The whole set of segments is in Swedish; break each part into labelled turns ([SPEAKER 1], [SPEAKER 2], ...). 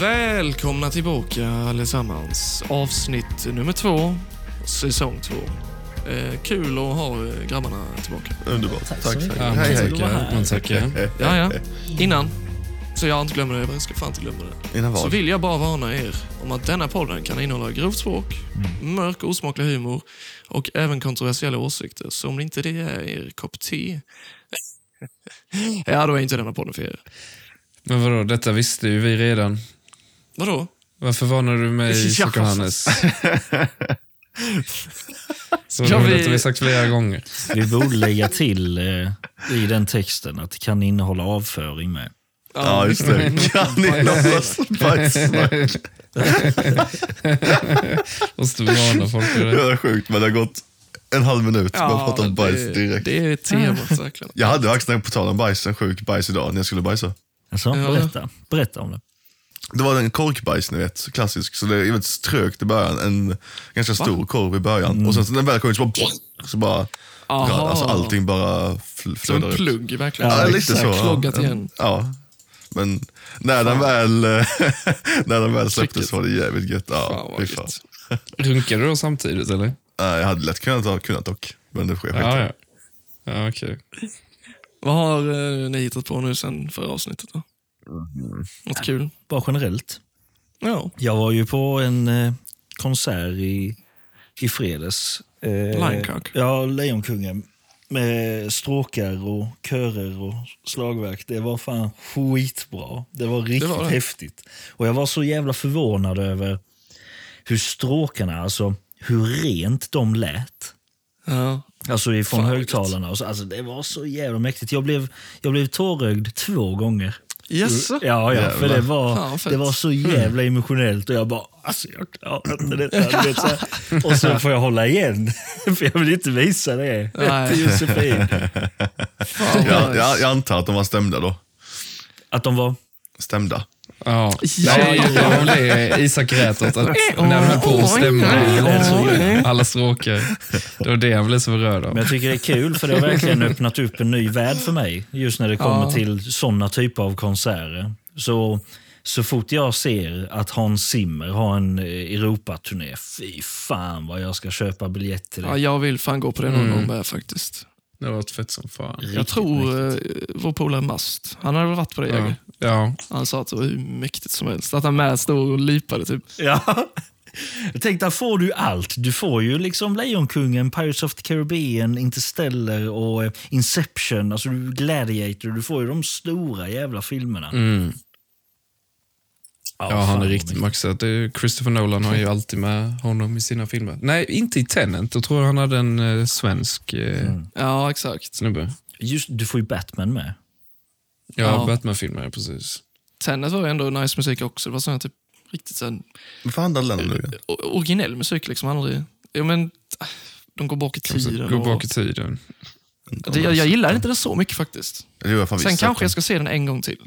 [SPEAKER 1] Välkomna tillbaka allesammans. Avsnitt nummer två, säsong två. Eh, kul att ha eh, grabbarna tillbaka.
[SPEAKER 2] Underbart.
[SPEAKER 3] Tack
[SPEAKER 2] Tack,
[SPEAKER 3] så
[SPEAKER 2] tack.
[SPEAKER 3] mycket.
[SPEAKER 2] Hej, hej.
[SPEAKER 3] Varsågod.
[SPEAKER 4] tackar. Man tackar.
[SPEAKER 1] Ja, ja. Innan, så jag inte glömmer det, jag ska fan inte glömma det.
[SPEAKER 2] Innan
[SPEAKER 1] Så
[SPEAKER 2] vad?
[SPEAKER 1] vill jag bara varna er om att denna podden kan innehålla grovt språk,
[SPEAKER 2] Mm.
[SPEAKER 1] mörk och osmaklig humor och även kontroversiella åsikter. Så om inte det är er kopp te, ja då är inte denna podden för er.
[SPEAKER 4] Men vadå, detta visste ju vi redan.
[SPEAKER 1] Vadå?
[SPEAKER 4] Varför varnar du mig,
[SPEAKER 1] Ja.
[SPEAKER 4] Sucker Hannes? Så
[SPEAKER 1] Ja,
[SPEAKER 4] ja,
[SPEAKER 1] vi-
[SPEAKER 4] vi... Detta har vi sagt flera gånger.
[SPEAKER 3] Vi borde lägga till eh, i den texten att det kan innehålla avföring med.
[SPEAKER 2] Ja, just det. Kan ni låtsas bajsnack?
[SPEAKER 4] Måste vi varna folk för
[SPEAKER 2] Det
[SPEAKER 4] det?
[SPEAKER 2] var sjukt, men det har gått en halv minut. Man
[SPEAKER 1] Ja,
[SPEAKER 2] pratar om bajs
[SPEAKER 1] det-
[SPEAKER 2] direkt.
[SPEAKER 1] Det är temat verkligen.
[SPEAKER 2] Jag hade faktiskt, på tal om bajs, en sjuk bajs idag när jag skulle bajsa.
[SPEAKER 3] Alltså,
[SPEAKER 1] Ja.
[SPEAKER 3] berätta. Berätta om det.
[SPEAKER 2] Det var en korkbajs, ni vet, klassisk. Så det är väldigt trögt i början. En ganska stor korv i början. Och sen så när den väl kommer så bara... Så bara
[SPEAKER 1] Aha.
[SPEAKER 2] alltså, allting bara fl-
[SPEAKER 1] Som
[SPEAKER 2] flödar
[SPEAKER 1] en
[SPEAKER 2] ut.
[SPEAKER 1] plugg verkligen.
[SPEAKER 2] Ja, lite så.
[SPEAKER 1] Kloggat igen.
[SPEAKER 2] Ja. Men när den väl, när den väl släpptes var det jävligt gött.
[SPEAKER 1] Fan,
[SPEAKER 2] Ja,
[SPEAKER 1] vad
[SPEAKER 2] fy fan.
[SPEAKER 1] gött.
[SPEAKER 4] Runkar du då samtidigt, eller?
[SPEAKER 2] Nej, Eh, Jag hade lätt kunnat ha kunnat dock. Men det sker
[SPEAKER 4] Ja,
[SPEAKER 2] ja,
[SPEAKER 4] ja. Ja, okej.
[SPEAKER 1] Vad har eh, ni hittat på nu sen förra avsnittet då? Något kul?
[SPEAKER 3] Bara generellt.
[SPEAKER 1] Ja.
[SPEAKER 3] Jag var ju på en eh, konsert i, i fredags. Eh,
[SPEAKER 1] Lioncock.
[SPEAKER 3] Ja, Lejonkungen. Med stråkar och körer och slagverk. Det var fan skitbra. Det var riktigt
[SPEAKER 1] var det.
[SPEAKER 3] häftigt. Och jag var så jävla förvånad över hur stråkarna, alltså hur rent de lät.
[SPEAKER 1] ja.
[SPEAKER 3] Alltså ifrån
[SPEAKER 1] Fan, vad gött.
[SPEAKER 3] högtalarna. Och så, alltså, det var så jävla mäktigt. Jag blev, jag blev tårögd två gånger.
[SPEAKER 1] Jaså?
[SPEAKER 3] Ja, ja för
[SPEAKER 2] Jävlar.
[SPEAKER 3] det var,
[SPEAKER 1] Fan, fett. Hmm.
[SPEAKER 3] det var så jävla emotionellt och jag bara, alltså jag klarar inte detta. du vet, så här. och så får jag hålla igen, för jag vill inte visa det
[SPEAKER 1] Nej.
[SPEAKER 3] till Josefin.
[SPEAKER 1] Fan, vad
[SPEAKER 2] jag,
[SPEAKER 1] nice.
[SPEAKER 2] jag, jag antar att de var stämda då.
[SPEAKER 3] Att de var,
[SPEAKER 2] Stämda.
[SPEAKER 4] Ja.
[SPEAKER 1] Ja.
[SPEAKER 4] Nej, det var väl det Isak grät åt, att när de höll på att stämma alla stråkar. Det var det han blev så berörd
[SPEAKER 3] men
[SPEAKER 4] av.
[SPEAKER 3] jag tycker det är kul för det har verkligen öppnat upp en ny värld för mig. Just när det kommer
[SPEAKER 1] Ja.
[SPEAKER 3] till sådana typer av konserter. Så, så fort jag ser att Hans Zimmer har en eh, Europaturné, fy fan vad jag ska köpa biljett till det.
[SPEAKER 1] Ja, jag vill fan gå på det någon
[SPEAKER 2] Mm.
[SPEAKER 1] gång med faktiskt.
[SPEAKER 4] Det var fett som fan.
[SPEAKER 1] Jag tror eh, vår polare Mast, han hade väl varit på det
[SPEAKER 4] Ja.
[SPEAKER 1] Jagge.
[SPEAKER 4] ja.
[SPEAKER 1] Han sa att det var hur mäktigt som helst. Att han med stod och lipade typ.
[SPEAKER 3] Ja. Jag tänkte, där får du allt. Du får ju liksom Lejonkungen, Pirates of the Caribbean, Interstellar och eh, Inception, alltså du- Gladiator. Du får ju de stora jävla filmerna.
[SPEAKER 4] Mm. Ja, han är
[SPEAKER 3] fan.
[SPEAKER 4] riktigt maxad. Det är- Christopher Nolan har ju alltid med honom i sina filmer. Nej, inte i Tenant. Då tror jag han hade en eh, svensk eh,
[SPEAKER 1] Ja, exakt.
[SPEAKER 4] snubbe.
[SPEAKER 3] Just, du får ju Batman med.
[SPEAKER 4] Ja,
[SPEAKER 1] Ja.
[SPEAKER 4] Batman-filmer, precis.
[SPEAKER 1] Tennis var ju ändå nice musik också. Det var sån här typ riktigt sån
[SPEAKER 2] Vad fan handlar den om nu igen?
[SPEAKER 1] o- originell musik liksom. Aldrig... Ja, men äh, de går bak i tiden.
[SPEAKER 4] Gå
[SPEAKER 1] och-
[SPEAKER 4] bak i tiden.
[SPEAKER 1] Det, jag, jag gillar inte det så mycket faktiskt.
[SPEAKER 2] Det gör jag fan
[SPEAKER 1] Sen
[SPEAKER 2] visst.
[SPEAKER 1] kanske jag ska se den en gång till.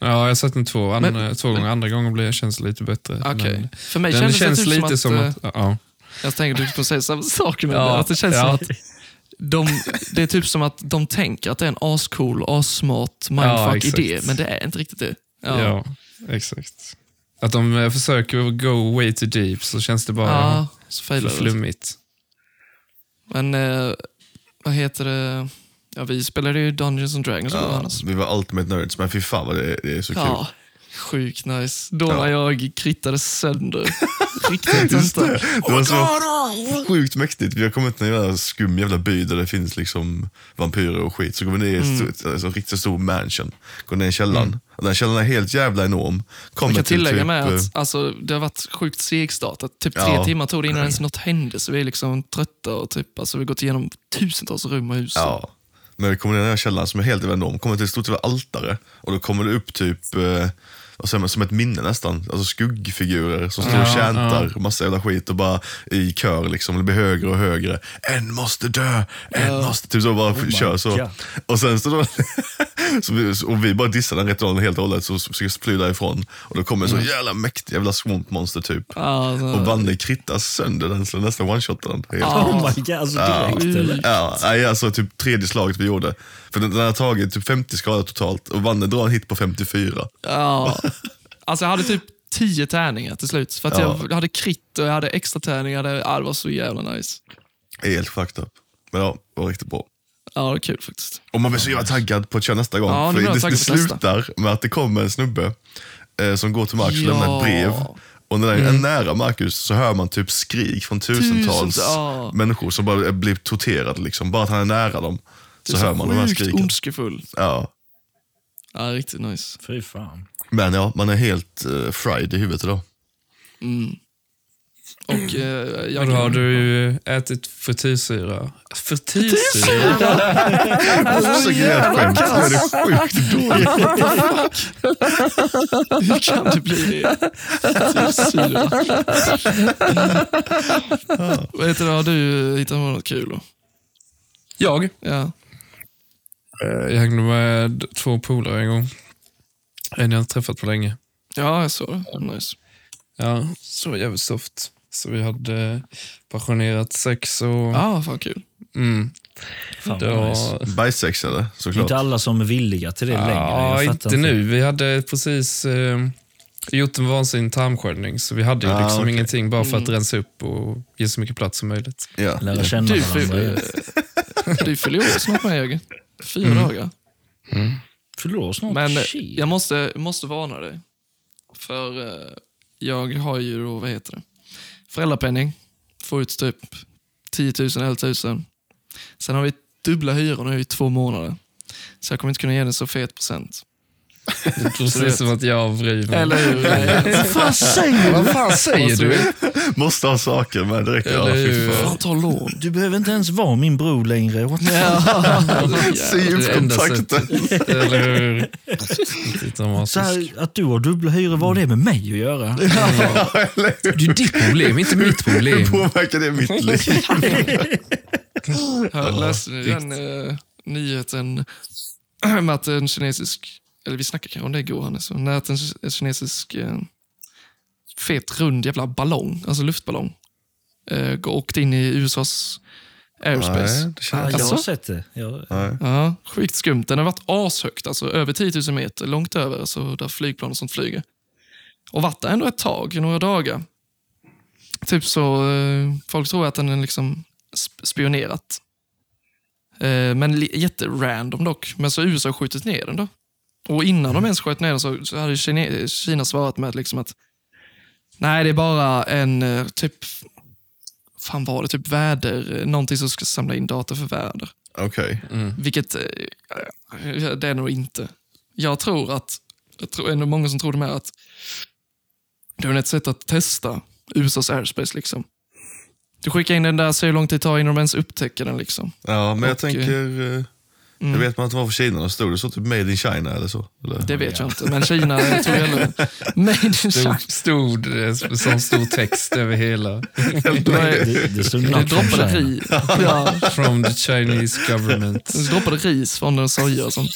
[SPEAKER 4] Ja, jag har sett den två, an- två gånger. Andra gången blev, känns det lite bättre.
[SPEAKER 1] Okej.
[SPEAKER 4] Men,
[SPEAKER 1] För mig
[SPEAKER 4] den
[SPEAKER 1] kändes
[SPEAKER 4] känns,
[SPEAKER 1] det typ
[SPEAKER 4] lite
[SPEAKER 1] som att... eh,
[SPEAKER 4] ja.
[SPEAKER 1] Jag tänker typ på att säga samma sak, men
[SPEAKER 4] Ja,
[SPEAKER 1] att det känns som
[SPEAKER 4] ja.
[SPEAKER 1] att de, det är typ som att de tänker att det är en ascool, assmart,
[SPEAKER 4] Ja,
[SPEAKER 1] mindfuck
[SPEAKER 4] exakt.
[SPEAKER 1] idé, men det är inte riktigt det.
[SPEAKER 4] Ja. exakt. Att de eh, försöker go way too deep så känns det bara
[SPEAKER 1] Ja, så
[SPEAKER 4] för
[SPEAKER 1] failar det.
[SPEAKER 4] flummigt.
[SPEAKER 1] Men eh, vad heter det? Ja, vi spelade ju Dungeons and Dragons med
[SPEAKER 2] Ja,
[SPEAKER 1] Johannes.
[SPEAKER 2] vi var Ultimate Nerds, men fy fan vad det är, det är så kul.
[SPEAKER 1] Ja, sjukt nice. Då när
[SPEAKER 2] Ja.
[SPEAKER 1] jag krittade sönder. Riktigt tenta.
[SPEAKER 2] Det var så sjukt mäktigt. Vi har kommit till en jävla skum jävla by där det finns liksom vampyrer och skit. Så går vi ner i en
[SPEAKER 1] Mm.
[SPEAKER 2] stor- alltså, en riktigt stor mansion. Går ner i källaren. Och den källaren är helt jävla enorm. Kommer
[SPEAKER 1] Jag kan
[SPEAKER 2] till
[SPEAKER 1] tillägga
[SPEAKER 2] typ,
[SPEAKER 1] med
[SPEAKER 2] eh,
[SPEAKER 1] att alltså, det har varit sjukt segstartat. Typ tre
[SPEAKER 2] Ja.
[SPEAKER 1] timmar tog det innan ens något hände, så vi är liksom trötta och typ, alltså, vi har gått igenom tusentals rum och hus.
[SPEAKER 2] Ja. Men vi kommer ner i den här källaren som är helt enorm. Kommer till ett stort jävla altare. Och då kommer det upp typ, eh, vad säger man, som ett minne nästan. Alltså skuggfigurer som står och
[SPEAKER 4] Ja,
[SPEAKER 2] tjäntar massa jävla skit och bara i kör liksom. Det blir högre och högre. En måste dö, en måste... Typ så bara kör så.
[SPEAKER 3] God.
[SPEAKER 2] Och sen så då... så vi, och vi bara dissar den ritualen helt och hållet så försöker fly därifrån. Och då kommer en så jävla mäktig jävla swampmonster typ.
[SPEAKER 1] Alltså,
[SPEAKER 2] Och Vanne krittar sönder den, så nästan one-shotar den. Helt.
[SPEAKER 3] Oh my god, alltså direkt
[SPEAKER 1] Ja.
[SPEAKER 3] eller?
[SPEAKER 2] Ja, nej, alltså typ tredje slaget vi gjorde. För den, den har tagit typ 50 skador totalt och Vanne drar en hit på 54.
[SPEAKER 1] Ja. Alltså jag hade typ tio tärningar till slut. För att
[SPEAKER 2] Ja.
[SPEAKER 1] jag hade krit och jag hade extra tärningar. Jag hade, ja, det var så jävla nice.
[SPEAKER 2] Helt fucked up. Men ja, det var riktigt bra.
[SPEAKER 1] Ja, det var kul faktiskt.
[SPEAKER 2] Och man blir så jävla taggad på att köra nästa gång.
[SPEAKER 1] Ja, nu
[SPEAKER 2] för
[SPEAKER 1] blir jag
[SPEAKER 2] det, det
[SPEAKER 1] taggad på att testa.
[SPEAKER 2] slutar med att det kommer en snubbe eh, som går till Marcus och lämnar ett brev.
[SPEAKER 1] Ja. Mm.
[SPEAKER 2] Och när den är nära Marcus så hör man typ skrik från tusentals
[SPEAKER 1] Tusentals, ja.
[SPEAKER 2] människor som bara blir torterade. Liksom. Bara att han är nära dem
[SPEAKER 1] Det
[SPEAKER 2] så,
[SPEAKER 1] är
[SPEAKER 2] hör man de här
[SPEAKER 1] sjukt
[SPEAKER 2] skriken.
[SPEAKER 1] ondskefull.
[SPEAKER 2] Ja.
[SPEAKER 1] Ja, riktigt nice.
[SPEAKER 3] Fy fan.
[SPEAKER 2] Men ja, man är helt eh, fried i huvudet idag.
[SPEAKER 1] Mm. Och eh,
[SPEAKER 4] Och
[SPEAKER 1] jag
[SPEAKER 4] då har du ju ätit fritysyra. Fritysyra?
[SPEAKER 2] Också grälskämt. Nu är det sjukt dåligt.
[SPEAKER 1] Hur kan det bli det? Frisyra. Vad heter det? Har du hittat på något kul? Då?
[SPEAKER 4] Jag?
[SPEAKER 1] Ja.
[SPEAKER 4] Eh, Jag hängde med två polare en gång. En jag inte träffat på länge.
[SPEAKER 1] ja, jag såg det. Nice.
[SPEAKER 4] Ja, så jävligt soft. Så vi hade eh, passionerat sex och...
[SPEAKER 1] Ja, Ah, fan kul.
[SPEAKER 4] Mm,
[SPEAKER 3] fan
[SPEAKER 4] det
[SPEAKER 3] vad
[SPEAKER 4] var...
[SPEAKER 3] nice.
[SPEAKER 2] Bajssexade
[SPEAKER 3] Det är
[SPEAKER 2] såklart.
[SPEAKER 3] inte alla som är villiga till det längre.
[SPEAKER 4] Ja,
[SPEAKER 3] Jag fattar
[SPEAKER 4] inte nu. Vi hade precis eh, gjort en vansinnig tarmsköljning, så vi hade ju
[SPEAKER 2] Ah,
[SPEAKER 4] liksom
[SPEAKER 2] okej.
[SPEAKER 4] ingenting bara för att rensa upp och ge så mycket plats som möjligt.
[SPEAKER 2] Ja.
[SPEAKER 3] Lära känna
[SPEAKER 1] Du,
[SPEAKER 3] varandra.
[SPEAKER 1] fyller-
[SPEAKER 3] ja.
[SPEAKER 1] du fyller ju år snart med Jörgen. Fyra dagar.
[SPEAKER 3] Fyller år snart.
[SPEAKER 1] Men eh,
[SPEAKER 3] Shit.
[SPEAKER 1] jag måste, måste varna dig. För eh, jag har ju då, vad heter det? Föräldrapenning. Får ut typ 10 000, 11 000. Sen har vi dubbla hyror nu i två månader. Så jag kommer inte kunna ge dig så fet procent.
[SPEAKER 4] Det är precis som att jag vrider mig.
[SPEAKER 1] Eller hur? Vad fan säger
[SPEAKER 4] Vad fan säger du?
[SPEAKER 2] Måste ha saker med direkt. Ja,
[SPEAKER 4] Eller
[SPEAKER 2] fy
[SPEAKER 4] hur?
[SPEAKER 2] fan.
[SPEAKER 1] Fan, ta lån.
[SPEAKER 3] Du behöver inte ens vara min bror längre. What?
[SPEAKER 2] Säg ut
[SPEAKER 4] Det enda
[SPEAKER 2] kontakten.
[SPEAKER 4] sättet. Eller hur? Riktigt dramatiskt.
[SPEAKER 3] Så här, att du har dubbla hyror, vad har det med mig att göra?
[SPEAKER 4] Det är ju ditt problem, inte mitt problem.
[SPEAKER 2] Hur påverkar det mitt liv?
[SPEAKER 1] Jag läste nu den eh, nyheten om att en kinesisk, eller vi snackade kanske om det igår Hannes, men att en ki- kinesisk eh, fet rund jävla ballong, alltså luftballong, eh, gå- åkte in i USAs airspace.
[SPEAKER 2] Nej, det känner
[SPEAKER 3] Ja,
[SPEAKER 2] jag
[SPEAKER 3] Ah, jag
[SPEAKER 2] inte.
[SPEAKER 1] Alltså?
[SPEAKER 3] har sett det. Jag,
[SPEAKER 1] Ja, sjukt skumt. Den har varit ashögt, alltså över 10 000 meter, långt över, alltså där flygplan och sånt flyger. Och varit där ändå ett tag, i några dagar. Typ så, eh, folk tror att den är liksom sp- spionerat. Eh, men li- jätterandom dock. Men så har USA skjutit ner den då. Och innan de ens sköt ner den så, så hade Kine- Kina svarat med att liksom att nej, det är bara en eh, typ, fan var det, typ väder, eh, någonting som ska samla in data för väder.
[SPEAKER 2] Okej.
[SPEAKER 4] Mm.
[SPEAKER 1] Vilket eh, eh, det är nog inte. Jag tror att, jag tror ändå många som tror det med att det är ett sätt att testa USAs airspace. liksom. Du skickar in den där, ser hur lång tid det tar innan de ens upptäcker den. liksom.
[SPEAKER 2] Ja, men jag
[SPEAKER 1] Och,
[SPEAKER 2] tänker... eh,
[SPEAKER 4] mm.
[SPEAKER 2] Jag vet man att det var från Kina, då stod det så typ made in China eller så? Eller?
[SPEAKER 1] Det vet jag inte, men Kina jag tror jag heller. Made in China.
[SPEAKER 4] Stod, stod det som stor text över hela.
[SPEAKER 1] Det var-
[SPEAKER 3] det, det stod
[SPEAKER 1] det
[SPEAKER 3] något om
[SPEAKER 1] droppade
[SPEAKER 3] China.
[SPEAKER 1] ris. Ja,
[SPEAKER 4] From the Chinese government.
[SPEAKER 1] det droppade ris från den soja och sånt.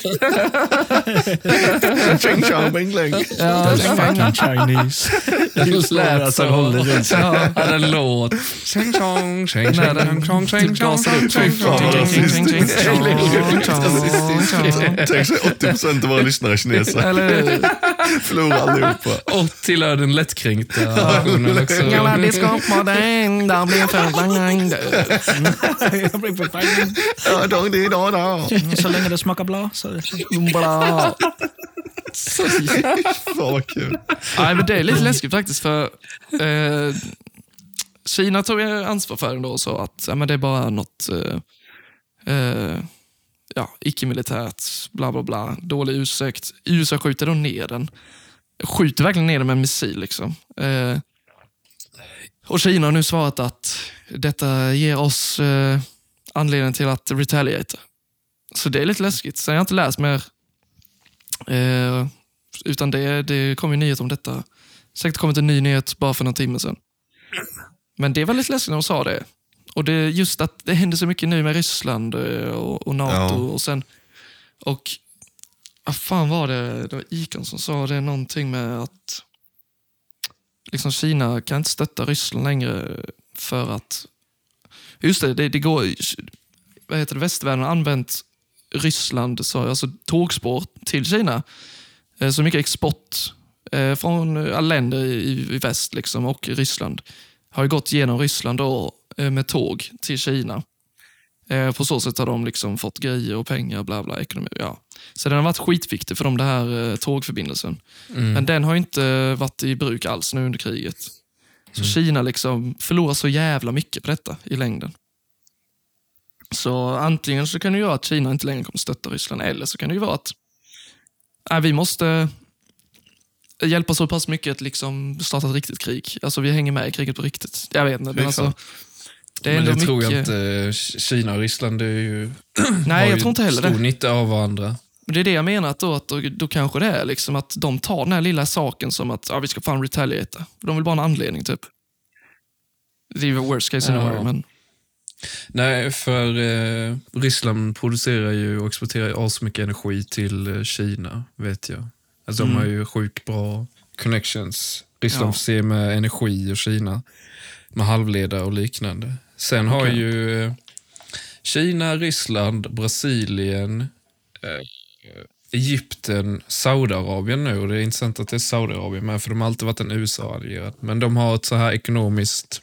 [SPEAKER 2] Ching chong bing bling.
[SPEAKER 1] Ja,
[SPEAKER 3] Those fucking Chinese. Just lät att han håller i sig.
[SPEAKER 4] Ja, han hade en låt. Ching chong, ching
[SPEAKER 1] Nej, den
[SPEAKER 4] ching chong, ching
[SPEAKER 1] typ
[SPEAKER 4] chong,
[SPEAKER 1] gasar
[SPEAKER 4] ching
[SPEAKER 1] upp.
[SPEAKER 4] chong, chong, ching chong.
[SPEAKER 2] Tänk sig 80% av våra lyssnare är kineser.
[SPEAKER 1] Eller hur?
[SPEAKER 2] Förlorar allihopa.
[SPEAKER 4] Och tillhör den lättkränkta versionen också.
[SPEAKER 1] Jävla diskopmodell, där blir förblandad.
[SPEAKER 3] Jag blir förfärgad.
[SPEAKER 2] Ja, dong di da da.
[SPEAKER 3] Mm, Så länge det smakar bra. Så.
[SPEAKER 1] Bra.
[SPEAKER 2] Fan vad kul.
[SPEAKER 1] Nej, men det är lite läskigt faktiskt för eh, Kina tog ju ansvar för den då och sa att ja, men det är bara något eh, eh, ja, icke-militärt, bla bla bla, dålig ursäkt. USA skjuter då ner den. Skjuter verkligen ner den med en missil liksom. Eh, och Kina har nu svarat att detta ger oss eh, anledning till att retaliate. Så det är lite läskigt. Sen har jag inte läst mer eh, utan det, det kom ju nyhet om detta. Säkert kommit en ny nyhet bara för någon timme sedan. Men det var lite läskigt när de sa det. Och det just att det händer så mycket nu med Ryssland eh, och, och NATO
[SPEAKER 2] Ja.
[SPEAKER 1] och sen... Och... Vad fan var det? Det var Icon som sa det någonting med att liksom Kina kan inte stötta Ryssland längre för att... Just det, det, det går... Vad heter det? Västvärlden har använt Ryssland, sa jag, alltså tågspår till Kina. Eh, Så mycket export eh, från alla länder i, i väst liksom, och Ryssland har ju gått genom Ryssland då, eh, med tåg till Kina. Eh, på så sätt har de liksom fått grejer och pengar, bla bla, ekonomi. Ja. Så den har varit skitviktig för dem, den här eh, tågförbindelsen.
[SPEAKER 4] Mm.
[SPEAKER 1] Men den har ju inte eh, varit i bruk alls nu under kriget. Så
[SPEAKER 4] Mm.
[SPEAKER 1] Kina liksom förlorar så jävla mycket på detta i längden. Så antingen så kan det ju vara att Kina inte längre kommer stötta Ryssland, eller så kan det ju vara att nej, vi måste hjälpa så pass mycket att liksom starta ett riktigt krig. Alltså vi hänger med i kriget på riktigt. Jag vet inte, men alltså. Det är
[SPEAKER 4] Men
[SPEAKER 1] ändå
[SPEAKER 4] det
[SPEAKER 1] mycket...
[SPEAKER 4] tror jag inte. K- Kina och Ryssland det är ju, har
[SPEAKER 1] Nej,
[SPEAKER 4] ju
[SPEAKER 1] jag tror inte heller
[SPEAKER 4] stor
[SPEAKER 1] det.
[SPEAKER 4] nytta av varandra.
[SPEAKER 1] Men Det är det jag menar, att då, att då, då kanske det är liksom att de tar den här lilla saken som att ja, vi ska fan retaliata. De vill bara ha en anledning typ. Det är ju worst case scenario,
[SPEAKER 4] Ja.
[SPEAKER 1] men
[SPEAKER 4] Nej, för eh, Ryssland producerar ju och exporterar ju asmycket energi till eh, Kina, vet jag. Alltså, De har ju sjukt bra connections. Ryssland
[SPEAKER 1] Mm. Ja.
[SPEAKER 4] förser med energi och Kina med halvledare och liknande. Sen har
[SPEAKER 1] Okej.
[SPEAKER 4] ju eh, Kina, Ryssland, Brasilien, eh, Egypten, Saudiarabien nu. Och det är intressant att det är Saudiarabien med, för de har alltid varit en USA-allierad. Men de har ett så här ekonomiskt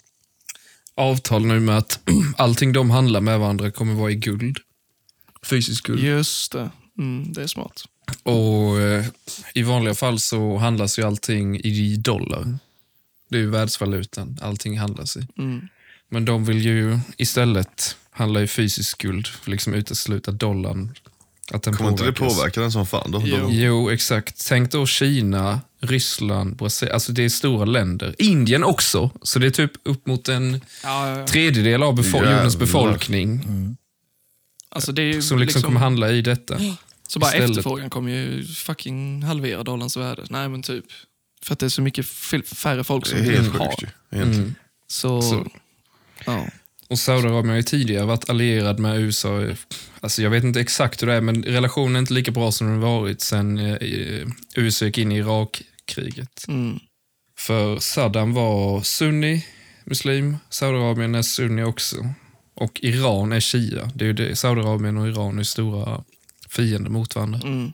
[SPEAKER 4] avtal nu med att allting de handlar med varandra kommer vara i guld. Fysiskt guld.
[SPEAKER 1] just det. Mm, det är smart.
[SPEAKER 4] Och eh, i vanliga fall så handlas ju allting i dollar. Det är ju världsvalutan allting handlas i.
[SPEAKER 1] Mm.
[SPEAKER 4] Men de vill ju istället handla i fysisk guld, för liksom utesluta dollarn. Att den
[SPEAKER 2] Kommer inte det
[SPEAKER 4] påverkas.
[SPEAKER 2] påverka den som fan då?
[SPEAKER 1] Jo.
[SPEAKER 4] Jo, exakt. Tänk då Kina, Ryssland, Brasilien. Alltså det är stora länder. Indien också. Så det är typ upp mot en
[SPEAKER 1] Ja, ja, ja.
[SPEAKER 4] tredjedel av befo- jordens
[SPEAKER 2] Jävlar.
[SPEAKER 4] befolkning
[SPEAKER 1] Alltså, det är ju
[SPEAKER 4] som liksom, kommer handla i detta.
[SPEAKER 1] Så bara
[SPEAKER 4] Istället.
[SPEAKER 1] efterfrågan kommer ju fucking halvera dollarns värde. Nej men typ. För att det är så mycket fil- färre folk
[SPEAKER 2] Det
[SPEAKER 1] som
[SPEAKER 2] är
[SPEAKER 1] vill
[SPEAKER 2] helt
[SPEAKER 1] ha.
[SPEAKER 2] sjukt ju.
[SPEAKER 4] Mm.
[SPEAKER 2] egentligen.
[SPEAKER 1] Så,
[SPEAKER 4] Så.
[SPEAKER 1] Ja.
[SPEAKER 4] Och Saudiarabien har ju tidigare varit allierad med USA. Alltså jag vet inte exakt hur det är, men relationen är inte lika bra som den varit sen eh, USA gick in i Irakkriget.
[SPEAKER 1] Mm.
[SPEAKER 4] För Saddam var sunni, muslim. Saudiarabien är sunni också. Och Iran är shia. Det är ju det. Saudiarabien och Iran är stora fiender mot varandra.
[SPEAKER 1] Mm.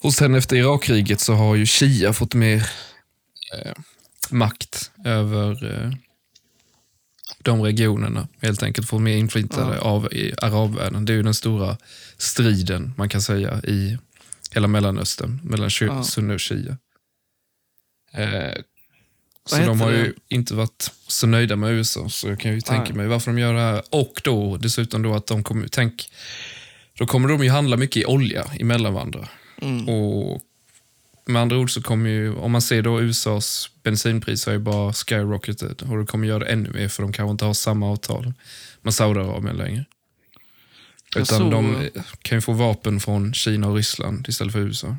[SPEAKER 4] Och sen efter Irakkriget så har ju Shia fått mer eh, makt över eh, de regionerna. Helt enkelt fått mer inflytande av i arabvärlden. Det är ju den stora striden man kan säga i hela Mellanöstern mellan Shi-
[SPEAKER 1] Ja.
[SPEAKER 4] sunni och shia. Eh, så
[SPEAKER 1] heter
[SPEAKER 4] de har
[SPEAKER 1] det?
[SPEAKER 4] ju inte varit så nöjda med USA, så jag kan ju tänka
[SPEAKER 1] Nej.
[SPEAKER 4] mig varför de gör det här. Och då dessutom då att de kommer, tänk, då kommer de ju handla mycket i olja emellan varandra.
[SPEAKER 1] Mm.
[SPEAKER 4] Och med andra ord så kommer ju, om man ser då USAs bensinpris har ju bara skyrocketed och det kommer göra det ännu mer för de kanske inte har samma avtal med Saudiarabien längre.
[SPEAKER 1] Jag
[SPEAKER 4] Utan
[SPEAKER 1] såg-
[SPEAKER 4] de kan ju få vapen från Kina och Ryssland istället för USA.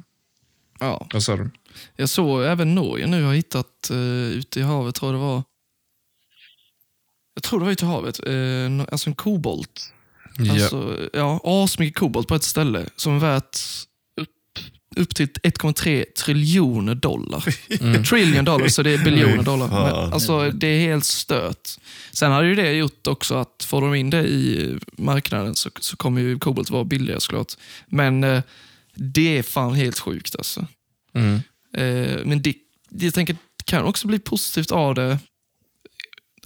[SPEAKER 1] ja.
[SPEAKER 4] Vad sa du?
[SPEAKER 1] Jag såg även Norge nu har hittat uh, ute i havet, tror jag det var. Jag tror det var ute i havet. eh, no- alltså en kobolt. Alltså, ja, asmycket kobolt på ett ställe som är värt upp, upp till 1,3 triljoner dollar. Mm. Trillion dollar, så det är biljoner
[SPEAKER 2] Fy
[SPEAKER 1] dollar.
[SPEAKER 2] fan.
[SPEAKER 1] Men, alltså, det är helt stört. Sen hade ju det gjort också att får de in det i marknaden så, så kommer ju kobolt vara billigare såklart. Men eh, det är fan helt sjukt alltså.
[SPEAKER 4] Mm.
[SPEAKER 1] Eh, men det, det- jag tänker det kan också bli positivt av det.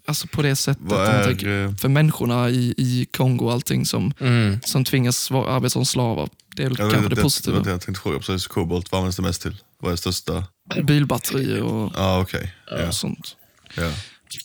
[SPEAKER 1] Alltså på det sättet.
[SPEAKER 2] Vad
[SPEAKER 1] om man
[SPEAKER 2] är...
[SPEAKER 1] tänker,
[SPEAKER 2] eh,
[SPEAKER 1] för människorna i, i Kongo och allting som,
[SPEAKER 4] Mm.
[SPEAKER 1] som tvingas vara, arbeta som slavar. Det är väl
[SPEAKER 2] Ja,
[SPEAKER 1] kanske det,
[SPEAKER 2] Det
[SPEAKER 1] positiva.
[SPEAKER 2] var det jag tänkte fråga. Precis, kobolt, vad används det mest till? Vad är det största?
[SPEAKER 1] Bilbatterier och,
[SPEAKER 2] Ja, ah, okej. Ja,
[SPEAKER 1] och sånt.
[SPEAKER 2] ja.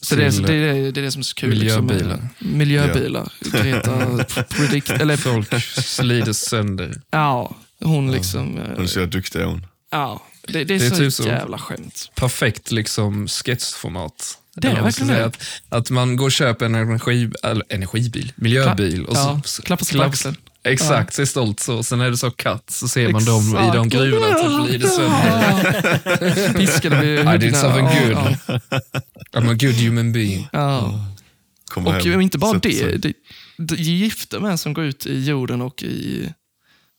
[SPEAKER 1] Så det, är,
[SPEAKER 4] Till-
[SPEAKER 1] det, är, det är det som är så kul. liksom, med-
[SPEAKER 4] Miljöbilar.
[SPEAKER 1] miljöbilar. Greta Predict, eller
[SPEAKER 4] Folk slider sönder.
[SPEAKER 1] ja, hon liksom. eh,
[SPEAKER 2] Hon ser duktig är hon.
[SPEAKER 1] Ja, det, det är,
[SPEAKER 4] Det är
[SPEAKER 1] så
[SPEAKER 4] typ så.
[SPEAKER 1] jävla skämt.
[SPEAKER 4] perfekt liksom sketchformat.
[SPEAKER 1] Det är
[SPEAKER 4] Eller vad man ska
[SPEAKER 1] verkligen
[SPEAKER 4] säga. Att, att man går och köper en energi, eller, energibil, miljöbil och
[SPEAKER 1] ja,
[SPEAKER 4] så
[SPEAKER 1] klappar sig på axeln.
[SPEAKER 4] Exakt, ser stolt så. Sen är det så katt, så ser man dem
[SPEAKER 1] Exakt.
[SPEAKER 4] i de gruvorna typ, som glider sönder.
[SPEAKER 1] Piskade vid
[SPEAKER 4] I did something
[SPEAKER 1] Ja,
[SPEAKER 4] good.
[SPEAKER 1] ja,
[SPEAKER 4] I'm a good human being.
[SPEAKER 1] ja.
[SPEAKER 2] Kommer
[SPEAKER 1] Och ju inte bara
[SPEAKER 2] sätter sig.
[SPEAKER 1] det, det, det är gifter med som går ut i jorden och i...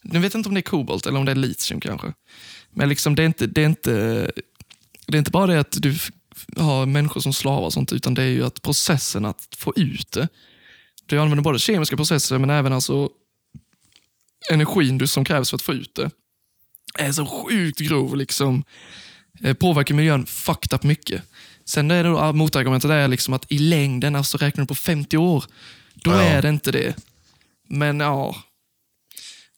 [SPEAKER 1] Nu vet jag inte om det är kobolt eller om det är litium kanske. Men liksom det, är inte, det, är inte, det är inte bara det att du f- har människor som slavar och sånt, utan det är ju att processen att få ut det. Du använder både kemiska processer men även alltså energin du, som krävs för att få ut det. är så sjukt grov liksom eh, påverkar miljön fucked up mycket. Sen är det då, ah, motargumentet är liksom att i längden, alltså räknar du på 50 år, då
[SPEAKER 2] Ja.
[SPEAKER 1] är det inte det. Men ja,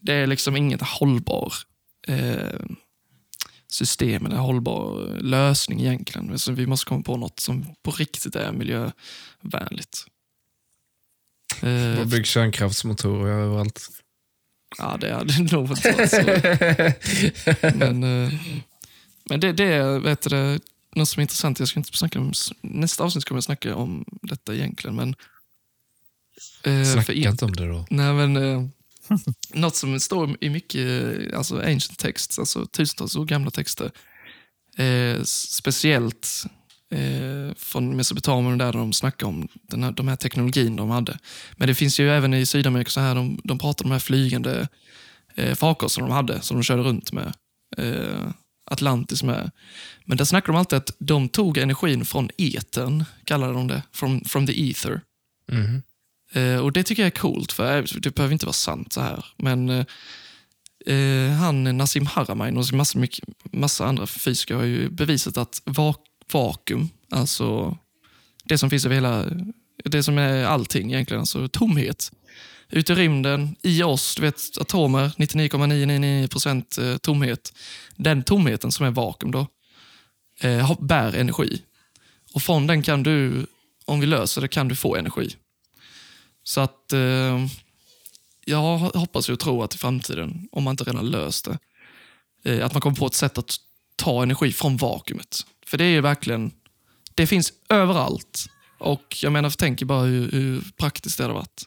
[SPEAKER 1] det är liksom inget hållbar eh, system eller hållbar lösning egentligen. Så vi måste komma på något som på riktigt är miljövänligt. Eh,
[SPEAKER 4] Bara bygg kärnkraftsmotorer överallt.
[SPEAKER 1] Eh, Ja, det hade nog varit svårt. så. Men, eh, men det, det är vet du, något som är intressant. Jag ska inte snacka om, nästa avsnitt kommer jag snacka om detta egentligen. Men, eh,
[SPEAKER 4] Snacka
[SPEAKER 1] för er-
[SPEAKER 4] inte om det då.
[SPEAKER 1] Nej, men, eh, något som står i mycket eh, alltså ancient texts, alltså tusentals år gamla texter. Eh, speciellt eh, från Mesopotamien där de snackar om den här, de här teknologin de hade. Men det finns ju även i Sydamerika, så här, de, de pratar om de här flygande eh, farkosterna de hade, som de körde runt med. Eh, Atlantis med. Men där snackar de alltid att de tog energin från etern, kallade de det, from, from the ether.
[SPEAKER 4] Mhm.
[SPEAKER 1] Eh, och det tycker jag är coolt, för eh, det behöver inte vara sant så här. Men eh, eh, han Nassim Haramein och massa, mycket, massa andra fysiker har ju bevisat att va- vakuum, alltså det som finns över hela, det som är allting egentligen, alltså tomhet. Ute i rymden, i oss, du vet atomer, 99,999% eh, tomhet. Den tomheten som är vakuum då, eh, har- bär energi. Och från den kan du, om vi löser det, kan du få energi. Så att eh, jag hoppas och tror att i framtiden, om man inte redan löst det, eh, att man kommer på ett sätt att ta energi från vakuumet. För det är ju verkligen, det finns överallt. Och jag menar, tänk bara hur, hur praktiskt det hade varit.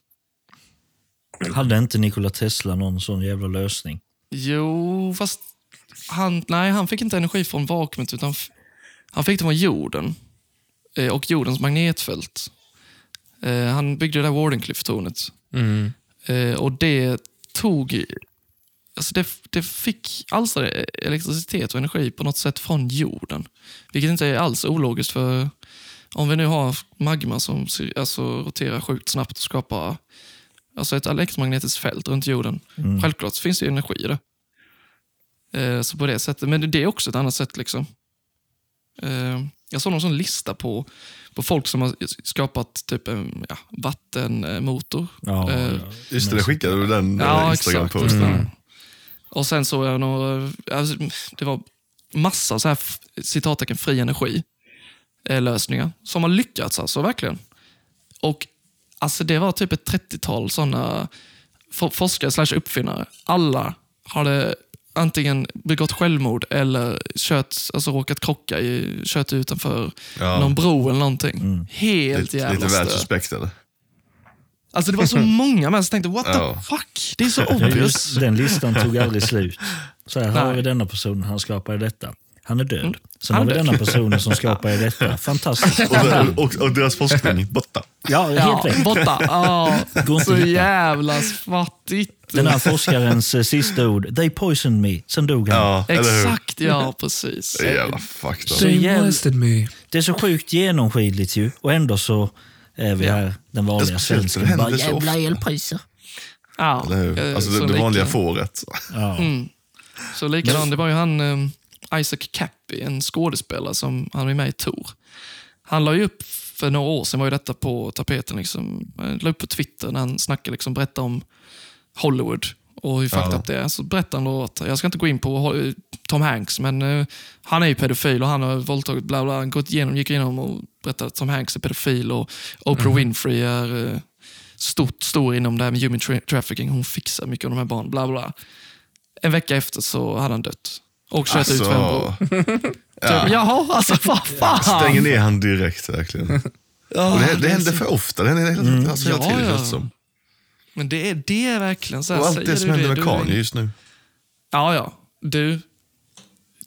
[SPEAKER 3] Hade inte Nikola Tesla någon sån jävla lösning?
[SPEAKER 1] Jo, fast han, nej, han fick inte energi från vakuumet utan f- han fick det från jorden eh, och jordens magnetfält. Eh, han byggde det där Wardenclyffe-tornet.
[SPEAKER 4] Mm.
[SPEAKER 1] Eh, och det tog... Alltså det, det fick alstrade elektricitet och energi på något sätt från jorden. Vilket inte är alls ologiskt för om vi nu har magma som sy- alltså, roterar sjukt snabbt och skapar alltså ett elektromagnetiskt fält runt jorden. Självklart så finns det ju energi i det. Eh, så på det sättet. Men det är också ett annat sätt. liksom. Eh, jag såg någon sån lista på, på folk som har skapat typ en ja, vattenmotor
[SPEAKER 3] Ja,
[SPEAKER 1] Eh,
[SPEAKER 3] ja.
[SPEAKER 2] Just det, det skickade du den eh,
[SPEAKER 1] Ja,
[SPEAKER 2] ja,
[SPEAKER 1] exakt.
[SPEAKER 2] Instagram-posten.
[SPEAKER 1] Mm. Och sen såg jag några, alltså, det var massa så här f- citattecken fri energi eh, lösningar som har lyckats alltså verkligen. Och alltså det var typ ett 30-tal sådana for- forskare slash uppfinnare. Alla hade antingen begått självmord eller kört, alltså råkat krocka, i, kört utanför
[SPEAKER 2] Ja. Mm.
[SPEAKER 1] någon bro eller någonting. Helt
[SPEAKER 2] Lite,
[SPEAKER 1] jävla
[SPEAKER 2] lite väl
[SPEAKER 1] stört.
[SPEAKER 2] suspekt eller?
[SPEAKER 1] Alltså det var så många människor som tänkte what
[SPEAKER 2] Ja.
[SPEAKER 1] the fuck? Det är så
[SPEAKER 3] Ja,
[SPEAKER 1] obvious.
[SPEAKER 3] just, den listan tog aldrig slut. Så här, här har
[SPEAKER 1] Nej. Mm.
[SPEAKER 3] vi denna personen, han skapade detta. Han är död. Sen
[SPEAKER 1] Han
[SPEAKER 3] har vi
[SPEAKER 1] är död.
[SPEAKER 3] denna personen som skapade detta. Fantastiskt.
[SPEAKER 2] Och, och, och deras forskning, borta.
[SPEAKER 3] Ja, helt rätt.
[SPEAKER 1] borta. Ja,
[SPEAKER 3] Går inte
[SPEAKER 1] så
[SPEAKER 3] att hitta.
[SPEAKER 1] jävla fattigt.
[SPEAKER 3] Den här forskarens eh, sista ord, they poisoned me. Sen dog han.
[SPEAKER 2] Ja, eller hur?
[SPEAKER 1] Exakt, ja precis.
[SPEAKER 2] Jävla alltså. fakta.
[SPEAKER 1] Så jävla- wasted
[SPEAKER 4] me.
[SPEAKER 3] Det är så sjukt genomskinligt ju och ändå så är vi här, den vanliga
[SPEAKER 2] Ja, speciellt när det
[SPEAKER 3] svensken. Bara,
[SPEAKER 2] händer så
[SPEAKER 3] jävla
[SPEAKER 2] ofta."
[SPEAKER 3] elpriser.
[SPEAKER 1] Ja,
[SPEAKER 2] Eller hur?
[SPEAKER 1] eh,
[SPEAKER 2] Alltså
[SPEAKER 1] så
[SPEAKER 2] det, det vanliga
[SPEAKER 1] lika-
[SPEAKER 2] fåret.
[SPEAKER 3] Ja.
[SPEAKER 1] Så likadan, det var ju han eh, Isaac Cappy, en skådespelare som han var med i Tor. Han la ju upp, för några år sedan var ju detta på tapeten, liksom. Han la upp på Twitter när han snackade, liksom, berättade om Hollywood och hur fucked
[SPEAKER 2] Ja.
[SPEAKER 1] up det är. Så berättade han då att, jag ska inte gå in på Hol- Tom Hanks, men eh, han är ju pedofil och han har våldtagit bla bla. Han gått igenom, gick igenom och berättade att Tom Hanks är pedofil och Oprah
[SPEAKER 2] Mhm.
[SPEAKER 1] Winfrey är eh, stort, stor inom det här med human tra- trafficking. Hon fixar mycket av de här barnen, bla bla. En vecka efter så hade han dött. Och kört ut för en bro.
[SPEAKER 2] Alltså,
[SPEAKER 1] Typ, Jaha, alltså vad fan.
[SPEAKER 2] stänger ner han direkt verkligen.
[SPEAKER 1] Ja,
[SPEAKER 2] Och det, det
[SPEAKER 1] är
[SPEAKER 2] händer
[SPEAKER 1] så- Mm.
[SPEAKER 2] för ofta. Det händer hela, alltså, hela
[SPEAKER 1] Ja,
[SPEAKER 2] tiden
[SPEAKER 1] ja.
[SPEAKER 2] känns det som.
[SPEAKER 1] Men det är, det är verkligen så här.
[SPEAKER 2] Och allt
[SPEAKER 1] säger
[SPEAKER 2] det som
[SPEAKER 1] du
[SPEAKER 2] händer med
[SPEAKER 1] du-
[SPEAKER 2] Kanye just nu.
[SPEAKER 1] Ja, ja. Du,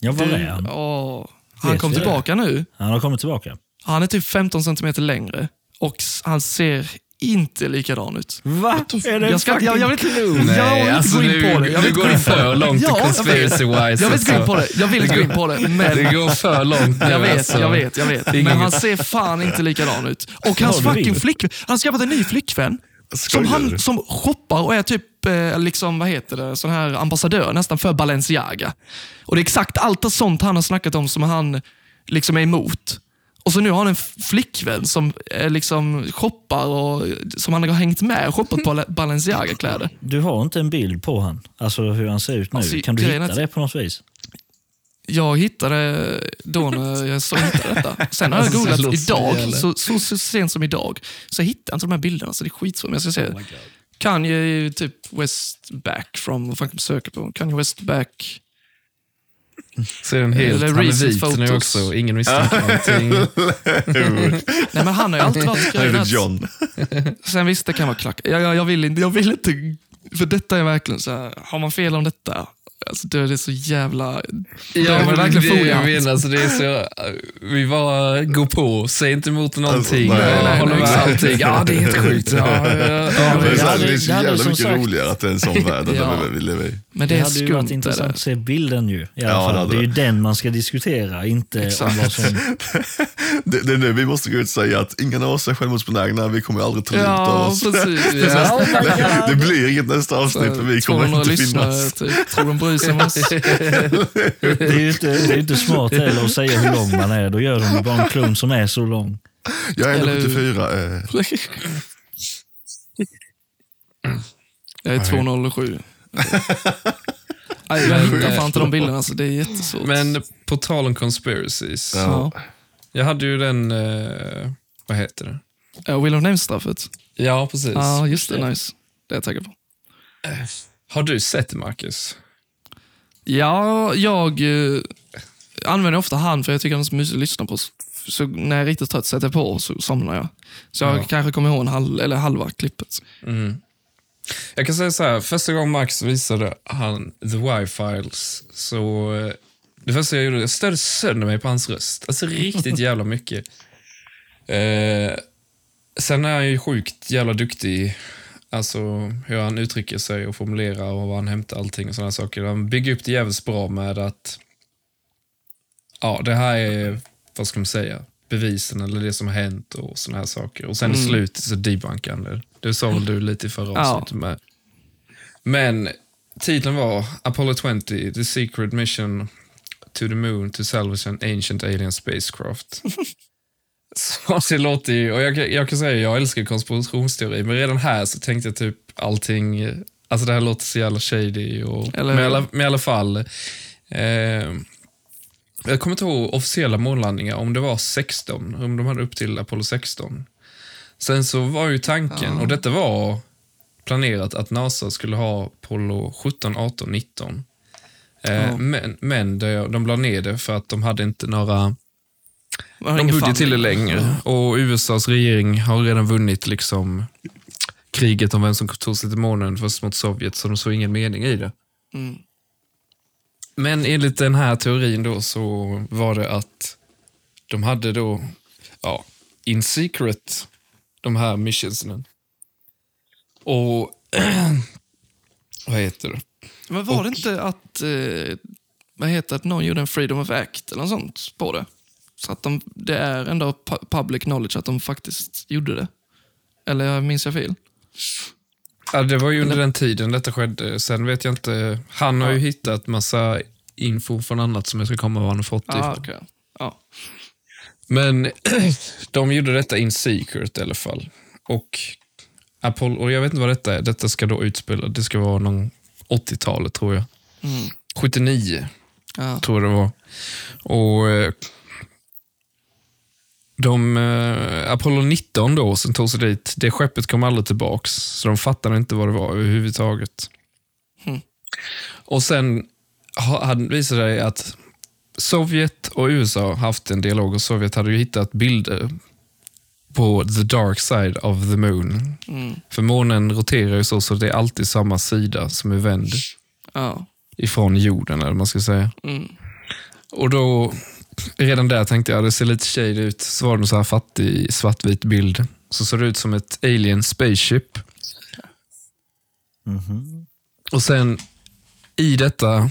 [SPEAKER 3] Ja, var är
[SPEAKER 1] du,
[SPEAKER 3] han?
[SPEAKER 1] åh. Han
[SPEAKER 3] Vet
[SPEAKER 1] kom
[SPEAKER 3] vi det?
[SPEAKER 1] tillbaka nu.
[SPEAKER 3] Han har kommit tillbaka.
[SPEAKER 1] Han är typ 15 centimeter längre och s- han ser inte likadan ut.
[SPEAKER 3] Va? Är det
[SPEAKER 1] Jag, ska, Mm. jag, jag vill inte, jag vill
[SPEAKER 4] Nej,
[SPEAKER 1] inte
[SPEAKER 4] alltså
[SPEAKER 1] gå in på det.
[SPEAKER 4] nu,
[SPEAKER 1] Jag
[SPEAKER 4] nu
[SPEAKER 1] vill,
[SPEAKER 4] går det för långt
[SPEAKER 1] Ja,
[SPEAKER 4] i
[SPEAKER 1] jag vet.
[SPEAKER 4] conspiracy wise.
[SPEAKER 1] jag vill inte gå in på det. Jag vill inte gå in på det. Men
[SPEAKER 4] Det går för långt nu,
[SPEAKER 1] Jag vet,
[SPEAKER 4] alltså.
[SPEAKER 1] jag vet, jag vet.
[SPEAKER 4] är
[SPEAKER 1] Men
[SPEAKER 4] inget-
[SPEAKER 1] han ser fan inte likadan ut. Och hans
[SPEAKER 3] Ja, du
[SPEAKER 1] fucking
[SPEAKER 3] vet.
[SPEAKER 1] flickvän, han har skaffat en ny flickvän.
[SPEAKER 2] Skojar
[SPEAKER 1] Som, han,
[SPEAKER 2] du?
[SPEAKER 1] som shoppar och är typ eh, liksom, vad heter det, sån här ambassadör nästan för Balenciaga. Och det är exakt allt sånt han har snackat om som han liksom är emot. Och så nu har han en f- flickvän som eh, liksom shoppar och som han har hängt med och shoppat på Bale- Balenciaga-kläder.
[SPEAKER 3] Du har inte en bild på han, alltså hur han ser ut nu.
[SPEAKER 1] Alltså,
[SPEAKER 3] kan du
[SPEAKER 1] grejen är
[SPEAKER 3] hitta
[SPEAKER 1] att-
[SPEAKER 3] det på något vis?
[SPEAKER 1] Jag hittade då när jag så hittade detta. Sen har jag
[SPEAKER 4] Alltså,
[SPEAKER 1] googlat
[SPEAKER 4] låt mig
[SPEAKER 1] idag,
[SPEAKER 4] jävla.
[SPEAKER 1] så, så, så sent som idag, så jag hittade jag inte de här bilderna. Så det är skitsvårt. Men jag ska
[SPEAKER 2] Oh
[SPEAKER 1] se. Kanye är ju typ West Back from, vad fan kan man söka på? Kanye West Back.
[SPEAKER 4] Så är den helt,
[SPEAKER 1] Eller
[SPEAKER 4] han är
[SPEAKER 1] recent
[SPEAKER 4] vit nu
[SPEAKER 1] photos.
[SPEAKER 4] också. Ingen misstänker någonting.
[SPEAKER 1] Nej men han har ju alltid varit
[SPEAKER 2] Han heter
[SPEAKER 1] att-
[SPEAKER 2] John.
[SPEAKER 1] Sen visst, det kan vara klack. Jag, jag, jag, vill inte, jag vill inte, för detta är verkligen så här, har man fel om detta, alltså då är det så jävla... då har man verkligen
[SPEAKER 4] det, jag
[SPEAKER 1] foliehand.
[SPEAKER 4] menar, alltså, det är så, eh, vi bara går på, säg inte emot någonting,
[SPEAKER 2] Alltså, nej,
[SPEAKER 4] bara
[SPEAKER 1] nej,
[SPEAKER 4] håller
[SPEAKER 1] nej,
[SPEAKER 4] med
[SPEAKER 1] nej.
[SPEAKER 4] allting. Ja, det är helt sjukt. Ja, ja,
[SPEAKER 2] Men det är
[SPEAKER 4] ja.
[SPEAKER 2] så här,
[SPEAKER 3] hade-
[SPEAKER 2] Det är så
[SPEAKER 3] det hade
[SPEAKER 2] jävla
[SPEAKER 3] som
[SPEAKER 2] mycket
[SPEAKER 3] sagt-
[SPEAKER 2] roligare att det är en sån värld
[SPEAKER 1] Ja.
[SPEAKER 2] där vi lever i.
[SPEAKER 1] Men det,
[SPEAKER 3] Det
[SPEAKER 1] är
[SPEAKER 3] hade ju
[SPEAKER 1] skumt.
[SPEAKER 3] varit
[SPEAKER 1] Det
[SPEAKER 3] intressant
[SPEAKER 1] där.
[SPEAKER 3] att se bilden ju. I alla
[SPEAKER 2] Ja, det
[SPEAKER 3] fall.
[SPEAKER 2] hade
[SPEAKER 3] Det, är ju
[SPEAKER 2] det.
[SPEAKER 3] den man ska diskutera, inte
[SPEAKER 1] Exakt.
[SPEAKER 3] om vad som...
[SPEAKER 2] Det, det är nu vi måste gå ut och säga att ingen av oss är självmordsbenägna, vi kommer aldrig ta livet av
[SPEAKER 1] Ja,
[SPEAKER 2] oss.
[SPEAKER 1] precis. Ja.
[SPEAKER 4] Ja.
[SPEAKER 2] Det, det blir inget nästa avsnitt, för vi kommer
[SPEAKER 1] 200
[SPEAKER 2] inte
[SPEAKER 1] lyssnare,
[SPEAKER 2] finnas.
[SPEAKER 1] typ. tror de bryr sig om oss.
[SPEAKER 3] Det är ju inte, det är inte smart heller att säga hur lång man är. Då gör de ju bara en klump som är så lång.
[SPEAKER 2] Jag är
[SPEAKER 1] Eller-
[SPEAKER 2] ändå 74. Eh,
[SPEAKER 1] Jag är 207. Nej, jag hittar fan inte de bilderna, så det är jättesvårt.
[SPEAKER 4] Men på tal om conspiracies.
[SPEAKER 1] ja.
[SPEAKER 4] Jag hade ju den, eh, vad heter det?
[SPEAKER 1] Ja, Will of Names-straffet.
[SPEAKER 4] Ja, precis.
[SPEAKER 1] Ja, just det. Nice. Det är jag taggad på.
[SPEAKER 4] Har du sett det, Marcus?
[SPEAKER 1] Ja, jag eh, använder ofta han för jag tycker han är så mysig att lyssna på. Så- Så när jag är riktigt trött sätter jag på och så somnar jag. Så jag
[SPEAKER 4] Ja.
[SPEAKER 1] kanske kommer ihåg en halv, eller halva klippet.
[SPEAKER 4] Jag kan säga så här, första gången Max visade han The Y-Files, så eh, det första jag gjorde, jag störde sönder mig på hans röst. Alltså riktigt jävla mycket. Eh, sen är han ju sjukt jävla duktig, alltså hur han uttrycker sig och formulerar och var han hämtar allting och sådana saker. Han bygger upp det jävligt bra med att, ja det här är, vad ska man säga, bevisen eller det som har hänt och sådana här saker. Och sen i slutet så debunkar han det. Det sa väl du lite i förra
[SPEAKER 1] Ja.
[SPEAKER 4] avsnittet med. Men titeln var Apollo 20, The Secret Mission to the Moon to Salvage an Ancient Alien Spacecraft. så det låter ju, och jag, jag kan säga jag älskar konspirationsteori, men redan här så tänkte jag typ allting, eh, alltså det här låter så jävla shady. Och,
[SPEAKER 1] Eller-
[SPEAKER 4] men, i alla, men i alla fall, eh, jag kommer inte ihåg officiella månlandningar, om det var 16, om de hade upp till Apollo 16. Sen så var ju tanken, och detta var planerat att NASA skulle ha Apollo 17, 18, 19. Eh, Men, men det, de la ner det för att de hade inte några
[SPEAKER 1] Man har
[SPEAKER 4] de
[SPEAKER 1] ingen fan-
[SPEAKER 4] budget till det längre. Och USAs regering har redan vunnit liksom kriget om vem som tog sig till månen först mot Sovjet, så de såg ingen mening i det.
[SPEAKER 1] Mm.
[SPEAKER 4] Men enligt den här teorin då så var det att de hade då, ja, in secret, de här missionsen. Och, vad heter det?
[SPEAKER 1] Men var det inte att, eh, vad heter det, att någon gjorde en freedom of act eller något sånt på det? Så att de, det är ändå pu- public knowledge att de faktiskt gjorde det. Eller minns jag fel?
[SPEAKER 4] Ja, det var ju under den tiden detta skedde. Sen vet jag inte. Han har ju hittat massa info från annat som jag ska komma ihåg vad han har fått
[SPEAKER 1] Ah,
[SPEAKER 4] ifrån.
[SPEAKER 1] okej. ja.
[SPEAKER 4] Men de gjorde detta in secret i alla fall. Och Apollo, och jag vet inte vad detta är. Detta ska då utspela, det ska vara någon 80-talet tror jag. 79
[SPEAKER 1] Ja.
[SPEAKER 4] tror jag det var. Och eh, de, eh, Apollo 19 då, som tog sig dit, det skeppet kom aldrig tillbaks. Så de fattade inte vad det var överhuvudtaget. Och sen ha- hade- visade det sig att Sovjet och USA haft en dialog och Sovjet hade ju hittat bilder på the dark side of the moon. För månen roterar ju så, så det är alltid samma sida som är vänd
[SPEAKER 1] Ja.
[SPEAKER 4] ifrån jorden, eller vad man ska säga.
[SPEAKER 1] Mm.
[SPEAKER 4] Och då, redan där tänkte jag, det ser lite shady ut. Så var det en så här fattig svartvit bild. Så såg det ut som ett alien spaceship. Och sen, i detta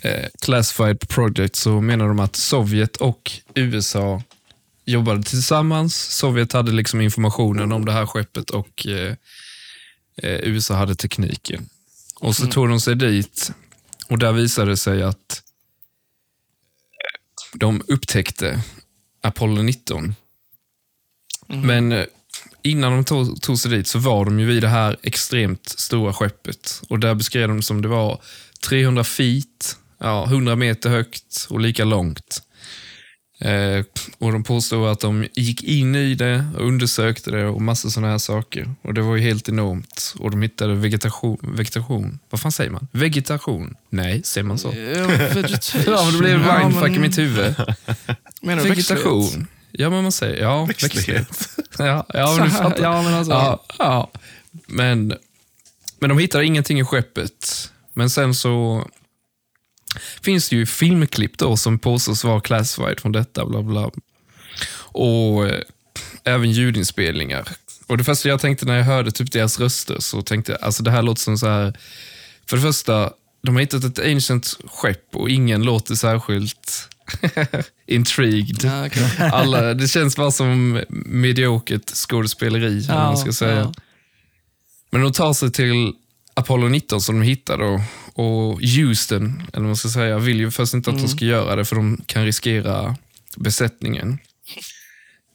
[SPEAKER 4] eh, classified project så menar de att Sovjet och USA jobbade tillsammans. Sovjet hade liksom informationen om det här skeppet och eh, eh, USA hade tekniken. Och så tog de sig dit och där visade det sig att de upptäckte Apollo 19. Men eh, innan de tog, tog sig dit så var de ju vid det här extremt stora skeppet. Och där beskrev de det som det var 300 feet, ja, 100 meter högt och lika långt. Eh, och De påstod att de gick in i det och undersökte det och massa sådana här saker. Och Det var ju helt enormt. Och De hittade vegetation. vegetation. Vad fan säger man? Vegetation? Nej, säger man så?
[SPEAKER 1] Ja, vegetation.
[SPEAKER 4] Eh, Ja, men det blev mindfuck i mitt huvud.
[SPEAKER 1] Menar du växtlighet?
[SPEAKER 4] Vegetation. Ja, men man säger ja.
[SPEAKER 2] Växtlighet.
[SPEAKER 4] Ja, ja, men du
[SPEAKER 1] Så här.
[SPEAKER 4] fattar.
[SPEAKER 1] Ja, men alltså-
[SPEAKER 4] ja, ja. Men, men de hittar ingenting i skeppet. Men sen så finns det ju filmklipp då som påstås vara classified från detta. Bla bla. Och eh, även ljudinspelningar. Och Det första jag tänkte när jag hörde typ deras röster så tänkte jag alltså det här låter som så här. För det första, de har hittat ett ancient skepp och ingen låter särskilt intrigued.
[SPEAKER 1] Ja, okej.
[SPEAKER 4] Alla, det känns bara som mediokert skådespeleri. eller vad man ska säga.
[SPEAKER 1] ja.
[SPEAKER 4] Men de tar sig till Apollo 19 som de hittar då. Och Houston, eller vad man ska säga, vill ju först inte att
[SPEAKER 1] Mm.
[SPEAKER 4] de ska göra det för de kan riskera besättningen.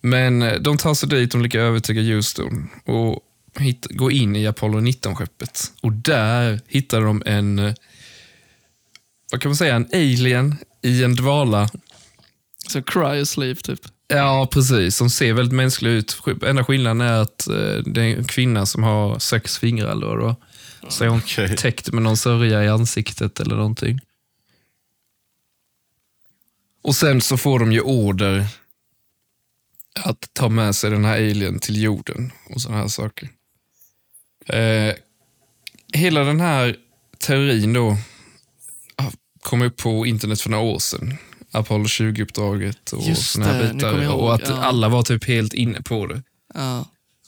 [SPEAKER 4] Men eh, de tar sig dit, de lyckas övertyga Houston och hit, går in i Apollo 19-skeppet. Och där hittar de en, eh, vad kan man säga, en alien i en dvala.
[SPEAKER 1] Så cry a sleep, typ.
[SPEAKER 4] Ja, precis. Som ser väldigt mänsklig ut. Enda skillnaden är att eh, det är en kvinna som har sex fingrar. Eller vad det var. så är hon
[SPEAKER 2] Okej.
[SPEAKER 4] täckt med någon sörja i ansiktet eller någonting. Och sen så får de ju order att ta med sig den här alien till jorden och sådana här saker. Eh, hela den här teorin då ah, kom upp på internet för några år sedan. Apollo 20-uppdraget och
[SPEAKER 1] Just
[SPEAKER 4] sådana
[SPEAKER 1] det,
[SPEAKER 4] här
[SPEAKER 1] nu kommer
[SPEAKER 4] bitar.
[SPEAKER 1] jag ihåg,
[SPEAKER 4] Och att
[SPEAKER 1] ja.
[SPEAKER 4] alla var typ helt inne på det.
[SPEAKER 1] Ja.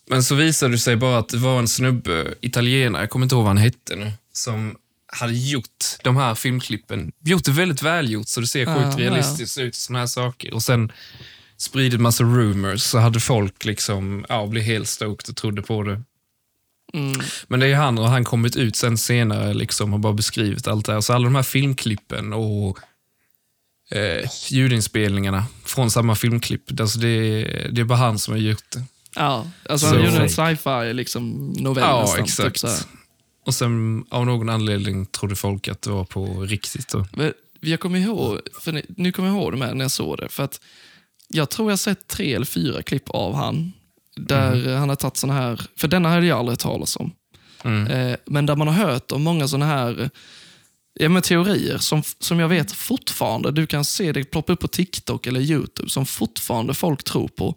[SPEAKER 4] Men så visade det sig bara att det var en snubbe, italienare, jag kommer inte ihåg vad han hette nu, som hade gjort de här filmklippen. Gjort det väldigt välgjort, så det ser
[SPEAKER 1] Ja,
[SPEAKER 4] sjukt
[SPEAKER 1] ja.
[SPEAKER 4] realistiskt ut. Såna här saker. Och sen spridit massa rumors, så hade folk liksom, ja, blev helt stoked och trodde på det.
[SPEAKER 1] Mm.
[SPEAKER 4] Men det är ju han och han kommit ut sen senare liksom och bara beskrivit allt det här. Så alla de här filmklippen och eh, ljudinspelningarna från samma filmklipp, alltså det, det är bara han som har gjort det.
[SPEAKER 1] Ja, alltså
[SPEAKER 4] Så-
[SPEAKER 1] han gjorde en sci-fi liksom, novell
[SPEAKER 4] Ja,
[SPEAKER 1] nästan.
[SPEAKER 4] exakt.
[SPEAKER 1] Typ så här.
[SPEAKER 4] Och sen av någon anledning trodde folk att det var på riktigt. Då.
[SPEAKER 1] Men Jag kommer ihåg, för ni- nu kommer jag ihåg det med när jag såg det. För att jag tror jag sett tre eller fyra klipp av han. Där han har tagit såna här, för denna hade jag aldrig hört talas om. Eh, men där man har hört om många såna här ja, men teorier som, som jag vet fortfarande, du kan se det ploppa upp på TikTok eller YouTube, som fortfarande folk tror på.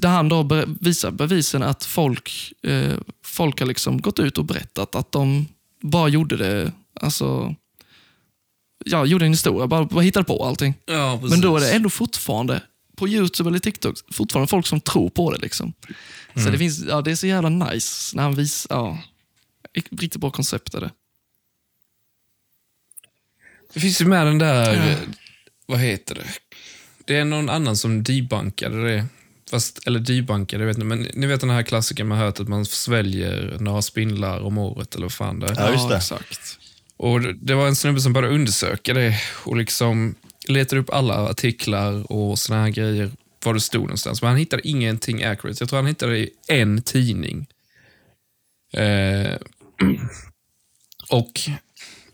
[SPEAKER 1] Där han då be- visar bevisen att folk, eh, folk har liksom gått ut och berättat att de bara gjorde det, alltså, ja, gjorde en historia, bara, bara hittade på allting.
[SPEAKER 4] Ja,
[SPEAKER 1] Men då är det ändå fortfarande, på YouTube eller TikTok, fortfarande folk som tror på det. liksom. Så
[SPEAKER 2] Mm.
[SPEAKER 1] det finns, ja det är så jävla nice när han visar, ja. Riktigt bra koncept är det.
[SPEAKER 4] Det finns ju med den där, eh, vad heter det? Det är någon annan som debunkade det. Fast, eller debunkade, jag vet inte. Men ni vet den här klassiken man hört att man sväljer några spindlar om året eller vad fan det är.
[SPEAKER 2] Ja, just det.
[SPEAKER 1] exakt.
[SPEAKER 4] Och det- det var en snubbe som började undersöka det och liksom letade upp alla artiklar och såna här grejer, var det stod någonstans. Men han hittade ingenting accurate. Jag tror han hittade det i en tidning. Eh, och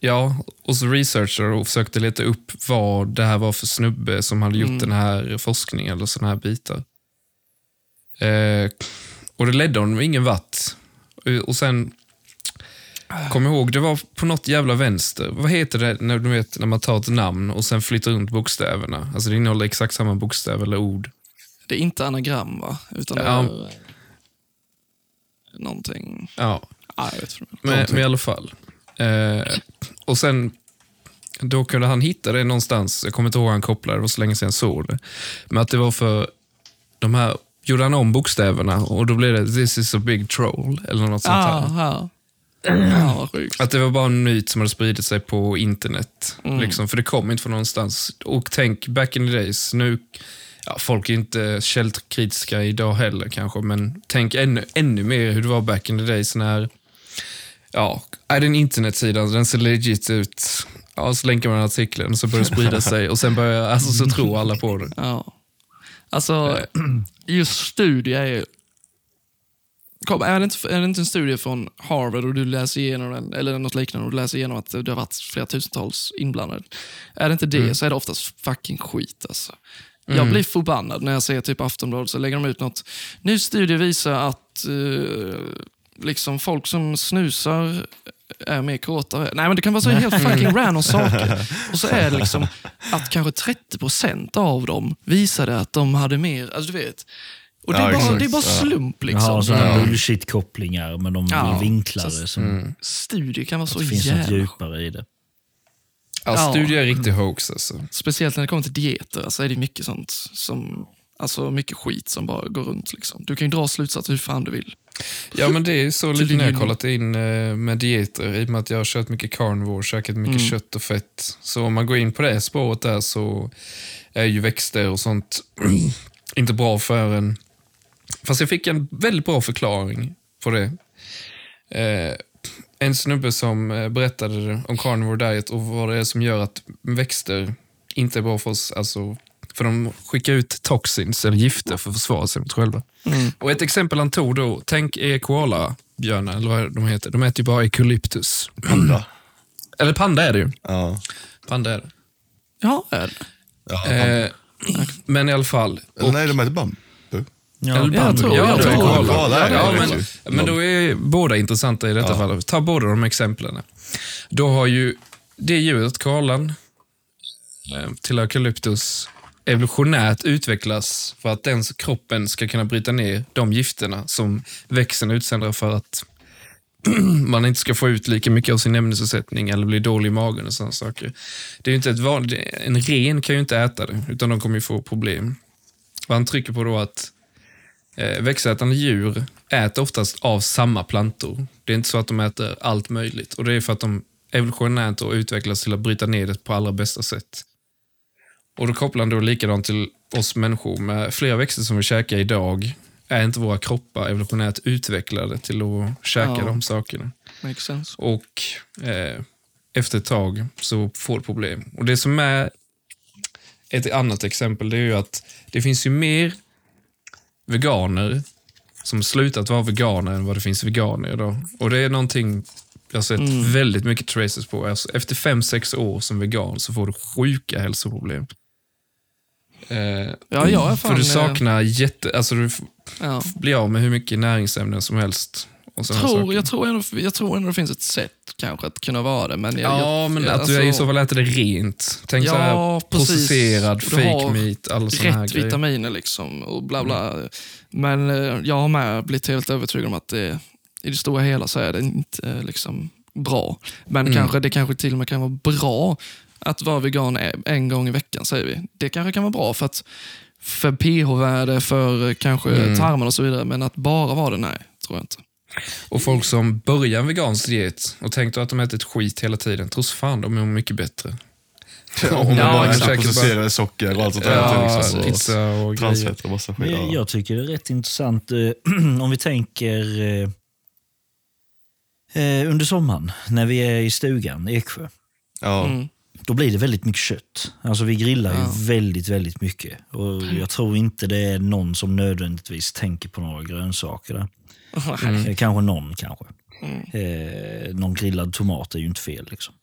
[SPEAKER 4] ja, och så researchade och försökte leta upp vad det här var för snubbe som hade gjort den här forskningen eller såna här bitar. Eh, och det ledde honom ingen vatt. Eh, Och sen Kom ihåg, det var på något jävla vänster. Vad heter det när, du vet, när man tar ett namn och sen flyttar runt bokstäverna? Alltså det innehåller exakt samma bokstäver eller ord.
[SPEAKER 1] Det är inte anagram va? Utan det
[SPEAKER 4] Ja.
[SPEAKER 1] är eh, någonting.
[SPEAKER 4] Ja,
[SPEAKER 1] Ja, jag vet inte.
[SPEAKER 4] men, men i alla fall. Eh, och sen, då kunde han hitta det någonstans. Jag kommer inte ihåg hur han kopplade, det var så länge sedan jag såg det. Men att det var för de här, gjorde han om bokstäverna och då blev det “This is a big troll” eller något sånt här.
[SPEAKER 1] Ja,
[SPEAKER 2] Ah,
[SPEAKER 1] ja. Ja, vad sjukt.
[SPEAKER 4] Att det var bara en myt som hade spridit sig på internet. Liksom, för det kom inte från någonstans. Och tänk, back in the days, nu... Ja, folk är inte källkritiska idag heller kanske, men tänk ännu, ännu mer hur det var back in the days när ja, är den internetsidan, den ser legit ut. Ja, så länkar man artikeln så börjar det sprida sig och sen börjar, alltså så tror alla på det.
[SPEAKER 1] Ja. Alltså, just studier är ju... Kom, är, det inte, är det inte en studie från Harvard och du läser igenom den, eller något liknande och du läser igenom att det har varit flera tusentals inblandade? Är det inte det
[SPEAKER 2] Mm.
[SPEAKER 1] så är det oftast fucking skit alltså. Jag blir förbannad när jag ser typ Aftonbladet så lägger de ut något. Ny studie visar att eh, liksom folk som snusar är mer kåtare. Nej men det kan vara så helt fucking random saker. Och så är det liksom att kanske 30% av dem visade att de hade mer, alltså du vet. Och det är,
[SPEAKER 2] Ja,
[SPEAKER 1] bara,
[SPEAKER 2] exakt.
[SPEAKER 1] det är bara
[SPEAKER 2] Ja.
[SPEAKER 1] slump liksom.
[SPEAKER 3] Ja, sådana bullshit-kopplingar, men de
[SPEAKER 1] Ja,
[SPEAKER 3] blir vinklade.
[SPEAKER 1] så-
[SPEAKER 3] som
[SPEAKER 2] Mm.
[SPEAKER 1] Studier kan vara så
[SPEAKER 3] Det finns något
[SPEAKER 1] jävla...
[SPEAKER 3] djupare i det.
[SPEAKER 4] Ja,
[SPEAKER 1] Ja.
[SPEAKER 4] studier är riktig hoax alltså.
[SPEAKER 1] Speciellt när det kommer till dieter, alltså är det mycket sånt som... Alltså mycket skit som bara går runt. Liksom. Du kan ju dra slutsatser hur fan du vill.
[SPEAKER 4] Ja, men det är ju så lite
[SPEAKER 1] Tydligen.
[SPEAKER 4] när jag har kollat in eh, med dieter i och med att jag har kört mycket carnivore, käkat mycket kött och fett. Så om man går in på det spåret där så är ju växter och sånt inte bra för en. Fast jag fick en väldigt bra förklaring på det. Eh, en snubbe som eh, berättade om carnivore diet och vad det är som gör att växter inte är bra för oss. Alltså, för de skickar ut toxins eller gifter för att försvara sig mot själva. Och ett exempel han tog då, tänk er koalabjörnar, eller vad de heter. De äter ju bara eukalyptus.
[SPEAKER 2] Panda.
[SPEAKER 4] Eller panda är det ju.
[SPEAKER 2] Ja.
[SPEAKER 4] Panda är det.
[SPEAKER 1] Ja, är det.
[SPEAKER 2] ja
[SPEAKER 4] Eh, men i alla fall.
[SPEAKER 2] Eller nej, de heter bambu.
[SPEAKER 3] Ja,
[SPEAKER 4] Eller
[SPEAKER 1] jag tror-
[SPEAKER 4] ja,
[SPEAKER 1] jag
[SPEAKER 4] det
[SPEAKER 1] tror
[SPEAKER 4] är koala.
[SPEAKER 2] koala är det,
[SPEAKER 4] Ja,
[SPEAKER 2] det
[SPEAKER 4] men,
[SPEAKER 2] vet jag.
[SPEAKER 4] men då är båda intressanta i detta fall. Ta båda de exemplen. Då har ju det djuret, koalan, eh, till eukalyptus evolutionärt utvecklas för att den kroppen ska kunna bryta ner de gifterna som växeln utsöndrar för att man inte ska få ut lika mycket av sin ämnesersättning eller bli dålig i magen och sådana saker. Det är ju inte ett vanligt, en ren kan ju inte äta det, utan de kommer ju få problem. Och han trycker på då att eh, växtätande djur äter oftast av samma plantor. Det är inte så att de äter allt möjligt och det är för att de evolutionärt då utvecklas till att bryta ner det på allra bästa sätt. Och då kopplar han då likadant till oss människor med flera växter som vi käkar idag är inte våra kroppar evolutionärt utvecklade till att käka
[SPEAKER 1] Ja.
[SPEAKER 4] de sakerna.
[SPEAKER 1] Makes sense.
[SPEAKER 4] Och eh, efter ett tag så får du problem. Och det som är ett annat exempel det är ju att det finns ju mer veganer som slutat vara veganer än vad det finns veganer idag. Och det är någonting jag har sett
[SPEAKER 1] Mm.
[SPEAKER 4] väldigt mycket traces på. Alltså, efter fem sex år som vegan så får du sjuka hälsoproblem. Eh,
[SPEAKER 1] Ja, jag är fan...
[SPEAKER 4] för du
[SPEAKER 1] eh,
[SPEAKER 4] saknar jätte... Alltså du f-
[SPEAKER 1] Ja.
[SPEAKER 4] blir av med hur mycket näringsämnen som helst. Och såna saker.
[SPEAKER 1] Tror, jag, tror ändå, jag tror ändå det finns ett sätt kanske att kunna vara det. Men jag,
[SPEAKER 4] Ja,
[SPEAKER 1] jag,
[SPEAKER 4] men
[SPEAKER 1] jag,
[SPEAKER 4] att du är i
[SPEAKER 1] alltså,
[SPEAKER 4] så fall äter det rent. Tänk
[SPEAKER 1] Ja,
[SPEAKER 4] så här
[SPEAKER 1] precis.
[SPEAKER 4] processerad,
[SPEAKER 1] Och du har
[SPEAKER 4] fake meat, alla såna här
[SPEAKER 1] Rätt
[SPEAKER 4] grejer. Mm.
[SPEAKER 1] vitaminer liksom och bla bla. Men eh, jag har med blivit helt övertygad om att det, i det stora hela så är det inte eh, liksom bra.
[SPEAKER 4] Mm.
[SPEAKER 1] Men kanske det kanske till och med kan vara bra att vara vegan e- en gång i veckan, säger vi. Det kanske kan vara bra för att för pH-värde, för eh, kanske
[SPEAKER 4] Mm.
[SPEAKER 1] tarmen och så vidare. Men att bara vara det, nej, tror jag inte.
[SPEAKER 4] Och folk som börjar en vegansk diet och tänkte att de ätit skit hela tiden, tros fan de mår mycket bättre.
[SPEAKER 2] Om man
[SPEAKER 4] Ja,
[SPEAKER 2] bara
[SPEAKER 4] exakt.
[SPEAKER 2] äter processerade socker och allt sånt där.
[SPEAKER 4] Ja, alltså,
[SPEAKER 2] liksom, och
[SPEAKER 4] pizza och grejer.
[SPEAKER 2] Transfett och massa skit.
[SPEAKER 3] Men
[SPEAKER 2] Ja.
[SPEAKER 3] jag, jag tycker det är rätt intressant eh, om vi tänker eh, eh, under sommaren när vi är i stugan i Eksjö.
[SPEAKER 2] Ja.
[SPEAKER 1] Mm.
[SPEAKER 3] Då blir det väldigt mycket kött. Alltså vi grillar ju väldigt, väldigt mycket. Och Jag tror inte det är någon som nödvändigtvis tänker på några grönsaker där. Eh, Kanske någon kanske. Eh, någon grillad tomat är ju inte fel. Liksom.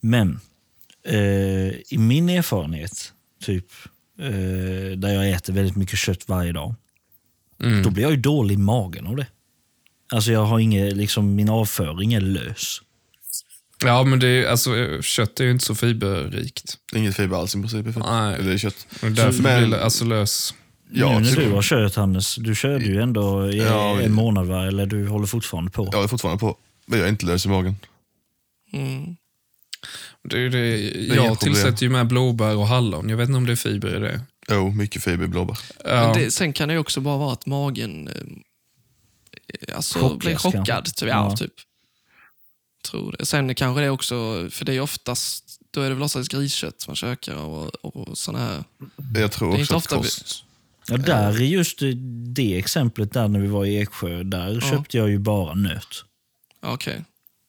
[SPEAKER 3] Men eh, i min erfarenhet, typ eh, där jag äter väldigt mycket kött varje dag, då
[SPEAKER 4] Mm.
[SPEAKER 3] blir jag ju dålig i magen av det. Alltså jag har inget, liksom, min avföring är lös.
[SPEAKER 4] Ja, men det är, alltså, eh, kött är ju inte så fiberrikt.
[SPEAKER 2] Inget fiber alls i princip. i fett.
[SPEAKER 4] Nej.
[SPEAKER 2] Eller i kött.
[SPEAKER 4] Och därför
[SPEAKER 2] Men-
[SPEAKER 4] blir det alltså lös.
[SPEAKER 2] Ja,
[SPEAKER 3] nu när
[SPEAKER 2] typ.
[SPEAKER 3] du har kört Hannes, du körde ju ändå i
[SPEAKER 2] Ja, vi-
[SPEAKER 3] en månad va? Eller du håller fortfarande på?
[SPEAKER 2] Jag är fortfarande på. Men jag är inte lös i magen.
[SPEAKER 4] Det, är ju det,
[SPEAKER 2] inga
[SPEAKER 4] jag
[SPEAKER 2] problem.
[SPEAKER 4] tillsätter ju med blåbär och hallon. Jag vet inte om det är fiber i det.
[SPEAKER 2] Jo, mycket fiber i blåbär.
[SPEAKER 4] Ja.
[SPEAKER 1] Men det, sen kan det ju också bara vara att magen eh, alltså,
[SPEAKER 3] Chockas
[SPEAKER 1] blir
[SPEAKER 3] kanske.
[SPEAKER 1] chockad. Typ. Ja,
[SPEAKER 3] Ja.
[SPEAKER 1] typ. Tror det. Sen kanske det är också, för det är ju oftast, då är det väl oftast griskött man käkar och, och sådana här.
[SPEAKER 2] Jag tror
[SPEAKER 1] Det är
[SPEAKER 2] också
[SPEAKER 1] inte
[SPEAKER 2] att
[SPEAKER 1] ofta vi-
[SPEAKER 2] kost...
[SPEAKER 3] Ja, där är just det- det exemplet där när vi var i Eksjö, där köpte jag ju bara nöt.
[SPEAKER 1] Ja, Okej.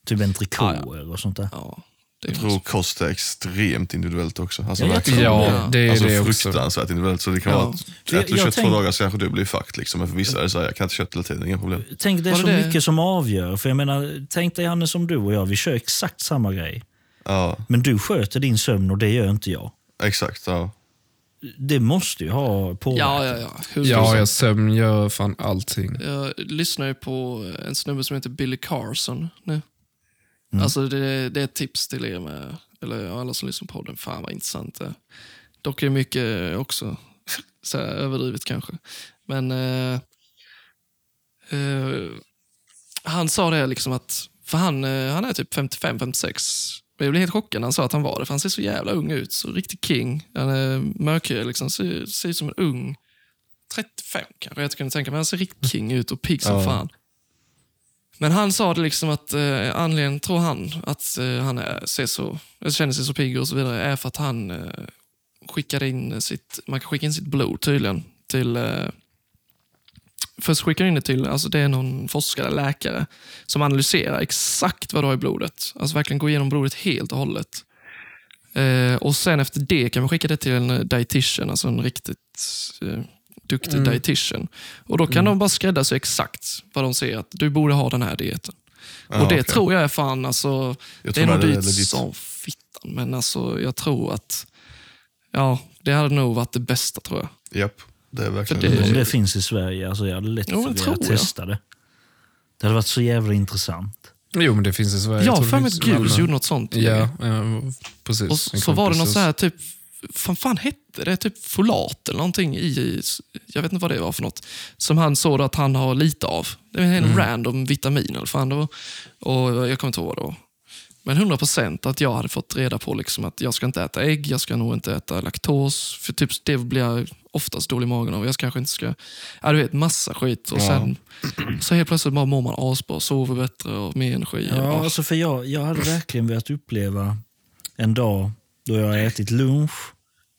[SPEAKER 3] Typ entrecoter och sånt där.
[SPEAKER 1] Ja, det är
[SPEAKER 2] Jag tror kost är extremt individuellt också. Alltså,
[SPEAKER 3] Ja, jag
[SPEAKER 2] verkligen.
[SPEAKER 3] tror
[SPEAKER 4] Ja, det är
[SPEAKER 2] alltså
[SPEAKER 4] det också.
[SPEAKER 2] fruktansvärt individuellt. Så det kan
[SPEAKER 1] Ja.
[SPEAKER 2] vara att
[SPEAKER 3] Jag-
[SPEAKER 2] äter du
[SPEAKER 3] jag
[SPEAKER 2] kött
[SPEAKER 3] tänk-
[SPEAKER 2] två dagar så kanske du blir fucked. Liksom. Men för vissa är det så här, jag kan inte kött hela tiden, inga problem.
[SPEAKER 3] Tänk det är
[SPEAKER 1] Var
[SPEAKER 3] så
[SPEAKER 1] det det?
[SPEAKER 3] mycket som avgör. För jag menar, tänk dig Hannes som du och jag, vi kör exakt samma grej.
[SPEAKER 2] Ja,
[SPEAKER 3] Men du sköter din sömn och det gör inte jag.
[SPEAKER 2] exakt. Ja.
[SPEAKER 3] Det måste ju ha
[SPEAKER 1] Ja,
[SPEAKER 3] påverkan.
[SPEAKER 1] ja, ja. Hur-
[SPEAKER 4] Ja, jag sömn gör fan allting.
[SPEAKER 1] Jag lyssnar ju på en snubbe som heter Billy Carson nu. Alltså det, det är ett tips till er med, eller ja, alla som lyssnar på podden. Fan vad intressant det är. Dock är det mycket också så här, överdrivet kanske. Men eh, eh, han sa det liksom att, för han, eh, han är typ 55-56. Jag blev helt chockad när han sa att han var det, för han ser så jävla ung ut. Så riktig king. Han är mörkhyad, liksom, ser, ser ut som en ung 35 kanske jag kunde tänka mig. Han ser riktigt king ut och pigg som fan. Men han sa det liksom att eh, anledningen, tror han, att eh, han är, ser så, eller känner sig så pigg och så vidare är för att han eh, skickar in sitt, man kan skicka in sitt blod tydligen till eh, Först skickar in det till, alltså det är någon forskare, läkare, som analyserar exakt vad du har i blodet. Alltså verkligen gå igenom blodet helt och hållet. Eh, och sen efter det kan man skicka det till en eh, dietitian, alltså en riktigt eh, duktig dietitian. Och då kan de bara skräddarsy exakt vad de ser att du borde ha den här dieten. och det
[SPEAKER 2] okej.
[SPEAKER 1] tror jag är fan, alltså,
[SPEAKER 2] Jag
[SPEAKER 1] det är
[SPEAKER 2] tror
[SPEAKER 1] nog
[SPEAKER 2] det är
[SPEAKER 1] dyrt
[SPEAKER 2] legit.
[SPEAKER 1] som fittan, men alltså, jag tror att ja, det hade nog varit det bästa tror jag.
[SPEAKER 2] Japp, det är verkligen
[SPEAKER 1] För
[SPEAKER 2] det.
[SPEAKER 1] det-
[SPEAKER 3] Om det finns i Sverige, alltså jag hade lätt
[SPEAKER 1] Jo, men
[SPEAKER 3] för
[SPEAKER 1] tror
[SPEAKER 3] att
[SPEAKER 1] jag.
[SPEAKER 3] testa Eh, det. Det hade varit så jävla intressant.
[SPEAKER 4] Jo, men det finns i Sverige.
[SPEAKER 1] Jag har
[SPEAKER 4] tror
[SPEAKER 1] för
[SPEAKER 4] det
[SPEAKER 1] mig att
[SPEAKER 4] finns i
[SPEAKER 1] Gus
[SPEAKER 4] alla-
[SPEAKER 1] gjorde något sånt.
[SPEAKER 4] Ja, ja, precis.
[SPEAKER 1] Och
[SPEAKER 4] En
[SPEAKER 1] så, så var det något
[SPEAKER 4] kompis
[SPEAKER 1] så här, typ, fan, fan hette det? Typ folat eller någonting i, i, jag vet inte vad det var för något, som han såg då att han har lite av. Det var en
[SPEAKER 4] Mm.
[SPEAKER 1] random vitamin eller fan det var. Och jag kommer inte ihåg vad det var. Men 100 procent att jag hade fått reda på liksom att jag ska inte äta ägg, jag ska nog inte äta laktos, för typ det blir jag oftast dålig i magen av. Jag kanske inte ska... Ja, du vet, massa skit. Och sen så helt plötsligt bara mår man asbra, sover bättre och mer energi.
[SPEAKER 3] Ja,
[SPEAKER 1] Ja,
[SPEAKER 3] alltså för jag, jag hade verkligen velat uppleva en dag då jag har ätit lunch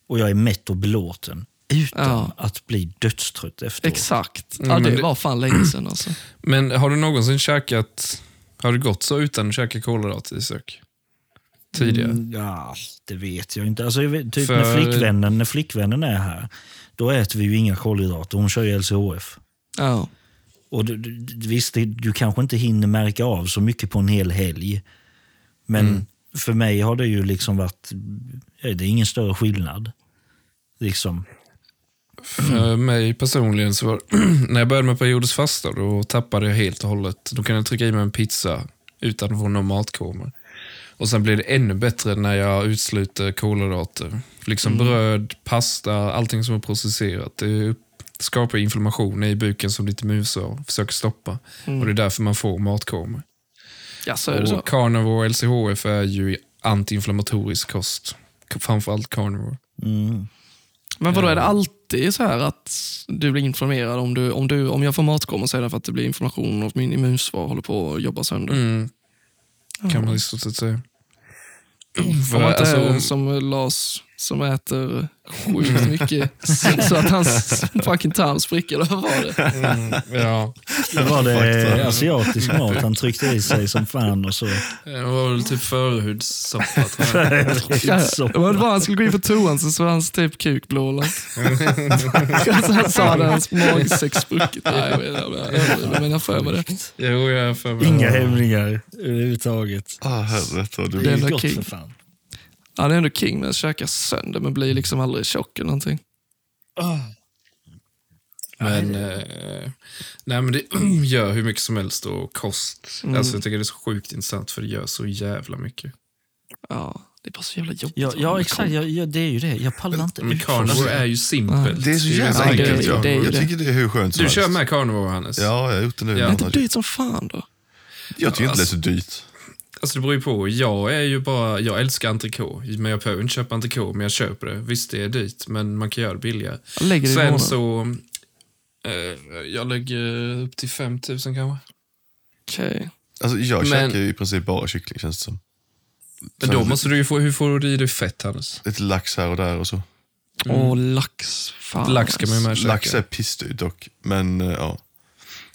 [SPEAKER 3] och jag är mätt och belåten utan
[SPEAKER 1] Ja.
[SPEAKER 3] att bli dödstrött efteråt.
[SPEAKER 1] Exakt.
[SPEAKER 4] Mm,
[SPEAKER 1] Ja,
[SPEAKER 4] men
[SPEAKER 1] det
[SPEAKER 4] det-
[SPEAKER 1] var fan länge sedan alltså.
[SPEAKER 4] Men har du någonsin käkat, har det gått så utan att käka kolhydrater i sök? Tidigare?
[SPEAKER 3] Mm, ja, det vet jag inte. Alltså, jag vet, typ när,
[SPEAKER 4] För-
[SPEAKER 3] flickvännen, när flickvännen är här, då äter vi ju inga kolhydrater. Hon kör ju LCHF.
[SPEAKER 1] Ja.
[SPEAKER 3] Och du, du, visst, det- du kanske inte hinner märka av så mycket på en hel helg. Men för mig har det ju liksom varit, ja, det är ingen större skillnad. Liksom.
[SPEAKER 4] För Eh, mig personligen så var när jag började med periodiskt fasta då tappade jag helt och hållet. Då kunde jag trycka i mig en pizza utan att få någon matkoma. Och sen blev det ännu bättre när jag utesluter kolhydrater. Liksom
[SPEAKER 1] Mm.
[SPEAKER 4] bröd, pasta, allting som är processerat. Det upp- skapar inflammation i buken som ditt immunförsvar försöker stoppa. Och det är därför man får matkoma.
[SPEAKER 1] Ja, så Mm. är det så.
[SPEAKER 4] Och carnivore LCHF är ju antiinflammatorisk kost. Framförallt carnivore.
[SPEAKER 3] mm.
[SPEAKER 1] Men vadå, är det alltid så här att du blir inflammerad om, du, om, du, om jag får matkomma så är det för att det blir inflammation och min immunsvar håller på att jobba sönder?
[SPEAKER 4] Mm. Kan man i stort sett säga.
[SPEAKER 1] Om
[SPEAKER 4] För,
[SPEAKER 1] man inte är
[SPEAKER 4] alltså,
[SPEAKER 1] som Lars som äter sjukt mycket så att hans fucking tarm spricker, eller vad var det?
[SPEAKER 4] ja,
[SPEAKER 3] Då var det
[SPEAKER 2] Fakta.
[SPEAKER 3] asiatisk mat han tryckte i sig som fan och så.
[SPEAKER 4] det var väl typ förhudssoppa tror jag.
[SPEAKER 3] så.
[SPEAKER 1] Det var bara han skulle gå in på toan så såg hans typ kuk blå eller något. Alltså, Han sa det, hans magsäck spruckit. Nej, jag vet inte, jag överdriver, men jag för mig det.
[SPEAKER 4] Jo, jag har för mig.
[SPEAKER 3] Inga hämningar överhuvudtaget.
[SPEAKER 2] Ah, herret vad
[SPEAKER 3] Det
[SPEAKER 2] du...
[SPEAKER 1] Det-
[SPEAKER 3] är
[SPEAKER 1] Jävla
[SPEAKER 3] ju gott
[SPEAKER 1] king.
[SPEAKER 3] för fan.
[SPEAKER 1] Han är ändå king med att käka sönder men blir liksom aldrig tjock eller någonting.
[SPEAKER 4] Men, eh, nej, men det gör hur mycket som helst och kost. Alltså, jag tycker det är så sjukt intressant för det gör så jävla mycket.
[SPEAKER 1] Ja, det är bara så jävla jobbigt.
[SPEAKER 3] Ja,
[SPEAKER 1] att ha
[SPEAKER 3] ja
[SPEAKER 1] med
[SPEAKER 3] exakt.
[SPEAKER 1] komp-
[SPEAKER 3] Ja, ja, det är ju det. Jag pallar inte
[SPEAKER 4] Men
[SPEAKER 3] ut.
[SPEAKER 4] carnivore är ju simpelt.
[SPEAKER 2] det är så jävla
[SPEAKER 1] det-
[SPEAKER 2] enkelt. ja.
[SPEAKER 1] det är ju
[SPEAKER 2] Jag
[SPEAKER 1] det.
[SPEAKER 2] tycker det är hur skönt som
[SPEAKER 4] Du kör
[SPEAKER 2] helst.
[SPEAKER 4] med carnivore, Hannes?
[SPEAKER 2] Ja, jag har gjort det nu.
[SPEAKER 4] Ja.
[SPEAKER 1] Det är inte dyrt som fan då.
[SPEAKER 2] Jag tycker inte det är så dyrt.
[SPEAKER 4] Alltså det beror ju på. Jag är ju bara, jag älskar entrecote, men jag behöver inte köpa entrecote, men jag köper det. Visst, det är dyrt, men man kan göra det billigare.
[SPEAKER 1] Jag lägger det i
[SPEAKER 4] Sen
[SPEAKER 1] månaden.
[SPEAKER 4] så, eh, jag lägger upp till 5000 kanske.
[SPEAKER 1] Okej.
[SPEAKER 2] Alltså, jag
[SPEAKER 4] Men-
[SPEAKER 2] käkar ju i princip bara kyckling känns det som.
[SPEAKER 4] Men då måste du ju få, hur får du i dig fett Hannes?
[SPEAKER 2] Lite lax här och där och så.
[SPEAKER 1] Och lax. Fan. alltså.
[SPEAKER 4] Mm. Lax ska man ju med
[SPEAKER 2] Lax är
[SPEAKER 4] käka.
[SPEAKER 2] pissdyrt dock, men eh, ja.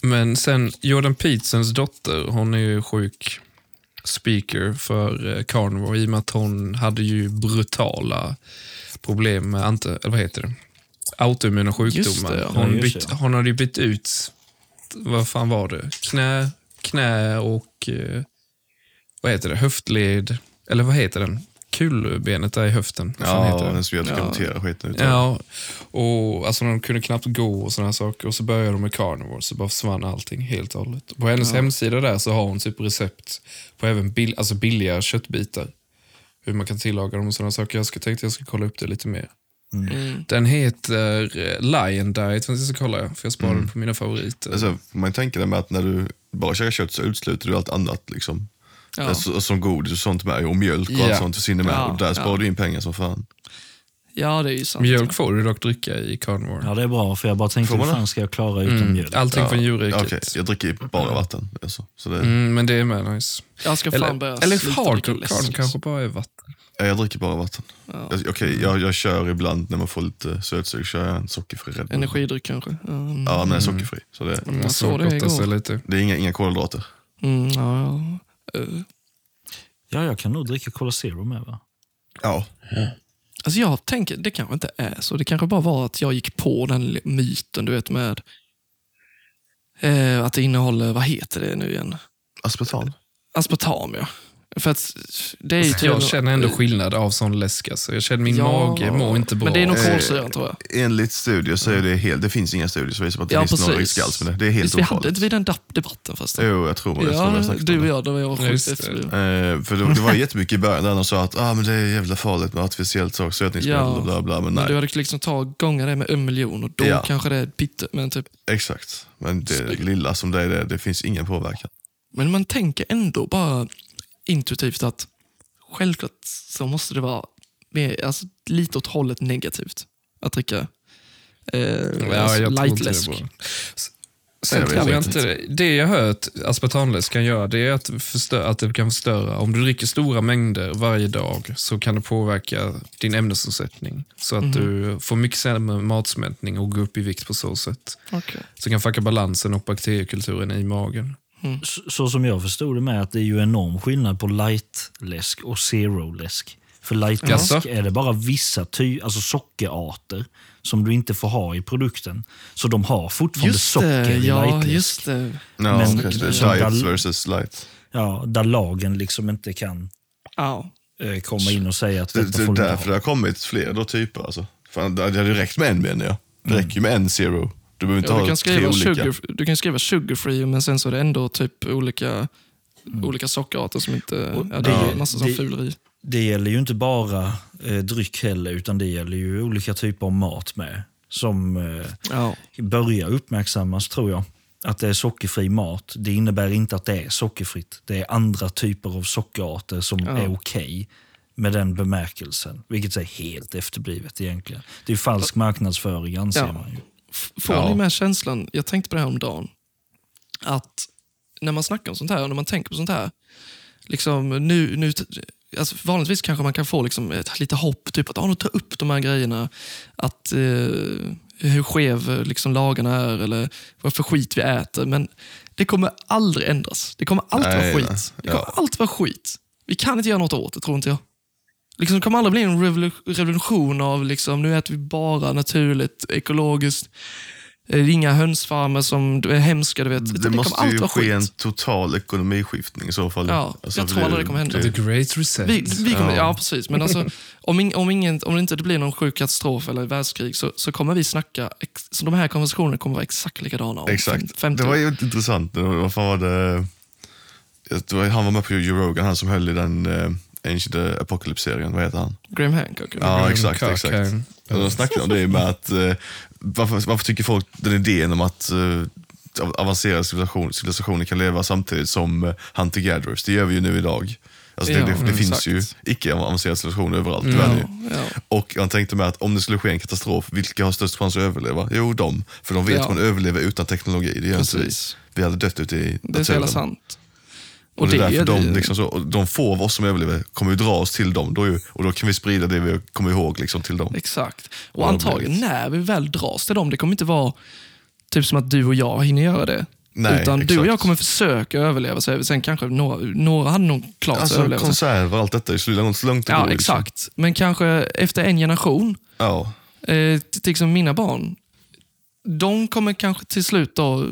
[SPEAKER 4] Men sen, Jordan Petersons dotter, hon är ju sjuk. speaker för eh, Carnivore i och med att hon hade ju brutala problem med ante, eller vad heter det? autoimmuna sjukdomar.
[SPEAKER 1] det, ja.
[SPEAKER 4] Hon,
[SPEAKER 3] Ja, just
[SPEAKER 4] bytt,
[SPEAKER 3] det, ja.
[SPEAKER 4] hon hade ju bytt ut, vad fan var det? Knä, knä och eh, vad heter det? höftled, eller vad heter den? Kulbenet där i höften. Vad fan heter
[SPEAKER 2] Ja,
[SPEAKER 4] den?
[SPEAKER 2] den som gör att du kan notera skiten ut.
[SPEAKER 4] Ja, och alltså de kunde knappt gå och sådana saker. Och så började de med carnivore, så bara försvann allting helt och hållet. På hennes hemsida där så har hon typ recept på även bill- alltså billiga köttbitar. Hur man kan tillaga dem och sådana saker. Jag ska, tänkte jag ska kolla upp det lite mer.
[SPEAKER 1] Mm.
[SPEAKER 4] Den heter eh, Lion Diet, men så kollar jag, för jag sparar den på mina favoriter.
[SPEAKER 2] Men sen får Alltså, man ju tänka det med att när du bara käkar kött så utesluter du allt annat. Liksom.
[SPEAKER 1] Ja.
[SPEAKER 2] Alltså, som godis och sånt med och mjölk och
[SPEAKER 4] Ja.
[SPEAKER 2] allt sånt försvinner med.
[SPEAKER 1] Ja,
[SPEAKER 2] och där
[SPEAKER 1] ja.
[SPEAKER 2] sparar du in pengar som fan.
[SPEAKER 1] ja, det är ju sant.
[SPEAKER 4] Mjölk får du dock dricka i carnivore.
[SPEAKER 3] Ja, det är bra, för jag bara tänkte
[SPEAKER 2] Får
[SPEAKER 3] hur
[SPEAKER 2] man det?
[SPEAKER 3] fan ska jag klara utan
[SPEAKER 4] Mm.
[SPEAKER 3] mjölk?
[SPEAKER 4] Allting från
[SPEAKER 2] Ja,
[SPEAKER 4] djurriket.
[SPEAKER 2] okej, Jag dricker ju
[SPEAKER 1] Mm.
[SPEAKER 2] bara vatten. Alltså. Så det,
[SPEAKER 4] Mm, men det är med nice.
[SPEAKER 1] Jag ska fan börja
[SPEAKER 4] Eller, eller
[SPEAKER 1] sluta
[SPEAKER 4] hard
[SPEAKER 1] dricka läsk,
[SPEAKER 4] carnivore kanske
[SPEAKER 1] liksom.
[SPEAKER 4] bara är vatten.
[SPEAKER 2] ja, jag dricker bara vatten.
[SPEAKER 1] Ja. Mm.
[SPEAKER 2] Jag, okej, jag, jag kör ibland när man får lite sötsug, kör jag en sockerfri Red Bull.
[SPEAKER 1] Energidryck kanske. Mm.
[SPEAKER 2] Ja, men en sockerfri. Så det,
[SPEAKER 1] Mm,
[SPEAKER 4] Man
[SPEAKER 1] jag såg
[SPEAKER 4] såg
[SPEAKER 1] det
[SPEAKER 4] gotta Alltså, sig
[SPEAKER 1] igår.
[SPEAKER 4] lite.
[SPEAKER 2] det är inga, inga kolhydrater.
[SPEAKER 1] Mm, ja, ja. Eh,
[SPEAKER 3] Ja, jag kan nog dricka Cola Zero med va?
[SPEAKER 2] Ja.
[SPEAKER 1] Alltså jag tänker, det kanske inte är så. Det kanske bara var att jag gick på den li- myten, du vet med eh, att det innehåller, vad heter det nu igen?
[SPEAKER 2] Aspartam.
[SPEAKER 1] Aspartam, ja. För att det är ju
[SPEAKER 4] Alltså, jag känner ändå skillnad av sån läsk. Alltså. Jag känner min
[SPEAKER 1] Ja,
[SPEAKER 4] mage mår inte bra.
[SPEAKER 1] Men det är nog
[SPEAKER 2] Eh,
[SPEAKER 1] kolsyran tror jag.
[SPEAKER 2] Enligt studier så är det helt, det finns inga studier som visar på att det
[SPEAKER 1] Mm. Ja,
[SPEAKER 2] finns någon
[SPEAKER 1] precis.
[SPEAKER 2] risk alls med det. Det är helt
[SPEAKER 1] Visst, vi hade
[SPEAKER 2] ofarligt.
[SPEAKER 1] inte vi den dapp- debatten förresten?
[SPEAKER 2] Jo, jag tror man det. Jag tror man har
[SPEAKER 1] ja,
[SPEAKER 2] snackat om
[SPEAKER 1] du
[SPEAKER 2] det.
[SPEAKER 1] och jag, då var jag sjukt
[SPEAKER 4] Just
[SPEAKER 1] efter
[SPEAKER 4] det.
[SPEAKER 1] det.
[SPEAKER 2] Eh, för det, det var jättemycket i början där de sa att ah, men det är jävla farligt med artificiellt sak, sötningsmedel
[SPEAKER 1] Ja.
[SPEAKER 2] och bla bla. Men
[SPEAKER 1] Men
[SPEAKER 2] nej,
[SPEAKER 1] du hade liksom tagit gånger det med en miljon och då
[SPEAKER 2] Ja.
[SPEAKER 1] kanske det är pitte, men typ
[SPEAKER 2] exakt. Men det lilla som det är, det, det finns ingen påverkan.
[SPEAKER 1] Men man tänker ändå bara intuitivt att självklart så måste det vara mer, alltså, lite åt hållet negativt att dricka eh,
[SPEAKER 4] ja,
[SPEAKER 1] alltså,
[SPEAKER 4] jag tror inte det
[SPEAKER 1] lightläsk.
[SPEAKER 4] är bra. S- Sen
[SPEAKER 2] Jag vet
[SPEAKER 4] tror jag
[SPEAKER 2] inte.
[SPEAKER 4] inte det. Det jag hört aspartamläsk kan göra, det är att, förstö- att det kan förstöra. Om du dricker stora mängder varje dag så kan det påverka din ämnesomsättning. Så att
[SPEAKER 1] Mhm.
[SPEAKER 4] du får mycket sämre matsmältning och går upp i vikt på så sätt.
[SPEAKER 1] Okej.
[SPEAKER 4] Så kan fucka balansen och bakteriekulturen i magen.
[SPEAKER 3] Så, så som jag förstod det med att det är ju enorm skillnad på light-läsk och zero-läsk. För light-läsk
[SPEAKER 4] Jaså?
[SPEAKER 3] är det bara vissa ty- alltså sockerarter som du inte får ha i produkten. Så de har fortfarande
[SPEAKER 1] Just
[SPEAKER 3] socker
[SPEAKER 1] det,
[SPEAKER 3] i
[SPEAKER 1] ja,
[SPEAKER 3] light-läsk.
[SPEAKER 1] just det.
[SPEAKER 2] No,
[SPEAKER 3] Men-
[SPEAKER 2] okay.
[SPEAKER 3] men-
[SPEAKER 2] Diet
[SPEAKER 3] men-
[SPEAKER 2] versus light.
[SPEAKER 3] Ja, där lagen liksom inte kan
[SPEAKER 1] Ja.
[SPEAKER 3] eh, komma in och säga att
[SPEAKER 2] Det,
[SPEAKER 3] detta
[SPEAKER 2] det
[SPEAKER 3] får
[SPEAKER 2] är
[SPEAKER 3] du
[SPEAKER 2] därför
[SPEAKER 3] inte
[SPEAKER 2] det
[SPEAKER 3] ha.
[SPEAKER 2] har kommit fler då, typer. Alltså. Fan, det hade ju räckt med en menar jag. Det räcker ju med en zero. Du behöver inte
[SPEAKER 1] Mm. Ja, Du kan,
[SPEAKER 2] ha tre
[SPEAKER 1] skriva
[SPEAKER 2] olika.
[SPEAKER 1] sugar, du kan skriva sugar free men sen så är det ändå typ olika, olika sockerarter som inte... Ja, det är
[SPEAKER 3] det-
[SPEAKER 1] massa sån
[SPEAKER 3] det-
[SPEAKER 1] fuleri.
[SPEAKER 3] Det gäller ju inte bara eh, dryck heller, utan det gäller ju olika typer av mat med. Som eh,
[SPEAKER 1] Ja.
[SPEAKER 3] börjar uppmärksammas, tror jag. Att det är sockerfri mat. Det innebär inte att det är sockerfritt. Det är andra typer av sockerarter som är okej med den bemärkelsen. Vilket är helt efterblivet egentligen. Det är ju falsk marknadsföring anser
[SPEAKER 1] Ja.
[SPEAKER 3] man ju.
[SPEAKER 1] F- Får
[SPEAKER 2] Ja.
[SPEAKER 1] ni med känslan, jag tänkte på det här om dagen, att när man snackar om sånt här och när man tänker på sånt här, liksom nu, nu alltså vanligtvis kanske man kan få liksom ett, lite hopp, typ att ah, nu ta upp de här grejerna, att eh, hur skev eh, liksom, lagarna är eller vad för skit vi äter, men det kommer aldrig ändras. Det kommer alltid
[SPEAKER 2] Nej,
[SPEAKER 1] vara
[SPEAKER 2] nej.
[SPEAKER 1] skit. Det kommer
[SPEAKER 2] Ja.
[SPEAKER 1] alltid vara skit. Vi kan inte göra något åt det, tror inte jag. Liksom, det kommer aldrig bli en revolu- revolution av liksom, nu äter vi bara naturligt, ekologiskt. eh, Inga hönsfarmer som är hemska. Du vet. Utan
[SPEAKER 2] Det måste
[SPEAKER 1] kommer alltid
[SPEAKER 2] ju
[SPEAKER 1] vara
[SPEAKER 2] ske en
[SPEAKER 1] skit.
[SPEAKER 2] total ekonomiskiftning i så fall. Alltså,
[SPEAKER 1] Ja, jag
[SPEAKER 2] för
[SPEAKER 1] tror aldrig det kommer hända.
[SPEAKER 4] The Great Reset.
[SPEAKER 1] Vi, vi kommer, ja. precis. Men alltså, om, ing, om, ingen, om det inte blir någon sjuk katastrof eller världskrig så, så kommer vi snacka... Ex, så de här konversationerna kommer vara exakt likadana om fem-
[SPEAKER 2] Exakt.
[SPEAKER 1] 50
[SPEAKER 2] Det var
[SPEAKER 1] år.
[SPEAKER 2] ju intressant. Det var- Vad fan var det? Det var- Han var med på Joe Rogan, han som höll i den eh, Ancient Apocalypse-serien. Vad heter han?
[SPEAKER 1] Graham Hancock. eller?
[SPEAKER 2] Ja,
[SPEAKER 4] Rogan
[SPEAKER 2] exakt.
[SPEAKER 4] Kirk,
[SPEAKER 2] exakt.
[SPEAKER 4] han-
[SPEAKER 2] Och De snackade om det med att eh, varför, varför tycker folk den idén om att eh, av- avancerade civilisation, civilisationer kan leva samtidigt som eh, hunter gatherers. Det gör vi ju nu idag. Alltså det,
[SPEAKER 1] Ja,
[SPEAKER 2] det, det
[SPEAKER 1] mm,
[SPEAKER 2] finns
[SPEAKER 1] exakt. Mm.
[SPEAKER 2] ju icke-avancerade civilisationer överallt i världen. ju.
[SPEAKER 1] Ja, ja.
[SPEAKER 2] Och han tänkte med att om det skulle ske en katastrof, vilka har störst chans att överleva? Jo, de. För de vet
[SPEAKER 1] Ja.
[SPEAKER 2] att man överlever utan teknologi. Det gör inte vi.
[SPEAKER 1] Precis.
[SPEAKER 2] Vi hade dött ute i
[SPEAKER 1] Det är så jävla sant.
[SPEAKER 2] Och det, är därför
[SPEAKER 1] det
[SPEAKER 2] de,
[SPEAKER 1] ju.
[SPEAKER 2] liksom så, och de få av oss som överlever kommer ju dra oss till dem. Då, ju, och då kan vi sprida det vi kommer ihåg liksom, till dem.
[SPEAKER 1] Exakt. Och
[SPEAKER 2] Vad
[SPEAKER 1] antagligen
[SPEAKER 2] roligt.
[SPEAKER 1] när vi väl dras till dem, det kommer inte vara typ som att du och jag hinner göra det.
[SPEAKER 2] Nej,
[SPEAKER 1] Utan du och
[SPEAKER 2] exakt.
[SPEAKER 1] jag kommer försöka överleva, så sen kanske några, några hade nog klart sig att
[SPEAKER 2] Alltså
[SPEAKER 1] överleva. sen.
[SPEAKER 2] konserver och allt detta, i slutändan så långt det
[SPEAKER 1] Ja,
[SPEAKER 2] går. liksom.
[SPEAKER 1] exakt. Men kanske efter en generation,
[SPEAKER 2] Ja.
[SPEAKER 1] eh, till liksom mina barn, de kommer kanske till slut då,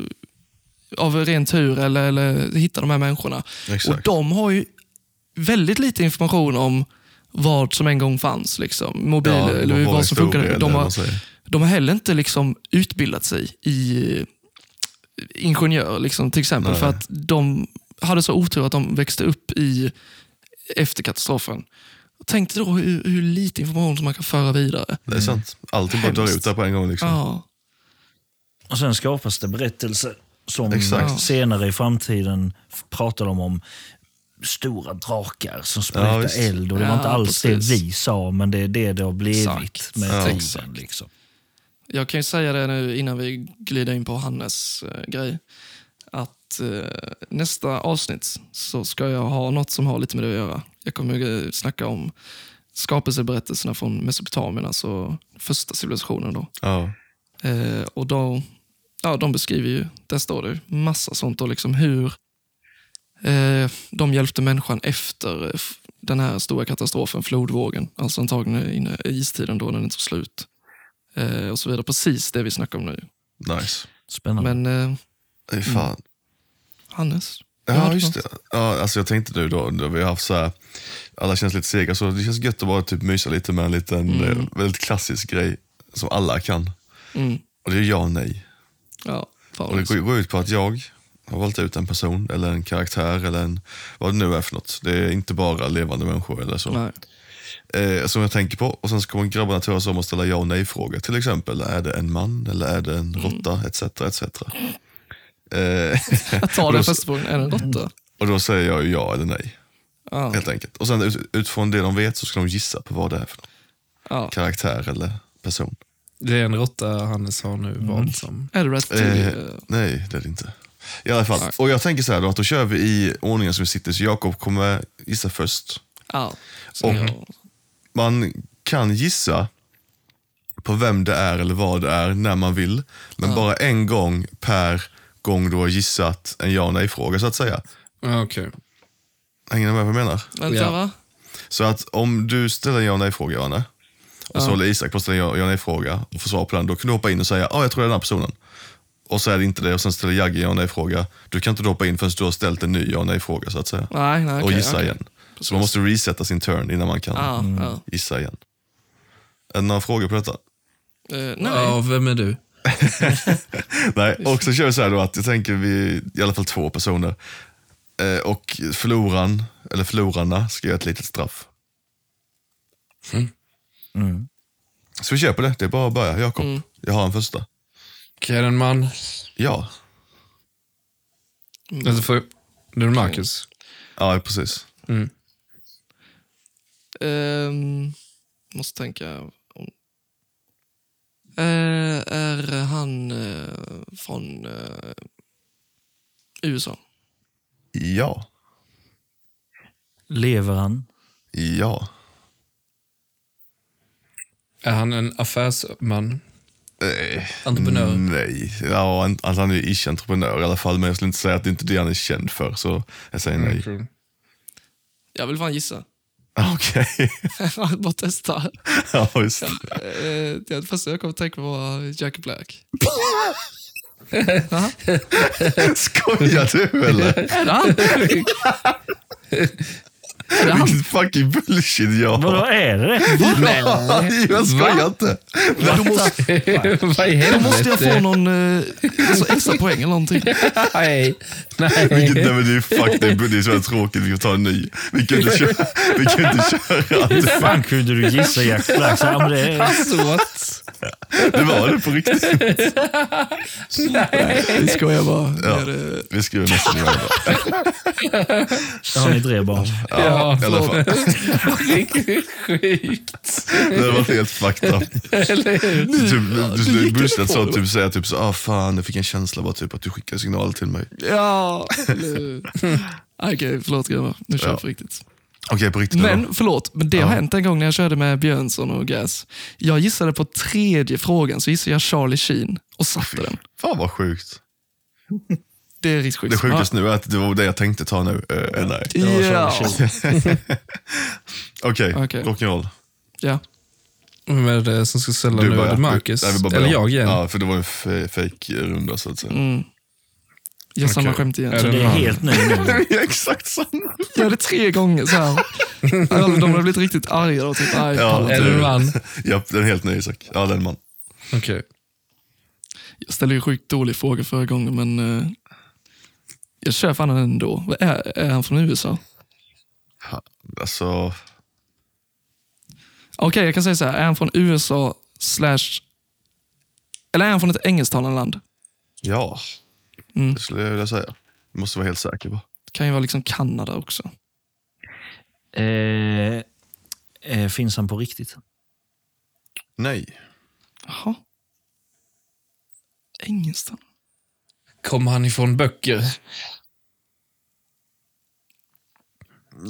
[SPEAKER 1] av ren tur eller, eller hitta de här människorna.
[SPEAKER 2] Exakt.
[SPEAKER 1] Och de har ju väldigt lite information om vad som en gång fanns. Liksom. Mobiler
[SPEAKER 2] Ja,
[SPEAKER 1] eller
[SPEAKER 2] vad var
[SPEAKER 1] vad som
[SPEAKER 2] historia
[SPEAKER 1] funkar.
[SPEAKER 2] eller
[SPEAKER 1] De
[SPEAKER 2] vad
[SPEAKER 1] har,
[SPEAKER 2] man säger.
[SPEAKER 1] de har heller inte liksom utbildat sig i eh, ingenjörer liksom, till exempel.
[SPEAKER 2] Nej.
[SPEAKER 1] För att de hade så otur att de växte upp i efter katastrofen. Tänk dig då hur, hur lite information som man kan föra vidare.
[SPEAKER 2] Det är sant. Allting bara drar
[SPEAKER 1] Mm. Hemskt.
[SPEAKER 2] ut där på en gång. Liksom.
[SPEAKER 1] Ja,
[SPEAKER 3] Och sen skapas det berättelser som
[SPEAKER 2] Exakt.
[SPEAKER 3] senare i framtiden f- pratar de om stora drakar som
[SPEAKER 2] Ja,
[SPEAKER 3] sprutar
[SPEAKER 2] visst.
[SPEAKER 3] eld. Och det var
[SPEAKER 1] Ja,
[SPEAKER 3] inte alls
[SPEAKER 1] precis.
[SPEAKER 3] det vi sa, men det är det det har blivit
[SPEAKER 1] Exakt.
[SPEAKER 3] med
[SPEAKER 1] Ja.
[SPEAKER 3] tiden.
[SPEAKER 1] Exakt.
[SPEAKER 3] Liksom.
[SPEAKER 1] jag kan ju säga det nu innan vi glider in på Hannes eh, grej. Att eh, nästa avsnitt så ska jag ha något som har lite med det att göra. Jag kommer eh, snacka om skapelseberättelserna från Mesopotamien, alltså första civilisationen då.
[SPEAKER 2] Ja.
[SPEAKER 1] Eh, och då, ja, de beskriver ju, där står det massa sånt och liksom hur eh, de hjälpte människan efter eh, f- den här stora katastrofen, flodvågen. Alltså antagligen inne i istiden då när den tog slut. Eh, och så vidare. Precis det vi snackar om nu.
[SPEAKER 2] Nice.
[SPEAKER 3] Spännande.
[SPEAKER 1] Men eh,
[SPEAKER 2] Fy fan.
[SPEAKER 1] Hannes? vad har
[SPEAKER 2] Ja,
[SPEAKER 1] du
[SPEAKER 2] just
[SPEAKER 1] för
[SPEAKER 2] det.
[SPEAKER 1] något?
[SPEAKER 2] Ja, alltså jag tänkte nu då, då vi har haft så här, alla känns lite sega, så det känns gött att bara typ mysa lite med en liten, eh, väldigt klassisk grej som alla kan.
[SPEAKER 1] Mm.
[SPEAKER 2] Och det är ja och nej.
[SPEAKER 1] Ja, fan,
[SPEAKER 2] Och det går- går ut på att jag har valt ut en person, eller en karaktär, eller en, vad det nu är för något. Det är inte bara levande människor eller så.
[SPEAKER 1] Nej.
[SPEAKER 2] eh, som jag tänker på. Och Sen så kommer grabbarna turas om att ställa ja och nej-frågor. Till exempel, är det en man eller är det
[SPEAKER 1] Mm.
[SPEAKER 2] en råtta? Etc, etc. Eh,
[SPEAKER 1] Jag tar den första frågan. Är det en råtta?
[SPEAKER 2] och då säger jag ju ja eller nej,
[SPEAKER 1] Ja,
[SPEAKER 2] helt enkelt. Och sen ut, utifrån det de vet så ska de gissa på vad det är för någon
[SPEAKER 1] ja.
[SPEAKER 2] karaktär eller person.
[SPEAKER 4] Det är en råtta Hannes har
[SPEAKER 1] Mm.
[SPEAKER 4] nu valt som.
[SPEAKER 1] Är det rätt?
[SPEAKER 2] Eh,
[SPEAKER 1] Eh,
[SPEAKER 2] nej, det är det inte. I alla fall. Och jag tänker så här då, att då kör vi i ordningen som vi sitter. Så Jakob kommer gissa först.
[SPEAKER 1] ja. Så
[SPEAKER 2] och-
[SPEAKER 1] jag-
[SPEAKER 2] Man kan gissa på vem det är eller vad det är när man vill. Men bara en gång per gång du har gissat en ja och nej-fråga så att säga.
[SPEAKER 4] Ja, Okej.
[SPEAKER 2] Hänger ni med på vad jag menar?
[SPEAKER 1] Vänta,
[SPEAKER 4] ja.
[SPEAKER 1] va?
[SPEAKER 2] Så att om du ställer en ja och nej-fråga, Anne, och så håller Isak på att ställa en ja ja och nej-fråga och får svar på den, då kan du hoppa in och säga ja, jag tror det är den här personen. Och så är det inte det och sen ställer Jagge en ja och nej-fråga. Du kan inte då hoppa in förrän du har ställt en ny ja och nej-fråga så att säga.
[SPEAKER 1] Nej, nej,
[SPEAKER 2] och
[SPEAKER 1] okej,
[SPEAKER 2] gissa
[SPEAKER 1] okej.
[SPEAKER 2] igen. Så man måste Mm. resetta sin turn innan man kan
[SPEAKER 1] Ja, ja.
[SPEAKER 2] gissa igen. Är det några frågor på detta?
[SPEAKER 1] Eh, nej.
[SPEAKER 4] Ja, vem är du?
[SPEAKER 2] Nej, och så kör vi så här då att jag tänker vi i alla fall två personer. Eh, och förloraren, eller förlorarna, ska göra ett litet straff.
[SPEAKER 3] Mm.
[SPEAKER 2] Så vi kör på det. Det är bara att börja. Jakob,
[SPEAKER 1] Mm.
[SPEAKER 2] jag har en första.
[SPEAKER 4] Okej, är det en man?
[SPEAKER 2] Ja,
[SPEAKER 4] Alltså, för, det är Marcus.
[SPEAKER 2] ja precis.
[SPEAKER 4] Mm.
[SPEAKER 1] Ehm, måste tänka om... Eh, är han eh, från eh, USA?
[SPEAKER 2] Ja,
[SPEAKER 3] Lever han?
[SPEAKER 2] ja.
[SPEAKER 4] Är han en affärsman? Mm,
[SPEAKER 2] Eh,
[SPEAKER 4] Entreprenör?
[SPEAKER 2] Nej, ja, an- alltså han är ju ish-entreprenör i alla fall, men jag skulle inte säga att det är inte det han är känd för, så jag säger nej.
[SPEAKER 4] Tror-
[SPEAKER 1] Jag vill fan gissa. Mm.
[SPEAKER 2] Okej,
[SPEAKER 1] Jag bara testa.
[SPEAKER 2] ja just det.
[SPEAKER 1] Eh, det första jag kom att tänka på var Jack Black.
[SPEAKER 2] Skojar du eller?
[SPEAKER 1] Är det han? är det han?
[SPEAKER 2] Vilket fucking bullshit
[SPEAKER 3] Vadå,
[SPEAKER 2] ja.
[SPEAKER 3] är det
[SPEAKER 2] Jag skojar inte.
[SPEAKER 1] Då måste,
[SPEAKER 4] Vad i
[SPEAKER 1] då
[SPEAKER 4] helvete?
[SPEAKER 1] måste jag få någon eh, alltså extra poäng eller någonting.
[SPEAKER 4] Nej.
[SPEAKER 2] Vilket, nej
[SPEAKER 4] Nej.
[SPEAKER 2] men det är fuck, det är, det är så jävla tråkigt, vi får ta en ny. Vi kan inte köra, vi kan inte köra.
[SPEAKER 3] Hur fan kunde du gissa Jack Black? Så, ja, men det är...
[SPEAKER 4] Såt.
[SPEAKER 2] Det var det på riktigt.
[SPEAKER 1] Det skojar bara.
[SPEAKER 2] Ja.
[SPEAKER 1] Det är, eh,
[SPEAKER 2] Vi skriver nästa gång. då.
[SPEAKER 3] Då har ni tre barn.
[SPEAKER 4] Ja,
[SPEAKER 2] i alla fall.
[SPEAKER 4] Riktigt sjukt.
[SPEAKER 2] Det hade varit helt fucked up.
[SPEAKER 4] Eller hur?
[SPEAKER 2] Du, typ, du skulle
[SPEAKER 1] gick det på
[SPEAKER 2] bullshit så
[SPEAKER 1] det.
[SPEAKER 2] typ säga typ så, ah fan, jag fick en känsla bara typ att du skickade signal till mig.
[SPEAKER 1] Ja. eller- Okej, förlåt grabbar. Nu kör vi
[SPEAKER 2] Ja.
[SPEAKER 1] på riktigt.
[SPEAKER 2] Okej, på riktigt då.
[SPEAKER 1] Men förlåt, men det har hänt en gång när jag körde med Björnsson och Gas. Jag gissade på tredje frågan, så gissade jag Charlie Sheen och satte den.
[SPEAKER 2] Fan vad sjukt.
[SPEAKER 1] det är riktigt sjukt.
[SPEAKER 2] Det sjukaste nu är att det var det jag tänkte ta nu. Eh, eh, nej.
[SPEAKER 1] Ja. Ja.
[SPEAKER 2] Okej,
[SPEAKER 1] Okej.
[SPEAKER 2] rock'n'roll.
[SPEAKER 1] ja.
[SPEAKER 4] Vem är det som ska sälja
[SPEAKER 2] Du
[SPEAKER 4] nu? Är
[SPEAKER 2] börjar.
[SPEAKER 4] det Marcus?
[SPEAKER 2] Nej, vi bara börjar
[SPEAKER 4] Eller
[SPEAKER 2] om.
[SPEAKER 4] jag igen?
[SPEAKER 2] Ja, för det var en f- fake runda så att säga.
[SPEAKER 1] Jag Mm. samma
[SPEAKER 4] Okej.
[SPEAKER 1] skämt igen.
[SPEAKER 4] Är
[SPEAKER 3] Så det är
[SPEAKER 4] man?
[SPEAKER 3] helt Eh, ny nu.
[SPEAKER 2] Ja, exakt samma.
[SPEAKER 1] Jag gör det tre gånger så här. Alla- De har blivit riktigt arga då. Typ, "Aj,
[SPEAKER 2] Ja,
[SPEAKER 1] pallar
[SPEAKER 4] Är
[SPEAKER 1] inte."
[SPEAKER 4] det en man?
[SPEAKER 2] Ja, den är helt ny Isak. Ja, den man.
[SPEAKER 4] Okej.
[SPEAKER 1] Jag ställde ju sjukt dålig fråga förra gången, men eh, jag kör fan den ändå. Vad Är, är han från USA?
[SPEAKER 2] Ha, Alltså,
[SPEAKER 1] Okej, jag kan säga så här. Är han från USA slash... Eller är han från ett engelsktalande land?
[SPEAKER 2] ja.
[SPEAKER 1] Mm.
[SPEAKER 2] Det skulle jag vilja säga. Jag måste vara helt säker på.
[SPEAKER 1] Det kan ju vara liksom Kanada också.
[SPEAKER 3] Eh, eh, finns han på riktigt?
[SPEAKER 2] Nej.
[SPEAKER 1] Jaha. Engelsktalande?
[SPEAKER 4] Kommer han ifrån böcker?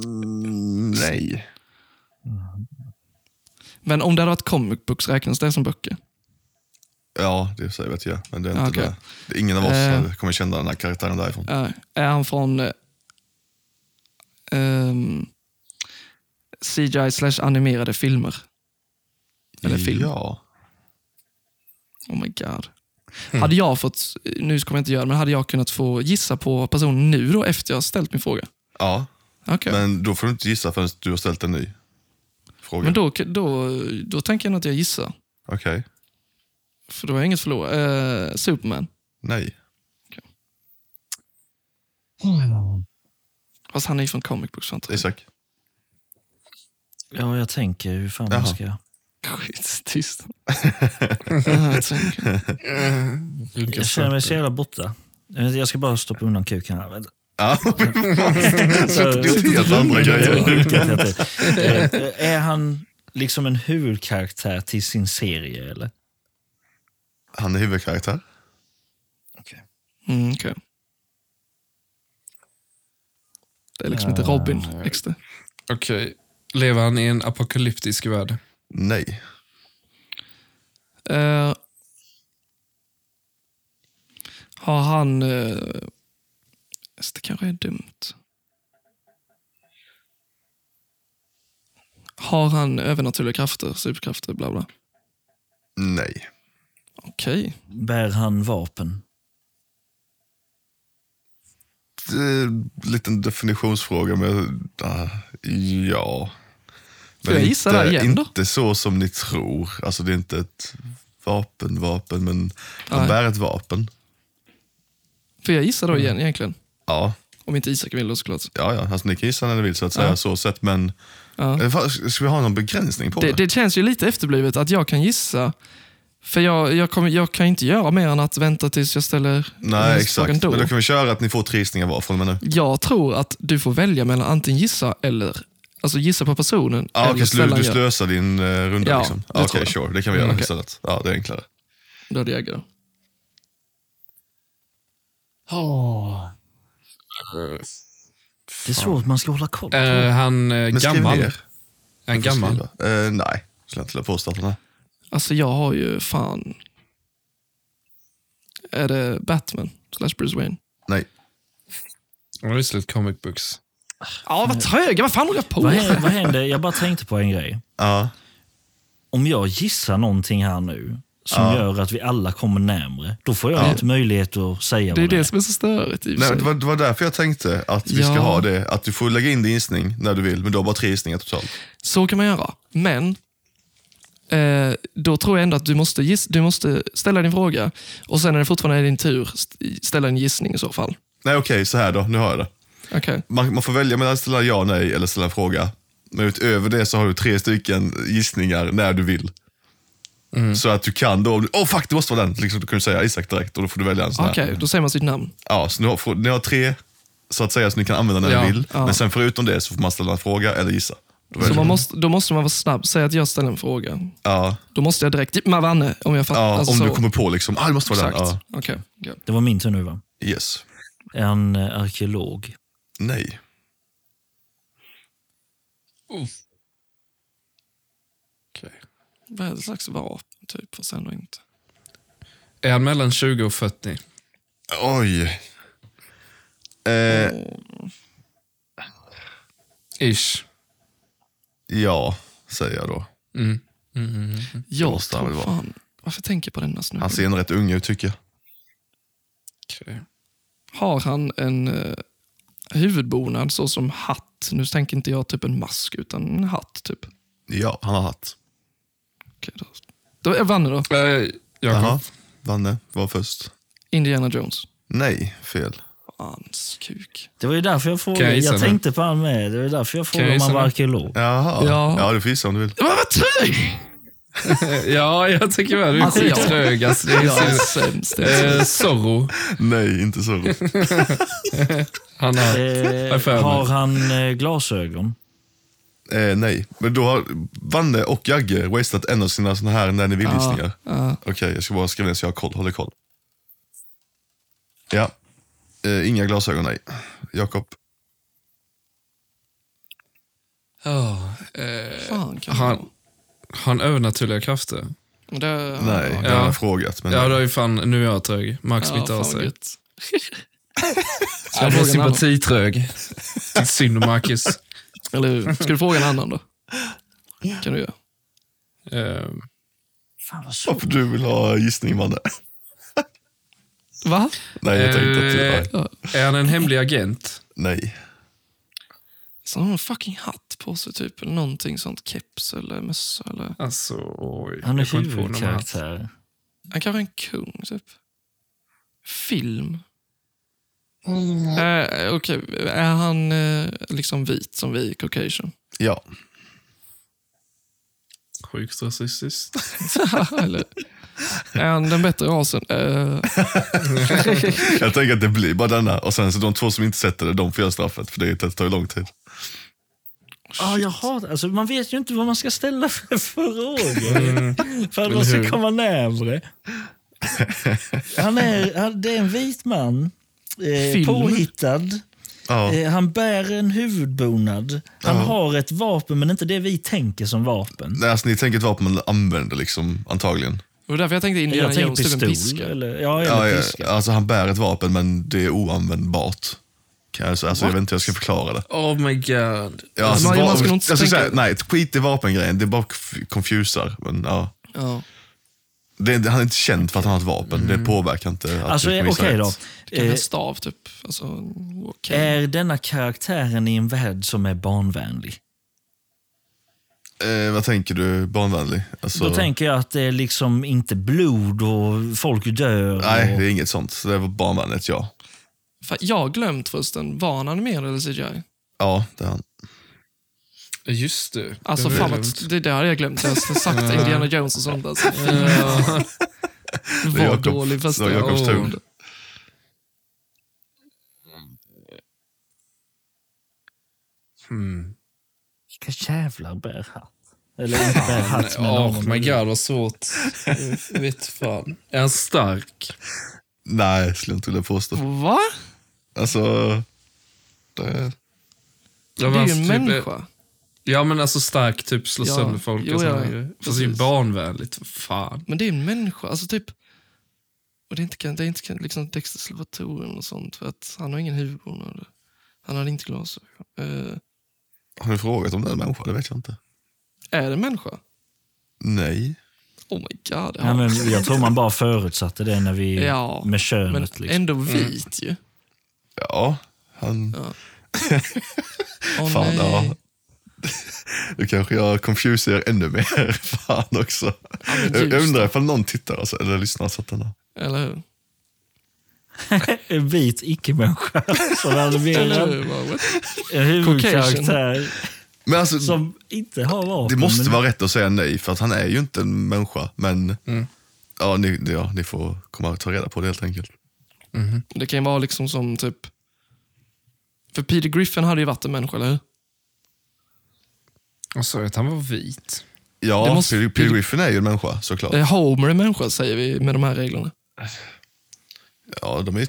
[SPEAKER 1] Mm.
[SPEAKER 2] Nej.
[SPEAKER 1] Men om det hade varit comic books, räknas det som böcker?
[SPEAKER 2] Ja, det säger vet jag. Men det är inte
[SPEAKER 1] Okej.
[SPEAKER 2] det. det. är Ingen av oss
[SPEAKER 1] Eh.
[SPEAKER 2] som kommer känna den här karaktären därifrån.
[SPEAKER 1] Nej. Är han från eh, ehm, CGI slash animerade filmer? Eller film?
[SPEAKER 2] Ja.
[SPEAKER 1] Oh my god. Hade jag fått, nu kommer jag inte göra men hade jag kunnat få gissa på personen nu då efter jag har ställt min fråga?
[SPEAKER 2] ja.
[SPEAKER 1] Okej.
[SPEAKER 2] Men då får du inte gissa förrän du har ställt en ny fråga.
[SPEAKER 1] Men då, då, då tänker jag nog att jag gissar.
[SPEAKER 2] Okej.
[SPEAKER 1] För då har jag inget förlorat. Eh, Superman.
[SPEAKER 2] Nej.
[SPEAKER 1] Fast han är ju från comic books. Fan,
[SPEAKER 2] Isak.
[SPEAKER 3] Ja, jag tänker hur fan
[SPEAKER 2] Jaha.
[SPEAKER 3] man ska...
[SPEAKER 1] Skit, tyst. Ja, jag tänker.
[SPEAKER 4] Runkar
[SPEAKER 3] Jag känner mig
[SPEAKER 4] sönder.
[SPEAKER 3] så jävla borta. Jag ska bara stoppa undan kuken här. Vänta.
[SPEAKER 2] Ja,
[SPEAKER 3] Så-
[SPEAKER 2] det är helt andra grejer.
[SPEAKER 3] Eh, Är han liksom en huvudkaraktär till sin serie eller?
[SPEAKER 2] Han är huvudkaraktär.
[SPEAKER 1] Mm, okej. Det är liksom inte Robin extra.
[SPEAKER 4] Okej. Lever han i en apokalyptisk värld?
[SPEAKER 2] Nej.
[SPEAKER 1] Eh, har han... eh, så det kanske är dumt. Har han övernaturliga krafter, superkrafter, bla bla?
[SPEAKER 2] Nej.
[SPEAKER 1] Okej.
[SPEAKER 3] Bär han vapen?
[SPEAKER 2] Det är en eh, liten definitionsfråga, men ah, ja.
[SPEAKER 1] Får jag gissa där igen då?
[SPEAKER 2] Inte så som ni tror. Alltså det är inte ett vapen, vapen, men han
[SPEAKER 1] Nej.
[SPEAKER 2] bär ett vapen.
[SPEAKER 1] Får jag gissa då igen egentligen?
[SPEAKER 2] Ja,
[SPEAKER 1] Om inte Isak vill då såklart.
[SPEAKER 2] ja, ja. Alltså, ni kan gissa när ni vill så att säga, så sett, men Eller fan, ska vi ha någon begränsning på
[SPEAKER 1] Det,
[SPEAKER 2] det?
[SPEAKER 1] det känns ju lite efterblivet att jag kan gissa. För jag, jag, kommer, jag kan inte göra mer än att vänta tills jag ställer
[SPEAKER 2] Nej,
[SPEAKER 1] frågan
[SPEAKER 2] exakt.
[SPEAKER 1] Då.
[SPEAKER 2] Men då kan vi köra att ni får tre gissningar var från och med nu.
[SPEAKER 1] Jag tror att du får välja mellan antingen gissa eller alltså gissa på personen
[SPEAKER 2] Ja,
[SPEAKER 1] eller
[SPEAKER 2] okej, så du,
[SPEAKER 1] ställa
[SPEAKER 2] du
[SPEAKER 1] en gör.
[SPEAKER 2] slösar din eh, runda
[SPEAKER 1] Ja,
[SPEAKER 2] liksom?
[SPEAKER 1] det
[SPEAKER 2] Ja, Okej,
[SPEAKER 1] tror jag.
[SPEAKER 2] sure. Det kan vi göra
[SPEAKER 1] Mm, okej.
[SPEAKER 2] istället. Ja, det är enklare.
[SPEAKER 1] Då hade jag då.
[SPEAKER 3] Det är svårt, man ska hålla koll.
[SPEAKER 4] Är han eh,
[SPEAKER 2] Men skriv
[SPEAKER 4] gammal? Är
[SPEAKER 2] ner.
[SPEAKER 4] han gammal?
[SPEAKER 2] Skriva. Eh, nej, skulle jag inte vilja påstå att han är.
[SPEAKER 1] Alltså jag har ju fan... Är det Batman slash Bruce Wayne?
[SPEAKER 2] Nej.
[SPEAKER 4] Han har visserligen comic books.
[SPEAKER 1] Ja, vad tröga. Vad fan håller jag på
[SPEAKER 4] Oh.
[SPEAKER 3] Vad
[SPEAKER 1] med?
[SPEAKER 3] händer, vad händer? Jag bara tänkte på en grej.
[SPEAKER 2] Ja,
[SPEAKER 3] Om jag gissar någonting här nu som gör att vi alla kommer närmre, då får jag inte möjlighet att säga
[SPEAKER 1] Det är
[SPEAKER 3] vad
[SPEAKER 1] det som är så störigt i och för
[SPEAKER 2] nej,
[SPEAKER 1] sig.
[SPEAKER 2] det, var, det var därför jag tänkte att vi ska
[SPEAKER 1] Ja.
[SPEAKER 2] ha det. Att du får lägga in din gissning när du vill, men du har bara tre gissningar totalt.
[SPEAKER 1] Så kan man göra. Men eh, då tror jag ändå att du måste, giss, du måste ställa din fråga och sen när det fortfarande är din tur, st- ställa en gissning i så fall.
[SPEAKER 2] Nej, okej, så här då. Nu har jag det.
[SPEAKER 1] Okej.
[SPEAKER 2] Man, man får välja mellan att ställa ja, nej eller ställa en fråga. Men utöver det så har du tre stycken gissningar när du vill.
[SPEAKER 1] Mm.
[SPEAKER 2] Så att du kan då, åh oh, fuck det måste vara den, liksom, då kan du säga Isak direkt och då får du välja en sån här.
[SPEAKER 1] Okej, då säger man sitt namn.
[SPEAKER 2] Ja, så ni har, får- ni har tre så att säga som ni kan använda när
[SPEAKER 4] Ja,
[SPEAKER 2] ni vill.
[SPEAKER 1] ja.
[SPEAKER 2] Men sen förutom det så får man ställa en fråga eller gissa.
[SPEAKER 1] Så
[SPEAKER 2] Då väljer
[SPEAKER 1] man
[SPEAKER 2] du.
[SPEAKER 1] måste, då måste man vara snabb. Säg att jag ställer en fråga.
[SPEAKER 2] ja,
[SPEAKER 1] Då måste jag direkt, man vann om jag fattar.
[SPEAKER 2] ja,
[SPEAKER 1] alltså,
[SPEAKER 2] om
[SPEAKER 1] så.
[SPEAKER 2] du kommer på liksom, ah, det måste vara
[SPEAKER 1] Exakt.
[SPEAKER 2] den.
[SPEAKER 1] Okej, okej.
[SPEAKER 3] det var min tur nu va?
[SPEAKER 2] Ja. Yes.
[SPEAKER 3] Är han eh, arkeolog?
[SPEAKER 2] Nej.
[SPEAKER 4] Okej.
[SPEAKER 1] Vad är det slags vapen typ? Fast
[SPEAKER 2] Mm.
[SPEAKER 1] ändå inte.
[SPEAKER 4] Är han mellan 20 och 40?
[SPEAKER 2] Oj. Eh,
[SPEAKER 4] Ish.
[SPEAKER 2] ja, säger jag då.
[SPEAKER 4] Mm. Mm, mm, mm.
[SPEAKER 1] Jag
[SPEAKER 2] måste han väl
[SPEAKER 1] tror
[SPEAKER 2] vara.
[SPEAKER 1] fan... Varför tänker jag på denna snubben?
[SPEAKER 2] Han ser ändå rätt ung ut tycker jag.
[SPEAKER 4] Okej.
[SPEAKER 1] Har han en eh, huvudbonad så som hatt? Nu tänker inte jag typ en mask, utan en hatt. typ.
[SPEAKER 2] Ja, han har hatt.
[SPEAKER 1] Okej, då. Då är Vanne då.
[SPEAKER 4] Eh, Jakob.
[SPEAKER 2] Jaha, Danne var först.
[SPEAKER 1] Indiana Jones.
[SPEAKER 2] Nej, fel.
[SPEAKER 1] Hans kuk.
[SPEAKER 3] Det var ju därför jag
[SPEAKER 4] Kan jag
[SPEAKER 3] frågade.
[SPEAKER 4] gissa
[SPEAKER 3] Jag
[SPEAKER 4] nu?
[SPEAKER 3] tänkte på han med. Det var ju därför jag
[SPEAKER 4] jag
[SPEAKER 3] frågade om han
[SPEAKER 4] gissa
[SPEAKER 3] var
[SPEAKER 4] nu?
[SPEAKER 3] arkeolog.
[SPEAKER 2] Jaha.
[SPEAKER 1] Ja.
[SPEAKER 2] Ja. ja, du får gissa om du vill.
[SPEAKER 1] Men vad trög!
[SPEAKER 4] Eh, Ja, jag tycker väl du är
[SPEAKER 1] Alltså, jag-
[SPEAKER 4] skittrög. Alltså, det är
[SPEAKER 1] Jag är
[SPEAKER 4] så-
[SPEAKER 1] sämst.
[SPEAKER 4] Eh, Zorro.
[SPEAKER 2] Nej, inte så.
[SPEAKER 4] Han har... är för
[SPEAKER 3] Eh,
[SPEAKER 4] mig.
[SPEAKER 3] har han eh, glasögon?
[SPEAKER 2] eh, nej, men då har Vanne och Jagge wasted en av sina såna här när ni vill-listningar. Okej, jag ska bara skriva ner så jag har koll, håller koll. Ja, eh, inga glasögon, nej. Jakob.
[SPEAKER 4] Ja, eh,
[SPEAKER 1] Fan, kan han...
[SPEAKER 4] han, han övernaturliga krafter.
[SPEAKER 2] Mm.
[SPEAKER 1] Men det...
[SPEAKER 2] Nej, det har jag frågat. Men
[SPEAKER 4] Ja, det är ju fan, nu är jag trög. Max
[SPEAKER 1] Ja,
[SPEAKER 4] biter
[SPEAKER 1] fan
[SPEAKER 4] av
[SPEAKER 1] vad
[SPEAKER 4] sig.
[SPEAKER 1] gött. Ska jag fråga en
[SPEAKER 4] Jag är
[SPEAKER 1] annan?
[SPEAKER 4] sympatitrög. Tycker synd om Marcus.
[SPEAKER 1] Eller hur? Ska du fråga en annan då? Kan du göra.
[SPEAKER 4] Eh,
[SPEAKER 3] Fan vad svårt.
[SPEAKER 2] Varför du vill ha gissning, Vanne?
[SPEAKER 1] Va?
[SPEAKER 2] Nej, jag tänkte att du...
[SPEAKER 4] Eh,
[SPEAKER 2] nej,
[SPEAKER 4] Är han en hemlig agent?
[SPEAKER 2] Nej.
[SPEAKER 1] Så han har en fucking hatt på sig typ, eller någonting sånt. Keps eller mössa eller...
[SPEAKER 4] Alltså, oj.
[SPEAKER 3] Han
[SPEAKER 4] jag
[SPEAKER 3] är
[SPEAKER 4] kom inte på honom här.
[SPEAKER 3] huvudkaraktär.
[SPEAKER 1] Han kanske är en kung, typ. Film. Eh, Okej, är han eh, liksom vit som vi, Caucasian?
[SPEAKER 2] Ja.
[SPEAKER 4] Sjukt rasistiskt.
[SPEAKER 1] Eller, är han den bättre rasen? Eh,
[SPEAKER 2] Jag tänker att det blir bara denna. Och sen så de två som inte sätter det, de får göra straffet. För det tar ju lång tid.
[SPEAKER 3] Ah, jag har, alltså, man vet ju inte vad man ska ställa för frågor
[SPEAKER 2] Mm.
[SPEAKER 3] för att man
[SPEAKER 4] Eller hur?
[SPEAKER 3] ska komma närmre. Han är, han, det är en vit man, eh,
[SPEAKER 1] Film.
[SPEAKER 3] påhittad.
[SPEAKER 2] Ja.
[SPEAKER 3] Eh, han bär en huvudbonad. Han
[SPEAKER 2] Ja.
[SPEAKER 3] har ett vapen, men inte det vi tänker som vapen.
[SPEAKER 2] Nej, alltså, ni tänker ett vapen man använder liksom, antagligen.
[SPEAKER 1] det var därför jag tänkte Indiana
[SPEAKER 3] Jag tänker
[SPEAKER 1] Jones, typ en
[SPEAKER 3] pistol.
[SPEAKER 1] piska.
[SPEAKER 3] Eller, ja, eller
[SPEAKER 2] Ja, ja,
[SPEAKER 3] piska.
[SPEAKER 2] alltså han bär ett vapen men det är oanvändbart. Kan jag säga. Alltså, jag vet inte hur jag ska förklara det.
[SPEAKER 4] Oh my god.
[SPEAKER 2] Ja, alltså,
[SPEAKER 1] man- man
[SPEAKER 2] va-
[SPEAKER 1] ska nog inte
[SPEAKER 2] jag skulle
[SPEAKER 1] tänka-
[SPEAKER 2] säga, nej, skit i vapengrejen. Det är bara f- confusar. Men, ja.
[SPEAKER 1] Ja.
[SPEAKER 2] det, är- han är inte känd för att han har ett vapen. Det påverkar inte att
[SPEAKER 3] Alltså,
[SPEAKER 2] du
[SPEAKER 3] eh,
[SPEAKER 2] kommer
[SPEAKER 3] okej
[SPEAKER 2] gissa rätt.
[SPEAKER 3] då.
[SPEAKER 1] Kanske
[SPEAKER 3] Eh,
[SPEAKER 1] en stav, typ. Alltså, okej.
[SPEAKER 3] är denna karaktären i en värld som är barnvänlig?
[SPEAKER 2] Eh, vad tänker du? Barnvänlig? Alltså,
[SPEAKER 3] Då tänker jag att det är liksom inte blod och folk dör.
[SPEAKER 2] Nej,
[SPEAKER 3] och,
[SPEAKER 2] det är inget sånt. Så det var barnvänligt, ja.
[SPEAKER 1] Fan, Jag har glömt förresten, var han animerad eller CGI?
[SPEAKER 2] Ja, det är han.
[SPEAKER 4] Just det.
[SPEAKER 1] Alltså,
[SPEAKER 4] Det var
[SPEAKER 1] fan
[SPEAKER 4] dumt.
[SPEAKER 1] vad, det där hade jag glömt. Jag har sagt Indiana Jones och sånt. Alltså, fy,
[SPEAKER 4] Ja.
[SPEAKER 2] Det är
[SPEAKER 1] vad
[SPEAKER 2] Jakob-
[SPEAKER 1] dålig fast
[SPEAKER 2] det var Jakobs
[SPEAKER 4] åh.
[SPEAKER 2] tur.
[SPEAKER 4] Hmm.
[SPEAKER 3] Vilka jävlar bär hatt? Eller inte bär hatt, men
[SPEAKER 4] Oh
[SPEAKER 3] någon.
[SPEAKER 4] my god, vad svårt. Jag vet fan. Är han stark?
[SPEAKER 2] Nej, skulle jag inte vilja påstå.
[SPEAKER 1] Va?
[SPEAKER 2] Alltså, det,
[SPEAKER 4] Det
[SPEAKER 1] Det är
[SPEAKER 2] typ-
[SPEAKER 1] ju en människa.
[SPEAKER 4] typ Ja, men alltså stark, typ slå
[SPEAKER 1] Ja,
[SPEAKER 4] sönder folk
[SPEAKER 1] jo,
[SPEAKER 4] och såna
[SPEAKER 1] ja,
[SPEAKER 4] grejer. Fast det är ju
[SPEAKER 1] precis.
[SPEAKER 4] barnvänligt. vad Fan.
[SPEAKER 1] Men det är en människa. Alltså typ... Och det är inte, det är inte liksom Dexter Salvatorium och sånt för att han har ingen huvudbonad. Han har inte glasögon. Eh,
[SPEAKER 2] har du frågat om det är en människa? Det vet jag inte.
[SPEAKER 1] är det en människa?
[SPEAKER 2] Nej.
[SPEAKER 1] Oh my god. det har-
[SPEAKER 3] Ja, men jag tror man bara förutsatte det när vi,
[SPEAKER 1] Ja,
[SPEAKER 3] med
[SPEAKER 1] men
[SPEAKER 3] könet. liksom.
[SPEAKER 1] ändå vit ju.
[SPEAKER 2] Ja, han...
[SPEAKER 1] Åh,
[SPEAKER 2] Fan,
[SPEAKER 1] nej.
[SPEAKER 2] ja. Nu kanske jag confusar er ännu mer. Fan också.
[SPEAKER 1] men
[SPEAKER 2] jag jag
[SPEAKER 1] just
[SPEAKER 2] undrar ifall någon tittar alltså, eller lyssnar så att den har...
[SPEAKER 1] Eller hur?
[SPEAKER 3] En vit icke-människa som
[SPEAKER 1] Eller
[SPEAKER 3] animerad.
[SPEAKER 1] hur? Bara, what?
[SPEAKER 3] En huvudkaraktär
[SPEAKER 2] Men alltså,
[SPEAKER 3] som inte har vapen.
[SPEAKER 2] det måste
[SPEAKER 3] men-
[SPEAKER 2] vara rätt att säga nej, för att han är ju inte en människa. Men
[SPEAKER 1] Mm.
[SPEAKER 2] ja, ni, ja, ni får komma och ta reda på det helt enkelt.
[SPEAKER 1] Det kan ju vara liksom som typ... För Peter Griffin hade ju varit en människa, eller hur?
[SPEAKER 4] Jag
[SPEAKER 1] Alltså,
[SPEAKER 4] sa ju att han var vit.
[SPEAKER 1] Det
[SPEAKER 2] Ja,
[SPEAKER 1] måste-
[SPEAKER 2] Peter Peter Griffin är ju en människa såklart.
[SPEAKER 1] Eh, Homer är människa, säger vi med de här reglerna.
[SPEAKER 2] Ja, de är ju...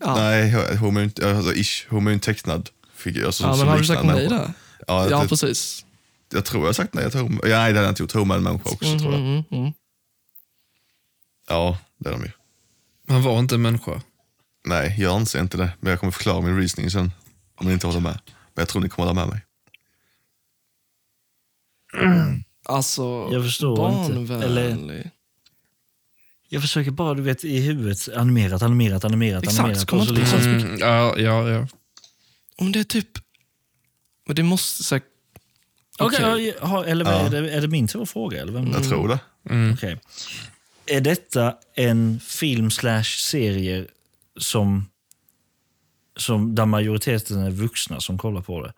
[SPEAKER 1] Ja.
[SPEAKER 2] Nej, hon är ju inte, alltså, ish, hon är ju en tecknad figur. Alltså,
[SPEAKER 1] Ja,
[SPEAKER 2] som
[SPEAKER 1] men har du
[SPEAKER 2] liknar
[SPEAKER 1] sagt
[SPEAKER 2] en
[SPEAKER 1] nej
[SPEAKER 2] människa.
[SPEAKER 1] där?
[SPEAKER 2] Ja,
[SPEAKER 1] Ja,
[SPEAKER 2] typ. jag, jag,
[SPEAKER 1] precis.
[SPEAKER 2] tror jag har sagt nej till Homer. Ja, nej, det har jag inte gjort. Homer är en människa också, tror jag.
[SPEAKER 1] Mm, mm.
[SPEAKER 2] Ja, det är de ju.
[SPEAKER 4] Han var inte en människa.
[SPEAKER 2] Nej, jag anser inte det. Men jag kommer förklara min reasoning sen. Om ni inte håller med. Men jag tror ni kommer hålla med mig.
[SPEAKER 1] Alltså,
[SPEAKER 3] Jag förstår
[SPEAKER 1] barnvänlig.
[SPEAKER 3] inte. Eller- Jag försöker bara, du vet, i huvudet animerat, animerat, animerat,
[SPEAKER 1] Exakt,
[SPEAKER 3] animerat.
[SPEAKER 1] kommer
[SPEAKER 3] och så
[SPEAKER 1] inte på
[SPEAKER 3] liksom-
[SPEAKER 4] Mm, ja, ja, ja.
[SPEAKER 1] Om det är typ... Men det måste säkert...
[SPEAKER 3] Okej,
[SPEAKER 1] Okej.
[SPEAKER 3] ja, ja, eller vad är, det, är det min tur att fråga? Eller vem?
[SPEAKER 2] Jag tror det.
[SPEAKER 3] Okej. Är detta en film slash serie som, som där majoriteten är vuxna som kollar på det?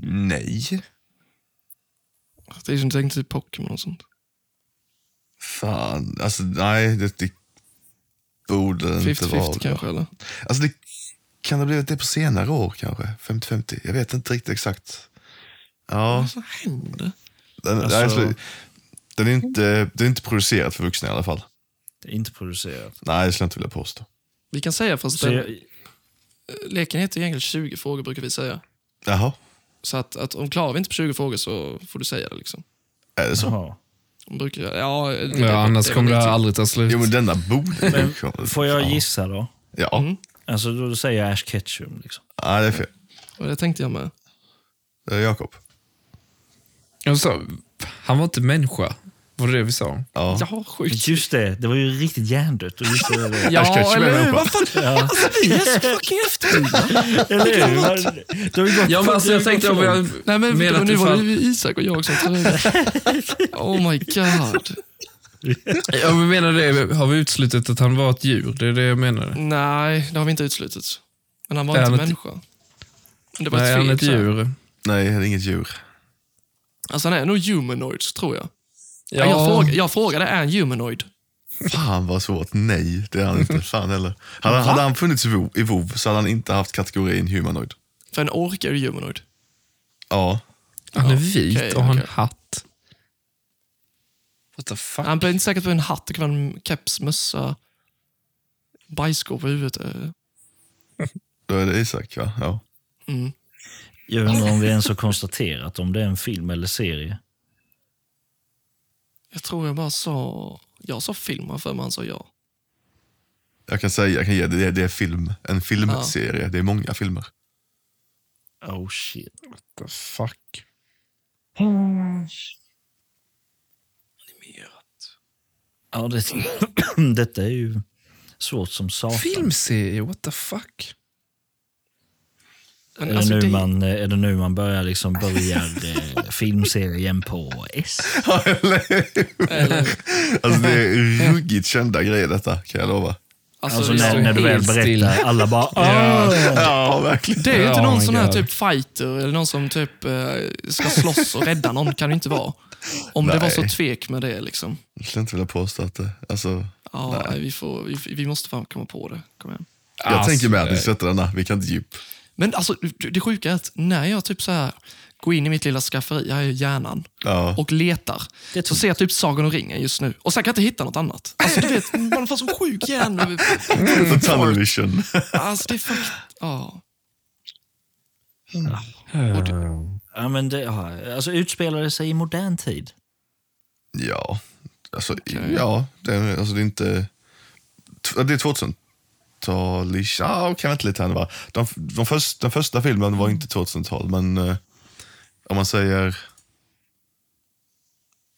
[SPEAKER 2] Nej.
[SPEAKER 1] Det är som tänkt typ Pokémon och sånt.
[SPEAKER 2] Fan. Alltså, nej. Det, det borde det inte vara.
[SPEAKER 1] 50-50 kanske, eller?
[SPEAKER 2] Alltså, det kan det ha blivit det på senare år kanske. 50-50. Jag vet inte riktigt exakt. Ja.
[SPEAKER 1] Vad händer?
[SPEAKER 2] Den,
[SPEAKER 3] Alltså-
[SPEAKER 2] nej, slu- den är inte, det är inte producerat för vuxna i alla fall.
[SPEAKER 3] Det är inte producerat.
[SPEAKER 2] Nej, det skulle jag inte vilja påstå.
[SPEAKER 1] Vi kan säga, fast
[SPEAKER 3] Så
[SPEAKER 1] den,
[SPEAKER 3] jag,
[SPEAKER 1] leken heter egentligen 20 frågor, brukar vi säga.
[SPEAKER 2] Jaha,
[SPEAKER 1] Så att, att om klarar vi inte på 20 frågor så får du säga det. liksom.
[SPEAKER 2] är det så?
[SPEAKER 3] jaha.
[SPEAKER 1] De brukar, ja, det- det-
[SPEAKER 4] ja annars
[SPEAKER 1] var
[SPEAKER 4] kommer det
[SPEAKER 1] lite-
[SPEAKER 4] här aldrig ta slut.
[SPEAKER 2] Jo, men denna borde ju komma.
[SPEAKER 3] Får jag
[SPEAKER 2] Ja.
[SPEAKER 3] gissa då?
[SPEAKER 2] Ja,
[SPEAKER 3] Alltså då säger jag Ash Ketchum. Liksom.
[SPEAKER 2] nej, det är fel.
[SPEAKER 1] Och det tänkte jag med.
[SPEAKER 2] Det är Jakob.
[SPEAKER 4] Alltså, han var inte människa. Var det det vi sa?
[SPEAKER 2] Ja.
[SPEAKER 1] Ja, sjukt.
[SPEAKER 3] Just det, det var ju riktigt hjärndött. Och just det, det.
[SPEAKER 1] Ja,
[SPEAKER 2] Ash Ketchum är
[SPEAKER 1] eller hur?
[SPEAKER 2] människa.
[SPEAKER 1] Vad fan? Alltså, vi är så fucking efterblivna.
[SPEAKER 3] Eller hur? Det har ju gått
[SPEAKER 4] Ja, men alltså, jag tänkte om jag
[SPEAKER 1] Nej, men
[SPEAKER 4] menat
[SPEAKER 1] nu var
[SPEAKER 4] ifall-
[SPEAKER 1] det ju Isak och jag som tog det. Oh my god.
[SPEAKER 4] Ja, men menar det, har vi uteslutit att han var ett djur? Det är det jag menar.
[SPEAKER 1] Nej, det har vi inte uteslutit. Men han var
[SPEAKER 4] Är
[SPEAKER 1] inte
[SPEAKER 4] han ett-
[SPEAKER 1] människa. Men det var
[SPEAKER 4] Nej,
[SPEAKER 1] ett
[SPEAKER 4] han är
[SPEAKER 1] fel.
[SPEAKER 4] ett
[SPEAKER 1] så här.
[SPEAKER 4] djur.
[SPEAKER 2] Nej, det är inget djur.
[SPEAKER 1] Alltså, han är nog humanoid, tror jag. Ja. Jag, frågade, jag frågade, är han humanoid?
[SPEAKER 2] Fan vad svårt. Nej, det är han inte. Fan heller. Hade, hade han funnits i WoW- i WoW så hade han inte haft kategorin humanoid.
[SPEAKER 1] För en ork är ju humanoid.
[SPEAKER 2] Ja,
[SPEAKER 4] Han är vit
[SPEAKER 1] okej,
[SPEAKER 4] och har en
[SPEAKER 1] okej.
[SPEAKER 4] hatt. What the fuck?
[SPEAKER 1] Han blev inte säkert på en hatt, det kan vara en keps, mössa, bajskorv på huvudet. eh.
[SPEAKER 2] då är det Isak va? Ja.
[SPEAKER 1] Mm.
[SPEAKER 3] Jag undrar om vi ens har konstaterat om det är en film eller serie.
[SPEAKER 1] Jag tror jag bara sa... Jag sa film, har för mig han sa ja.
[SPEAKER 2] Jag kan säga, jag kan ge det, det är- det är film. En filmserie. Det är många filmer.
[SPEAKER 3] Oh shit.
[SPEAKER 4] What the fuck?
[SPEAKER 3] Ja, det, detta är ju svårt som satan.
[SPEAKER 4] Filmserie, what the fuck?
[SPEAKER 1] Men
[SPEAKER 3] Är,
[SPEAKER 1] alltså,
[SPEAKER 3] det nu
[SPEAKER 1] det-
[SPEAKER 3] man, är det nu man börjar liksom börjar eh, filmserien på S?
[SPEAKER 1] Eller,
[SPEAKER 2] Alltså det är ruggigt kända grejer detta, kan jag lova.
[SPEAKER 1] alltså,
[SPEAKER 3] Alltså
[SPEAKER 1] det-
[SPEAKER 4] står
[SPEAKER 3] när, när du väl
[SPEAKER 4] helt
[SPEAKER 3] berättar,
[SPEAKER 4] still.
[SPEAKER 3] alla bara "Ah!" "Åh!"
[SPEAKER 2] Ja, verkligen.
[SPEAKER 1] Det är ju inte
[SPEAKER 4] Ja,
[SPEAKER 1] någon
[SPEAKER 4] my
[SPEAKER 1] sån här
[SPEAKER 4] God.
[SPEAKER 1] typ fighter eller någon som typ eh, ska slåss och rädda någon. kan det inte vara. Om det var så
[SPEAKER 2] Nej.
[SPEAKER 1] tvek med det. liksom.
[SPEAKER 2] Jag skulle inte vilja påstå att det... Alltså,
[SPEAKER 1] Ja, nej. vi, får, vi, vi måste fan komma på det. Kom igen.
[SPEAKER 2] jag
[SPEAKER 4] Alltså,
[SPEAKER 2] tänker med att vi
[SPEAKER 4] nej.
[SPEAKER 2] sätter denna, vi kan inte djup.
[SPEAKER 1] Men alltså, det det sjuka är att när jag typ så här går in i mitt lilla skafferi, här är hjärnan,
[SPEAKER 2] Ja.
[SPEAKER 1] och letar,
[SPEAKER 3] Det är
[SPEAKER 1] så ser jag typ Sagan om ringen just nu. Och sen kan jag inte hitta något annat. Alltså du vet, man får sån sjuk hjärn...
[SPEAKER 2] The tunnel vision.
[SPEAKER 1] Alltså det är fuck... Ja. Och det-
[SPEAKER 3] Ja, men det, ja, alltså utspelar det sig i modern tid?
[SPEAKER 2] Ja, alltså, ja det, är- alltså det är inte... t- Det är 2000-talish. Ja, kan vänta lite här nu va. De, de först, den första filmen var inte 2000-tal, men eh, om man säger...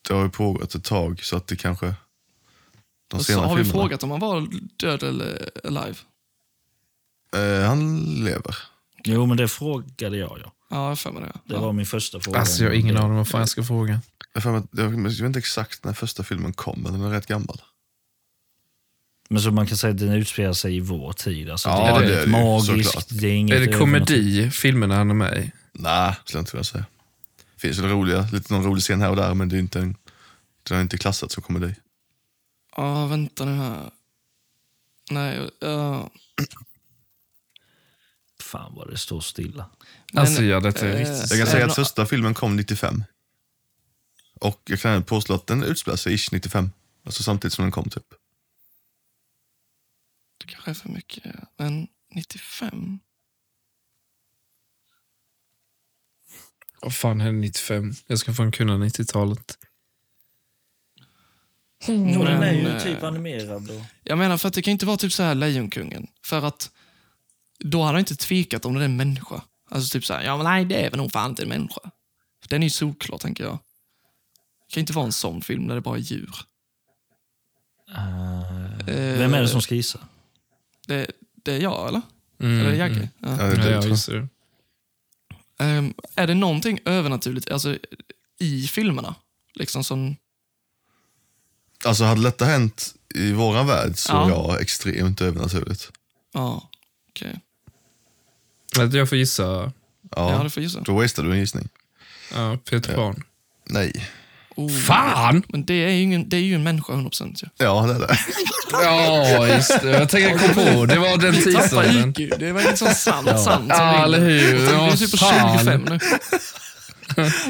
[SPEAKER 2] Det har ju pågått ett tag, så att det kanske... De
[SPEAKER 1] Och så
[SPEAKER 2] senare
[SPEAKER 1] Alltså, har vi
[SPEAKER 2] filmerna.
[SPEAKER 1] frågat om han var död eller alive.
[SPEAKER 2] Eh, han lever.
[SPEAKER 3] Jo, men det frågade jag. Ja.
[SPEAKER 1] Ja, jag har för mig det.
[SPEAKER 3] Det
[SPEAKER 1] Ja.
[SPEAKER 3] var min första fråga.
[SPEAKER 4] Alltså, jag har ingen aning vad fan jag ska fråga.
[SPEAKER 2] Jag, har för mig att- jag vet inte exakt när första filmen kom, men den är rätt gammal.
[SPEAKER 3] Men så man kan säga att den utspelar sig i vår tid. Alltså,
[SPEAKER 2] Ja,
[SPEAKER 3] det är,
[SPEAKER 2] det
[SPEAKER 3] det
[SPEAKER 2] är det ju, såklart.
[SPEAKER 3] magiskt. Det är, inget
[SPEAKER 4] Är det
[SPEAKER 3] övernaturligt.
[SPEAKER 4] komedi, filmerna han är med i?
[SPEAKER 2] Nej, skulle jag inte vilja säga. Finns väl roliga, lite någon rolig scen här och där, men det är inte en, den är inte klassat som komedi.
[SPEAKER 1] Ja, vänta nu här. Nej, eh, ja.
[SPEAKER 3] Fan vad det står stilla.
[SPEAKER 1] Men-
[SPEAKER 4] alltså, ja, detta är
[SPEAKER 1] eh,
[SPEAKER 4] riktigt...
[SPEAKER 2] Jag kan
[SPEAKER 1] Så är
[SPEAKER 2] säga att
[SPEAKER 1] det-
[SPEAKER 2] första filmen kom 95. Och jag kan påstå att den utspelar sig ish 95. Alltså samtidigt som den kom typ.
[SPEAKER 1] det kanske är för mycket. Men 95?
[SPEAKER 4] Vad fan hände 95? Jag ska fan kunna 90-talet.
[SPEAKER 3] Och den är ju
[SPEAKER 1] Men,
[SPEAKER 3] typ
[SPEAKER 1] eh,
[SPEAKER 3] animerad. Och...
[SPEAKER 1] Jag menar, för att det kan ju inte vara typ så här Lejonkungen. För att då hade han inte tvekat om det är en människa. Alltså typ så här, ja men nej det är väl nog fan inte en människa. Den är ju solklar tänker jag. Det kan ju inte vara en sån film där det bara är djur.
[SPEAKER 3] Eh, Vem är det som ska gissa?
[SPEAKER 1] Det, det är jag eller?
[SPEAKER 4] Mm,
[SPEAKER 1] eller Jagge? Ja.
[SPEAKER 2] Ja, det är
[SPEAKER 4] Ja,
[SPEAKER 2] dumt,
[SPEAKER 4] jag
[SPEAKER 2] va?
[SPEAKER 4] visste det.
[SPEAKER 1] Ehm, är det någonting övernaturligt alltså, i filmerna? Liksom som...
[SPEAKER 2] Alltså hade detta hänt i våran värld så
[SPEAKER 1] Ja.
[SPEAKER 2] ja, extremt övernaturligt.
[SPEAKER 1] Ja, okej.
[SPEAKER 4] Att jag får gissa
[SPEAKER 2] Ja,
[SPEAKER 1] Ja, du får gissa.
[SPEAKER 2] då wasted du en gissning.
[SPEAKER 4] ja, Peter Pan.
[SPEAKER 2] Nej.
[SPEAKER 1] Oh.
[SPEAKER 4] Fan!
[SPEAKER 1] Men det är, ju ingen, det är ju en människa 100% ju.
[SPEAKER 2] Ja, det är det.
[SPEAKER 4] Ja, just det. Jag tänkte jag kom på. Det var den
[SPEAKER 1] Tappa
[SPEAKER 4] tidsåldern.
[SPEAKER 1] IQ. Det var inte sån sant, sant. som
[SPEAKER 4] Ja, eller
[SPEAKER 1] vinner.
[SPEAKER 4] hur?
[SPEAKER 1] Du är typ på
[SPEAKER 4] Fan.
[SPEAKER 1] 25 nu.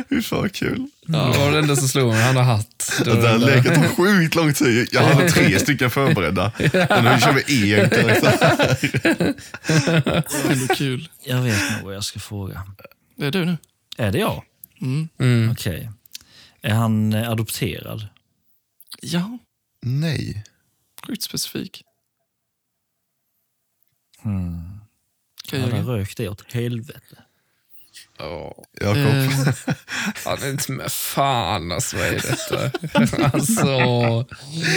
[SPEAKER 2] Hur fan kul.
[SPEAKER 4] Det var den enda som slog mig. Han har hatt. Det
[SPEAKER 2] Det
[SPEAKER 4] var
[SPEAKER 2] där
[SPEAKER 4] den där.
[SPEAKER 2] leket tog sjukt lång tid. Jag hade tre stycken förberedda. Men nu kör vi en karaktär.
[SPEAKER 1] Det var ändå kul.
[SPEAKER 3] Jag vet nog vad jag ska fråga.
[SPEAKER 1] Det är du nu.
[SPEAKER 3] Är det jag?
[SPEAKER 4] Mm.
[SPEAKER 3] Okej. Är han eh, adopterad?
[SPEAKER 1] Ja,
[SPEAKER 2] Nej.
[SPEAKER 1] sjukt specifik. Okej, Hmm.
[SPEAKER 3] Han har
[SPEAKER 1] Jörgen.
[SPEAKER 3] rökt det åt helvete.
[SPEAKER 4] Ja.
[SPEAKER 2] Jakob.
[SPEAKER 1] Eh,
[SPEAKER 4] Han är inte med. Fan alltså, vad är detta? Alltså.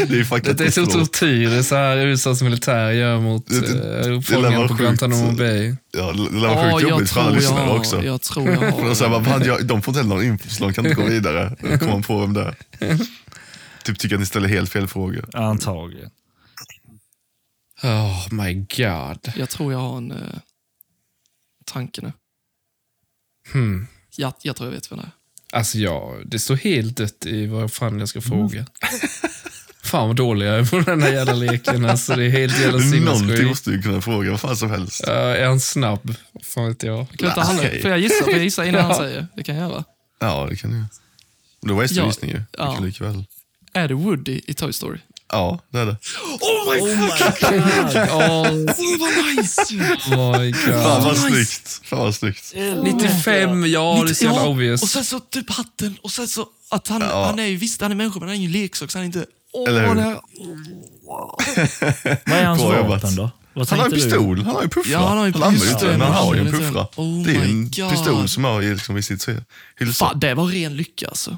[SPEAKER 2] Det är faktiskt
[SPEAKER 4] Det är som
[SPEAKER 2] inte så
[SPEAKER 4] tortyr det är så här USAs militär gör mot
[SPEAKER 2] Det-
[SPEAKER 4] eh,
[SPEAKER 2] lär
[SPEAKER 4] fångarna
[SPEAKER 2] vara
[SPEAKER 4] på
[SPEAKER 2] sjukt.
[SPEAKER 4] Guantanamo Bay.
[SPEAKER 2] Ja, det var
[SPEAKER 1] ja,
[SPEAKER 2] sjukt
[SPEAKER 1] jag
[SPEAKER 2] jobbigt för alla
[SPEAKER 1] tror
[SPEAKER 2] lyssnare
[SPEAKER 1] jag-
[SPEAKER 2] också.
[SPEAKER 1] Jag tror jag har
[SPEAKER 2] Och så här, bara, fan, jag, de får inte heller någon info så de kan inte gå vidare. Då kommer man på vem det är. Typ tycker att ni ställer helt fel frågor.
[SPEAKER 3] Antagligen.
[SPEAKER 4] Oh my god.
[SPEAKER 1] Jag tror jag har en eh, tanke nu.
[SPEAKER 4] Hmm.
[SPEAKER 1] Jag, jag tror jag vet vem det är.
[SPEAKER 4] Alltså ja, det står helt dött i vad fan jag ska
[SPEAKER 2] Mm.
[SPEAKER 4] fråga. fan vad dålig jag är på den här jävla leken. Alltså, det är helt jävla
[SPEAKER 2] Någonting
[SPEAKER 4] sinnessjukt.
[SPEAKER 2] måste du kunna fråga, vad fan som helst.
[SPEAKER 4] Uh, är han snabb? Vad Fan vet jag.
[SPEAKER 1] Kan inte han
[SPEAKER 2] Nej.
[SPEAKER 1] Får jag gissa? Får jag gissa innan han
[SPEAKER 4] Ja.
[SPEAKER 1] säger? Det kan jag göra.
[SPEAKER 2] Ja, det kan du. Det var
[SPEAKER 1] Ja,
[SPEAKER 2] en gissning ju.
[SPEAKER 1] ja.
[SPEAKER 2] Ja. Likväl.
[SPEAKER 1] Är det Woody i Toy Story?
[SPEAKER 2] Ja, det är det.
[SPEAKER 3] Oh my god!
[SPEAKER 4] Åh,
[SPEAKER 1] Åh, vad nice!
[SPEAKER 4] Oh my
[SPEAKER 2] Fan
[SPEAKER 4] god.
[SPEAKER 2] vad
[SPEAKER 1] nice.
[SPEAKER 2] snyggt. Fan vad snyggt.
[SPEAKER 4] 95, ja det är så jävla
[SPEAKER 1] Och
[SPEAKER 4] obvious.
[SPEAKER 1] sen så typ hatten och sen så att han,
[SPEAKER 2] Ja.
[SPEAKER 1] han är ju visst han är människa men han är ingen leksak så han är inte... Åh,
[SPEAKER 2] Eller hur?
[SPEAKER 1] det här-
[SPEAKER 3] Vad är hans
[SPEAKER 2] Bra
[SPEAKER 3] vapen
[SPEAKER 2] jobbat.
[SPEAKER 3] då? Vad
[SPEAKER 2] Han har en
[SPEAKER 3] tänkte du?
[SPEAKER 2] pistol, han har ju en puffra.
[SPEAKER 1] Ja, han har ju
[SPEAKER 2] använder
[SPEAKER 1] pistol.
[SPEAKER 2] den, han har ju en
[SPEAKER 1] Absolut.
[SPEAKER 2] puffra.
[SPEAKER 1] Oh
[SPEAKER 2] det är
[SPEAKER 1] my
[SPEAKER 2] en
[SPEAKER 1] God.
[SPEAKER 2] pistol som har ju liksom i sitt hylsa.
[SPEAKER 1] Fan, det var ren lycka alltså.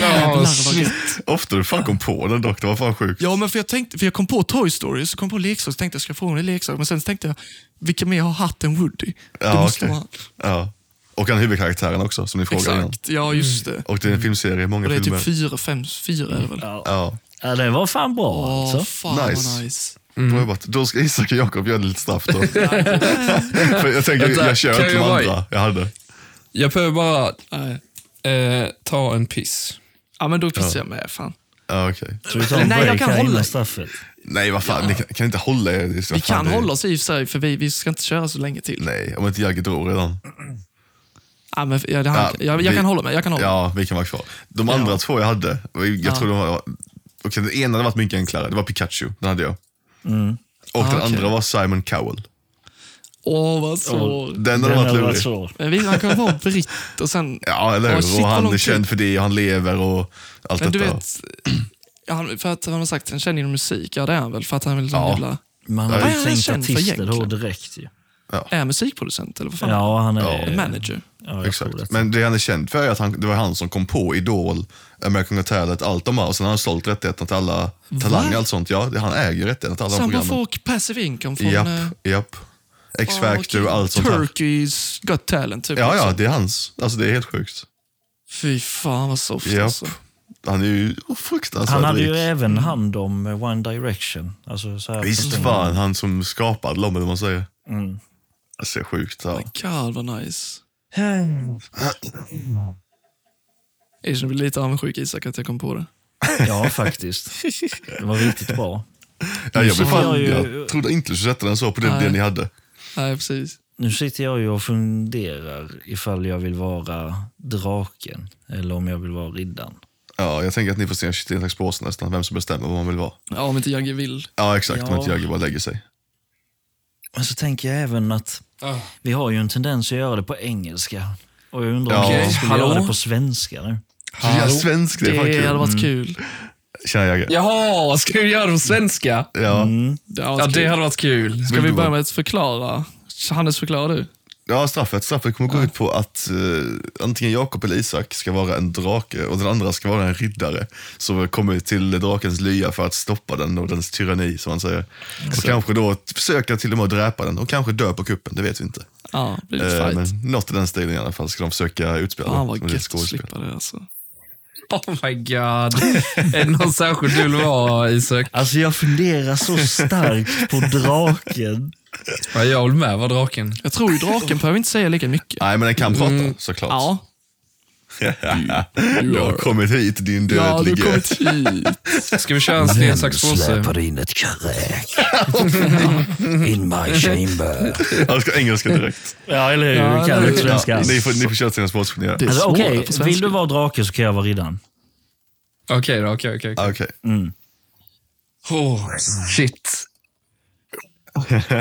[SPEAKER 4] Ja, shit.
[SPEAKER 2] Ofta du fan kom på den dock, det var fan sjukt.
[SPEAKER 1] Ja, men för jag, tänkte, för jag kom på Toy Story, så kom jag på leksak, så tänkte jag ska jag fråga om det är leksak. Men sen tänkte jag, vilka mer har hatt än Woody? det
[SPEAKER 2] Ja,
[SPEAKER 1] måste
[SPEAKER 2] okej.
[SPEAKER 1] vara...
[SPEAKER 2] ja. Och han huvudkaraktären också, som ni frågade innan.
[SPEAKER 1] Exakt, ja just det.
[SPEAKER 2] Och det är en filmserie, många
[SPEAKER 1] Och det är
[SPEAKER 2] filmer.
[SPEAKER 1] typ fyra, fem, fyra är det väl?
[SPEAKER 3] Ja.
[SPEAKER 2] ja.
[SPEAKER 3] ja, det var fan bra
[SPEAKER 1] Åh,
[SPEAKER 3] alltså.
[SPEAKER 1] fan
[SPEAKER 2] Mm. Nice.
[SPEAKER 1] vad nice.
[SPEAKER 2] Bra jobbat. Då ska Isak och Jakob göra lite straff då. För jag tänker, jag,
[SPEAKER 4] Vänta,
[SPEAKER 2] jag kör
[SPEAKER 4] kan
[SPEAKER 2] inte de
[SPEAKER 4] jag vara-
[SPEAKER 2] andra jag hade.
[SPEAKER 4] Jag behöver bara
[SPEAKER 1] Nej.
[SPEAKER 4] eh, ta en piss.
[SPEAKER 1] Ja, men då pissar jag med fan.
[SPEAKER 2] Ja, okej.
[SPEAKER 3] Ska vi ta en
[SPEAKER 1] Nej, jag
[SPEAKER 3] break
[SPEAKER 1] kan
[SPEAKER 3] här
[SPEAKER 1] hålla.
[SPEAKER 3] innan straffet?
[SPEAKER 2] Nej, vad fan, ni kan, kan inte hålla er. Det är så-
[SPEAKER 1] Vi
[SPEAKER 2] fan,
[SPEAKER 1] kan
[SPEAKER 2] det är-
[SPEAKER 1] hålla oss i och för sig, för vi, vi ska inte köra så länge till.
[SPEAKER 2] Nej, om inte Jagge drog redan.
[SPEAKER 1] Ja, men, ja, det
[SPEAKER 2] Ja,
[SPEAKER 1] här, jag, jag
[SPEAKER 2] vi-
[SPEAKER 1] kan hålla med, jag kan hålla med.
[SPEAKER 2] Ja, vi kan vara kvar. De andra två jag hade, jag tror de var... Okej, den ena hade varit mycket enklare. Det var Pikachu, den hade jag.
[SPEAKER 1] Ah,
[SPEAKER 2] Och den
[SPEAKER 1] okej.
[SPEAKER 2] andra var Simon Cowell.
[SPEAKER 1] Åh, vad svårt.
[SPEAKER 2] Den
[SPEAKER 3] Den
[SPEAKER 2] hade varit
[SPEAKER 3] hade varit
[SPEAKER 2] lurig.
[SPEAKER 3] svår.
[SPEAKER 1] Men vi, han kan vara britt och sen...
[SPEAKER 2] Ja, eller hur?
[SPEAKER 1] Åh, shit,
[SPEAKER 2] och
[SPEAKER 1] vad
[SPEAKER 2] han
[SPEAKER 1] lång
[SPEAKER 2] är
[SPEAKER 1] tid.
[SPEAKER 2] känd för det, och han lever och allt
[SPEAKER 1] Men du
[SPEAKER 2] detta.
[SPEAKER 1] vet, han, för att han har sagt han känner inom musik, ja det är han väl, för att han vill
[SPEAKER 2] Ja.
[SPEAKER 1] jävla...
[SPEAKER 3] Man har
[SPEAKER 1] Vad är
[SPEAKER 3] ju
[SPEAKER 1] han
[SPEAKER 3] tänkt
[SPEAKER 1] känd för
[SPEAKER 3] artister då
[SPEAKER 1] egentligen?
[SPEAKER 3] direkt ju.
[SPEAKER 1] Är han musikproducent eller vad fan?
[SPEAKER 3] Ja, han
[SPEAKER 2] Ja.
[SPEAKER 3] är...
[SPEAKER 1] Manager?
[SPEAKER 3] Ja, jag tror det. Alltså,
[SPEAKER 2] Exakt. Men det han är känd för är att han, det var han som kom på Idol, American Got Talent, allt de här. Och sen har han sålt rättigheterna till alla talanger och allt sånt. Ja, det- han äger rättigheterna till alla
[SPEAKER 1] Så
[SPEAKER 2] de
[SPEAKER 1] han bara
[SPEAKER 2] programmen.
[SPEAKER 1] får passive income från...
[SPEAKER 2] Japp,
[SPEAKER 1] eh,
[SPEAKER 2] japp. X-Factor och
[SPEAKER 1] okej,
[SPEAKER 2] allt sånt här.
[SPEAKER 1] Turkeys Got Talent typ.
[SPEAKER 2] Ja, ja,
[SPEAKER 1] också.
[SPEAKER 2] det är hans. Alltså det är helt sjukt.
[SPEAKER 1] Fy fan vad soft
[SPEAKER 2] Japp.
[SPEAKER 1] alltså.
[SPEAKER 2] Han är ju fruktansvärt
[SPEAKER 3] Han hade
[SPEAKER 2] rik.
[SPEAKER 3] ju även hand om eh, One Direction. Alltså, så här
[SPEAKER 2] Visst
[SPEAKER 3] personer.
[SPEAKER 2] fan, han som skapade dem, eller vad man säger. Alltså sjukt. Ja.
[SPEAKER 1] God vad nice.
[SPEAKER 3] Mm.
[SPEAKER 1] Asian blir lite avundsjuk Isak att jag kom på det.
[SPEAKER 3] Ja, faktiskt. Det var riktigt bra.
[SPEAKER 2] Ja, jag, blev
[SPEAKER 3] Så
[SPEAKER 2] fan,
[SPEAKER 3] jag ju-
[SPEAKER 2] jag trodde inte du skulle sätta den så på det,
[SPEAKER 1] Nej.
[SPEAKER 2] det ni hade.
[SPEAKER 1] Nej, precis.
[SPEAKER 3] Nu sitter jag ju och funderar ifall jag vill vara draken eller om jag vill vara riddaren.
[SPEAKER 2] Ja, jag tänker att ni får se en shit i en slags påse nästan, vem som bestämmer vad man vill vara.
[SPEAKER 1] Ja, om inte Jagge vill.
[SPEAKER 2] Ja, exakt. Om
[SPEAKER 3] Ja.
[SPEAKER 2] inte jag bara lägger sig.
[SPEAKER 3] Men så tänker jag även att
[SPEAKER 4] Ah.
[SPEAKER 3] vi har ju en tendens att göra det på engelska. Och jag undrar om
[SPEAKER 2] Ja.
[SPEAKER 3] vi skulle
[SPEAKER 1] Hallå?
[SPEAKER 3] göra det på svenska nu.
[SPEAKER 2] Så jag är svensk, det är fan
[SPEAKER 1] Det hade
[SPEAKER 2] kul. Mm.
[SPEAKER 1] varit kul.
[SPEAKER 2] Tjena Jagge.
[SPEAKER 4] Jaha, ska vi göra dem svenska?
[SPEAKER 2] Ja.
[SPEAKER 1] Ja,
[SPEAKER 4] Ja,
[SPEAKER 1] det
[SPEAKER 4] det
[SPEAKER 1] har...
[SPEAKER 4] hade varit kul.
[SPEAKER 1] Ska vi börja med att förklara? Hannes, förklara du.
[SPEAKER 2] ja, straffet. Straffet kommer gå ut på att eh, antingen Jakob eller Isak ska vara en drake och den andra ska vara en riddare som kommer till drakens lya för att stoppa den och dens tyranni, som man säger. Och kanske då försöka till och med att dräpa den och kanske dö på kuppen, det vet vi inte.
[SPEAKER 1] Ja, det blir lite
[SPEAKER 2] Eh,
[SPEAKER 1] fight.
[SPEAKER 2] men något i den stilen i alla fall ska de försöka utspela.
[SPEAKER 1] Fan
[SPEAKER 2] som
[SPEAKER 1] vad
[SPEAKER 2] ett
[SPEAKER 1] gött att
[SPEAKER 2] skådespel.
[SPEAKER 1] slippa det alltså.
[SPEAKER 4] Oh my god. Är det någon särskild du vill vara, Isak?
[SPEAKER 3] Alltså jag funderar så starkt på draken.
[SPEAKER 4] Ja, jag vill med vara draken.
[SPEAKER 1] Jag tror ju draken behöver inte säga lika mycket.
[SPEAKER 2] Nej, men den kan prata såklart.
[SPEAKER 1] Mm. Ja,
[SPEAKER 2] Du har kommit hit din
[SPEAKER 1] ja du har
[SPEAKER 2] dödlige.
[SPEAKER 1] kommit hit.
[SPEAKER 4] Ska vi köra en sten, sax, påse?
[SPEAKER 3] släpar in ett kräk in my chamber?
[SPEAKER 2] Han ska ha engelska direkt.
[SPEAKER 3] Ja, eller hur?
[SPEAKER 1] Ja,
[SPEAKER 3] Ja, kan
[SPEAKER 1] eller
[SPEAKER 3] du
[SPEAKER 1] hur?
[SPEAKER 3] svenska
[SPEAKER 2] Ja,
[SPEAKER 3] alls?
[SPEAKER 2] ni, får, ni får köra sina sportgenier.
[SPEAKER 1] Det är
[SPEAKER 3] Alltså,
[SPEAKER 1] svårare
[SPEAKER 3] Okej,
[SPEAKER 1] på svenska.
[SPEAKER 3] vill du vara drake så kan jag vara riddaren.
[SPEAKER 4] Okej då, okej, okej.
[SPEAKER 2] Ah, Okej.
[SPEAKER 1] Mm.
[SPEAKER 4] Oh, shit.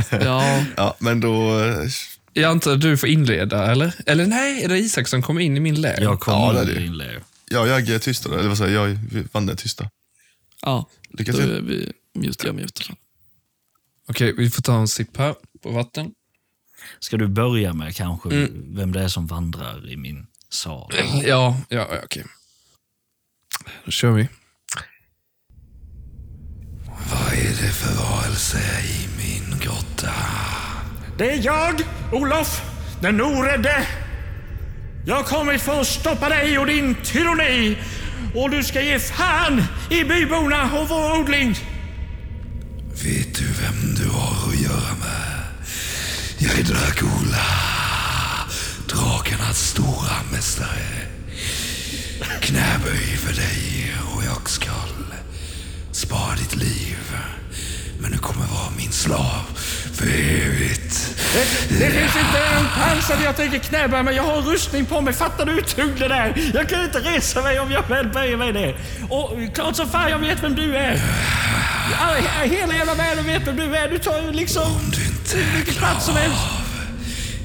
[SPEAKER 1] Ja,
[SPEAKER 2] Ja, men då... eh,
[SPEAKER 4] Jag antar att du får inleda, eller? Eller nej, är det Isak som kommer in i min läger?
[SPEAKER 3] Jag
[SPEAKER 2] Ja,
[SPEAKER 3] kommer
[SPEAKER 2] det är
[SPEAKER 3] ja, in
[SPEAKER 2] det.
[SPEAKER 3] i din lair.
[SPEAKER 2] Ja, jag är tysta då. Eller vad säger jag? Jag vann det tysta.
[SPEAKER 1] ja.
[SPEAKER 2] Lycka
[SPEAKER 1] Då
[SPEAKER 2] till.
[SPEAKER 1] är vi mute, jag mutar.
[SPEAKER 4] Okej, vi får ta en sipp här på vatten.
[SPEAKER 3] Ska du börja med kanske vem det är som vandrar i min sal?
[SPEAKER 4] Ja, ja, ja, okej. Då kör vi. Vad är det för varelse i min grotta?
[SPEAKER 5] Det är jag, Olof, den orädde. Jag kommer för att stoppa dig och din tyranni. Och du ska ge fan i byborna och vår odling.
[SPEAKER 4] Vet du vem du har att göra med? Jag är Dracula, drakarnas stora mästare. Knäböj för dig och jag skall spara ditt liv. Men du kommer vara min slav för evigt.
[SPEAKER 5] Det finns inte en chans att jag tänker knäböja mig. Jag har rustning på mig. Fattar du hur tungt det där? Jag kan inte resa mig om jag väl böjer mig ner. Och eh, klart som fan jag vet vem du är. Ja, he- Hela jävla världen vet vem du är. Du tar ju liksom
[SPEAKER 4] Om du inte
[SPEAKER 5] vilken plats som helst.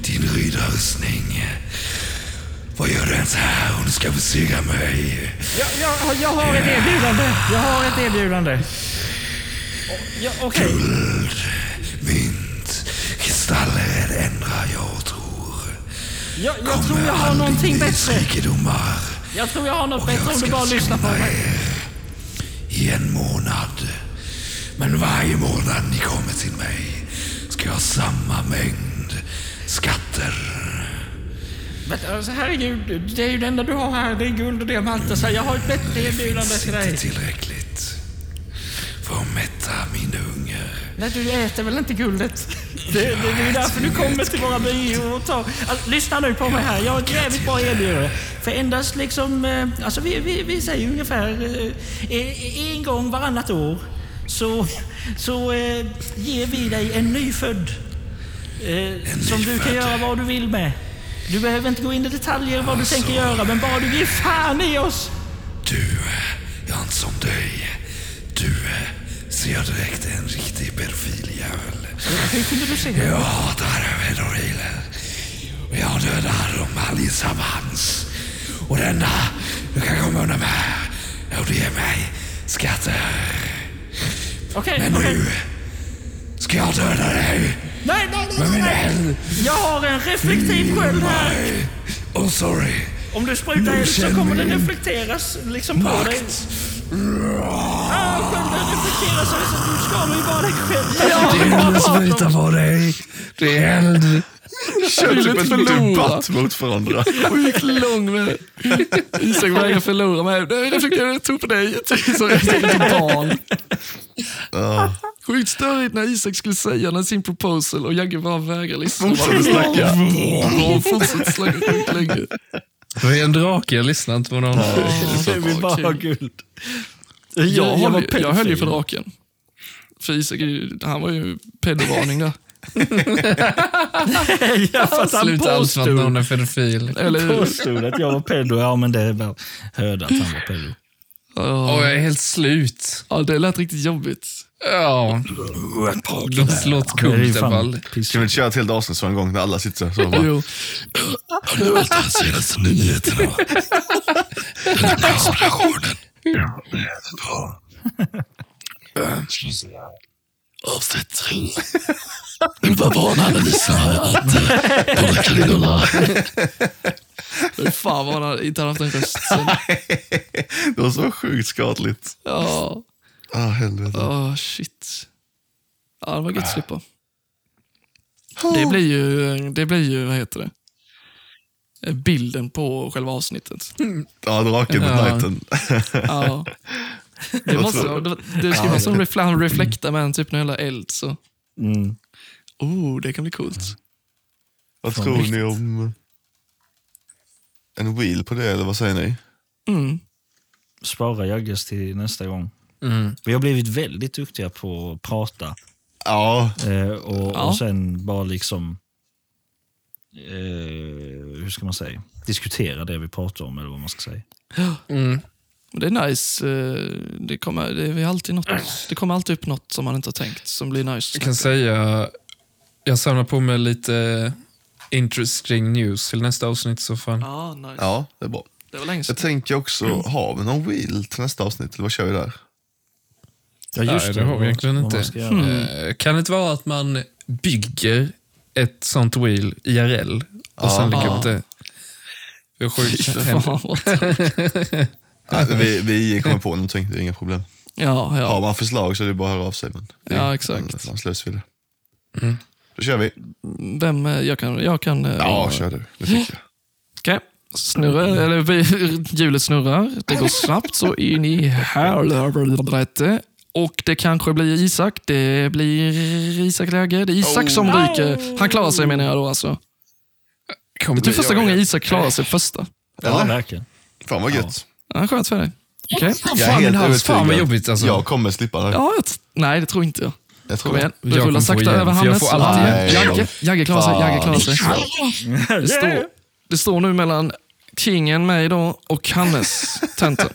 [SPEAKER 4] din riddarrustning. Vad gör du ens här om du ska besegra mig?
[SPEAKER 5] Jag, jag, jag har ett erbjudande. Jag har ett erbjudande. Ja, Okej.
[SPEAKER 4] Mynt, kristaller ändrar jag och tror.
[SPEAKER 5] Jag, jag tror jag har någonting bättre.
[SPEAKER 4] Rikedomar
[SPEAKER 5] Jag tror jag har något bättre om du bara lyssnar på mig.
[SPEAKER 4] i en månad. Men varje månad ni kommer till mig ska jag ha samma mängd skatter.
[SPEAKER 5] Men alltså, herregud, det är ju det enda du har här. Det är guld och diamanter. Så jag har ett bättre erbjudande till dig.
[SPEAKER 4] Inte tillräckligt för att mätta min hunger.
[SPEAKER 5] Nej, du äter väl inte guldet? Det, det, det är ju därför du kommer till våra byar och tar... Alltså, lyssna nu på mig här. Jag har ett jävligt bra erbjudande. För endast liksom... eh, Alltså vi, vi, vi säger ungefär eh, eh, en gång varannat år så, så eh, ger vi dig en nyfödd. Eh, som du kan göra vad du vill med. Du behöver inte gå in i detaljer vad du tänker göra, men bara du ger fan i oss.
[SPEAKER 4] Du, jag är inte som dig. Du eh, ser direkt en riktig pedofiljävel.
[SPEAKER 5] Hur kunde du säga
[SPEAKER 4] Jag hatar pedofiler. Och jag dödar dem allesammans. Och det enda du kan komma undan med är att ge mig skatter.
[SPEAKER 5] Okej,
[SPEAKER 4] Men
[SPEAKER 5] okej.
[SPEAKER 4] nu ska jag döda dig
[SPEAKER 5] Nej, nej,
[SPEAKER 4] med
[SPEAKER 5] nej,
[SPEAKER 4] min
[SPEAKER 5] nej!
[SPEAKER 4] eld.
[SPEAKER 5] Jag har en reflektiv sköld här.
[SPEAKER 4] Nej. Oh, sorry.
[SPEAKER 5] Om du sprutar eld så
[SPEAKER 4] känner
[SPEAKER 5] kommer den
[SPEAKER 4] min
[SPEAKER 5] reflekteras liksom på dig.
[SPEAKER 4] Makt.
[SPEAKER 5] Ja, skölden reflekteras så att du skadar ju bara dig själv.
[SPEAKER 4] Det är eld som litar på dig. Det är eld.
[SPEAKER 2] Kör
[SPEAKER 1] vill
[SPEAKER 2] typ
[SPEAKER 1] inte
[SPEAKER 2] en
[SPEAKER 1] förlora.
[SPEAKER 2] debatt mot varandra.
[SPEAKER 1] Sjukt lång med Isak vägrar förlora mig. Nej, det fick jag tro på dig. Så jag tänkte på barn. Sjukt störigt när Isak skulle säga när sin proposal och Jagge bara vägrar lyssna.
[SPEAKER 2] Fortsätter snacka.
[SPEAKER 1] Ja, fortsätter snacka sjukt länge.
[SPEAKER 4] Det är en drake. Jag lyssnar inte på någon.
[SPEAKER 3] Jag vill bara ha
[SPEAKER 1] kul.
[SPEAKER 3] guld.
[SPEAKER 1] Jag,
[SPEAKER 3] var
[SPEAKER 1] höll, ju- jag höll ju
[SPEAKER 3] pedofil.
[SPEAKER 1] för draken. För Isak, är ju- han var ju pedovarning där.
[SPEAKER 3] Ja, fast han
[SPEAKER 4] Sluta alls med att
[SPEAKER 3] påstod,
[SPEAKER 4] någon är pedofil.
[SPEAKER 1] Eller hur?
[SPEAKER 3] påstod att jag var pedo. Ja, men det var, hörde att han var pedo.
[SPEAKER 1] Ja.
[SPEAKER 4] Åh, jag är helt slut.
[SPEAKER 1] Ja, det lät riktigt jobbigt.
[SPEAKER 4] Ja. De slår ett
[SPEAKER 3] Det är ju
[SPEAKER 4] kumt i alla fall.
[SPEAKER 3] fan piss.
[SPEAKER 2] Kan vi inte köra ett helt avsnitt så en gång när alla sitter så? Bara,
[SPEAKER 1] Jo.
[SPEAKER 4] Nu har de senaste nyheterna. Den här konspirationen.
[SPEAKER 6] avsättning. Nu bara varnar alla lyssnare att eh, porrkallidorna...
[SPEAKER 1] Fy Fan vad han har inte haft en röst sen.
[SPEAKER 2] Det var så sjukt skadligt.
[SPEAKER 1] Ja,
[SPEAKER 2] Ah, helvete.
[SPEAKER 1] oh, shit. Ja, det var gött att slippa. Det blir ju, det blir ju, vad heter det? Bilden på själva avsnittet.
[SPEAKER 2] Ja, draken med
[SPEAKER 1] Ja.
[SPEAKER 2] knighten.
[SPEAKER 1] Ja. Det, måste,
[SPEAKER 2] tror-
[SPEAKER 1] det, det ska vara som refla- reflekta med en typ någon jävla eld. Så.
[SPEAKER 3] Mm.
[SPEAKER 1] Oh, det kan bli coolt.
[SPEAKER 2] Vad tror ni om en wheel på det, eller vad säger ni?
[SPEAKER 1] Mm.
[SPEAKER 3] Spara Jagges till nästa gång.
[SPEAKER 4] Mm.
[SPEAKER 3] Vi har blivit väldigt duktiga på att prata
[SPEAKER 2] Ja,
[SPEAKER 3] eh, och,
[SPEAKER 1] Ja.
[SPEAKER 3] och sen bara liksom... Eh, hur ska man säga? Diskutera det vi pratar om eller vad man ska säga.
[SPEAKER 4] Mm.
[SPEAKER 1] Och Det är nice. eh, Det kommer, det, är alltid något, det kommer alltid upp något som man inte har tänkt som blir nice.
[SPEAKER 4] Jag kan säga, jag samlar på mig lite interesting news till nästa avsnitt så fan.
[SPEAKER 1] Ja, nice.
[SPEAKER 2] ja, det är bra.
[SPEAKER 1] Det var länge sedan.
[SPEAKER 2] Jag tänker också, har vi någon wheel till nästa avsnitt? Eller vad kör vi där?
[SPEAKER 3] Ja,
[SPEAKER 4] Nej, det har vi egentligen
[SPEAKER 3] Vad man
[SPEAKER 4] inte.
[SPEAKER 3] ska göra.
[SPEAKER 4] Eh, Kan det inte vara att man bygger ett sånt wheel IRL och sen lägger upp det? Hur sjukt
[SPEAKER 1] Fy
[SPEAKER 4] händer?
[SPEAKER 1] fan, vad-
[SPEAKER 2] Nej, vi, vi kommer på någonting, det är inga problem.
[SPEAKER 1] Ja,
[SPEAKER 2] Har
[SPEAKER 1] ja.
[SPEAKER 2] man förslag så är det bara att höra av sig. Men det är
[SPEAKER 1] Ja,
[SPEAKER 2] en-
[SPEAKER 1] exakt.
[SPEAKER 2] en Anslös vill det. Då kör vi.
[SPEAKER 1] Vem, eh, jag kan... Jag kan eh,
[SPEAKER 2] Ja, kör du. Det tycker jag.
[SPEAKER 1] Okej. Snurra, eller vi- hjulet snurrar. Det går snabbt så in i helvete. Och det kanske blir Isak. Det blir Isak läge. Det är Isak som
[SPEAKER 4] Oh.
[SPEAKER 1] ryker. Han klarar sig menar jag då alltså.
[SPEAKER 4] Kommer
[SPEAKER 1] Det är
[SPEAKER 4] bli-
[SPEAKER 1] första
[SPEAKER 4] jag-
[SPEAKER 1] gången Isak klarar sig första.
[SPEAKER 3] Ja, verkligen.
[SPEAKER 2] Fan vad gött.
[SPEAKER 1] Ja, skönt för dig. Okej.
[SPEAKER 2] Jag är
[SPEAKER 4] Fan,
[SPEAKER 2] helt
[SPEAKER 4] min hals. Fan vad
[SPEAKER 2] övertygad.
[SPEAKER 4] jobbigt alltså.
[SPEAKER 2] Jag kommer slippa det.
[SPEAKER 1] Ja, jag t- nej, det tror inte jag.
[SPEAKER 2] jag tror
[SPEAKER 1] Kom igen.
[SPEAKER 2] det.
[SPEAKER 4] Jag
[SPEAKER 1] Du rullar
[SPEAKER 4] kommer få
[SPEAKER 1] sakta
[SPEAKER 4] igen,
[SPEAKER 1] över
[SPEAKER 4] för jag
[SPEAKER 1] Hannes.
[SPEAKER 4] får alltid
[SPEAKER 1] Nej,
[SPEAKER 2] igen.
[SPEAKER 1] Jagge, Jagge klarar sig. Jagge klarar sig. Det står, det står nu mellan kingen, mig då, och Hannes tenter.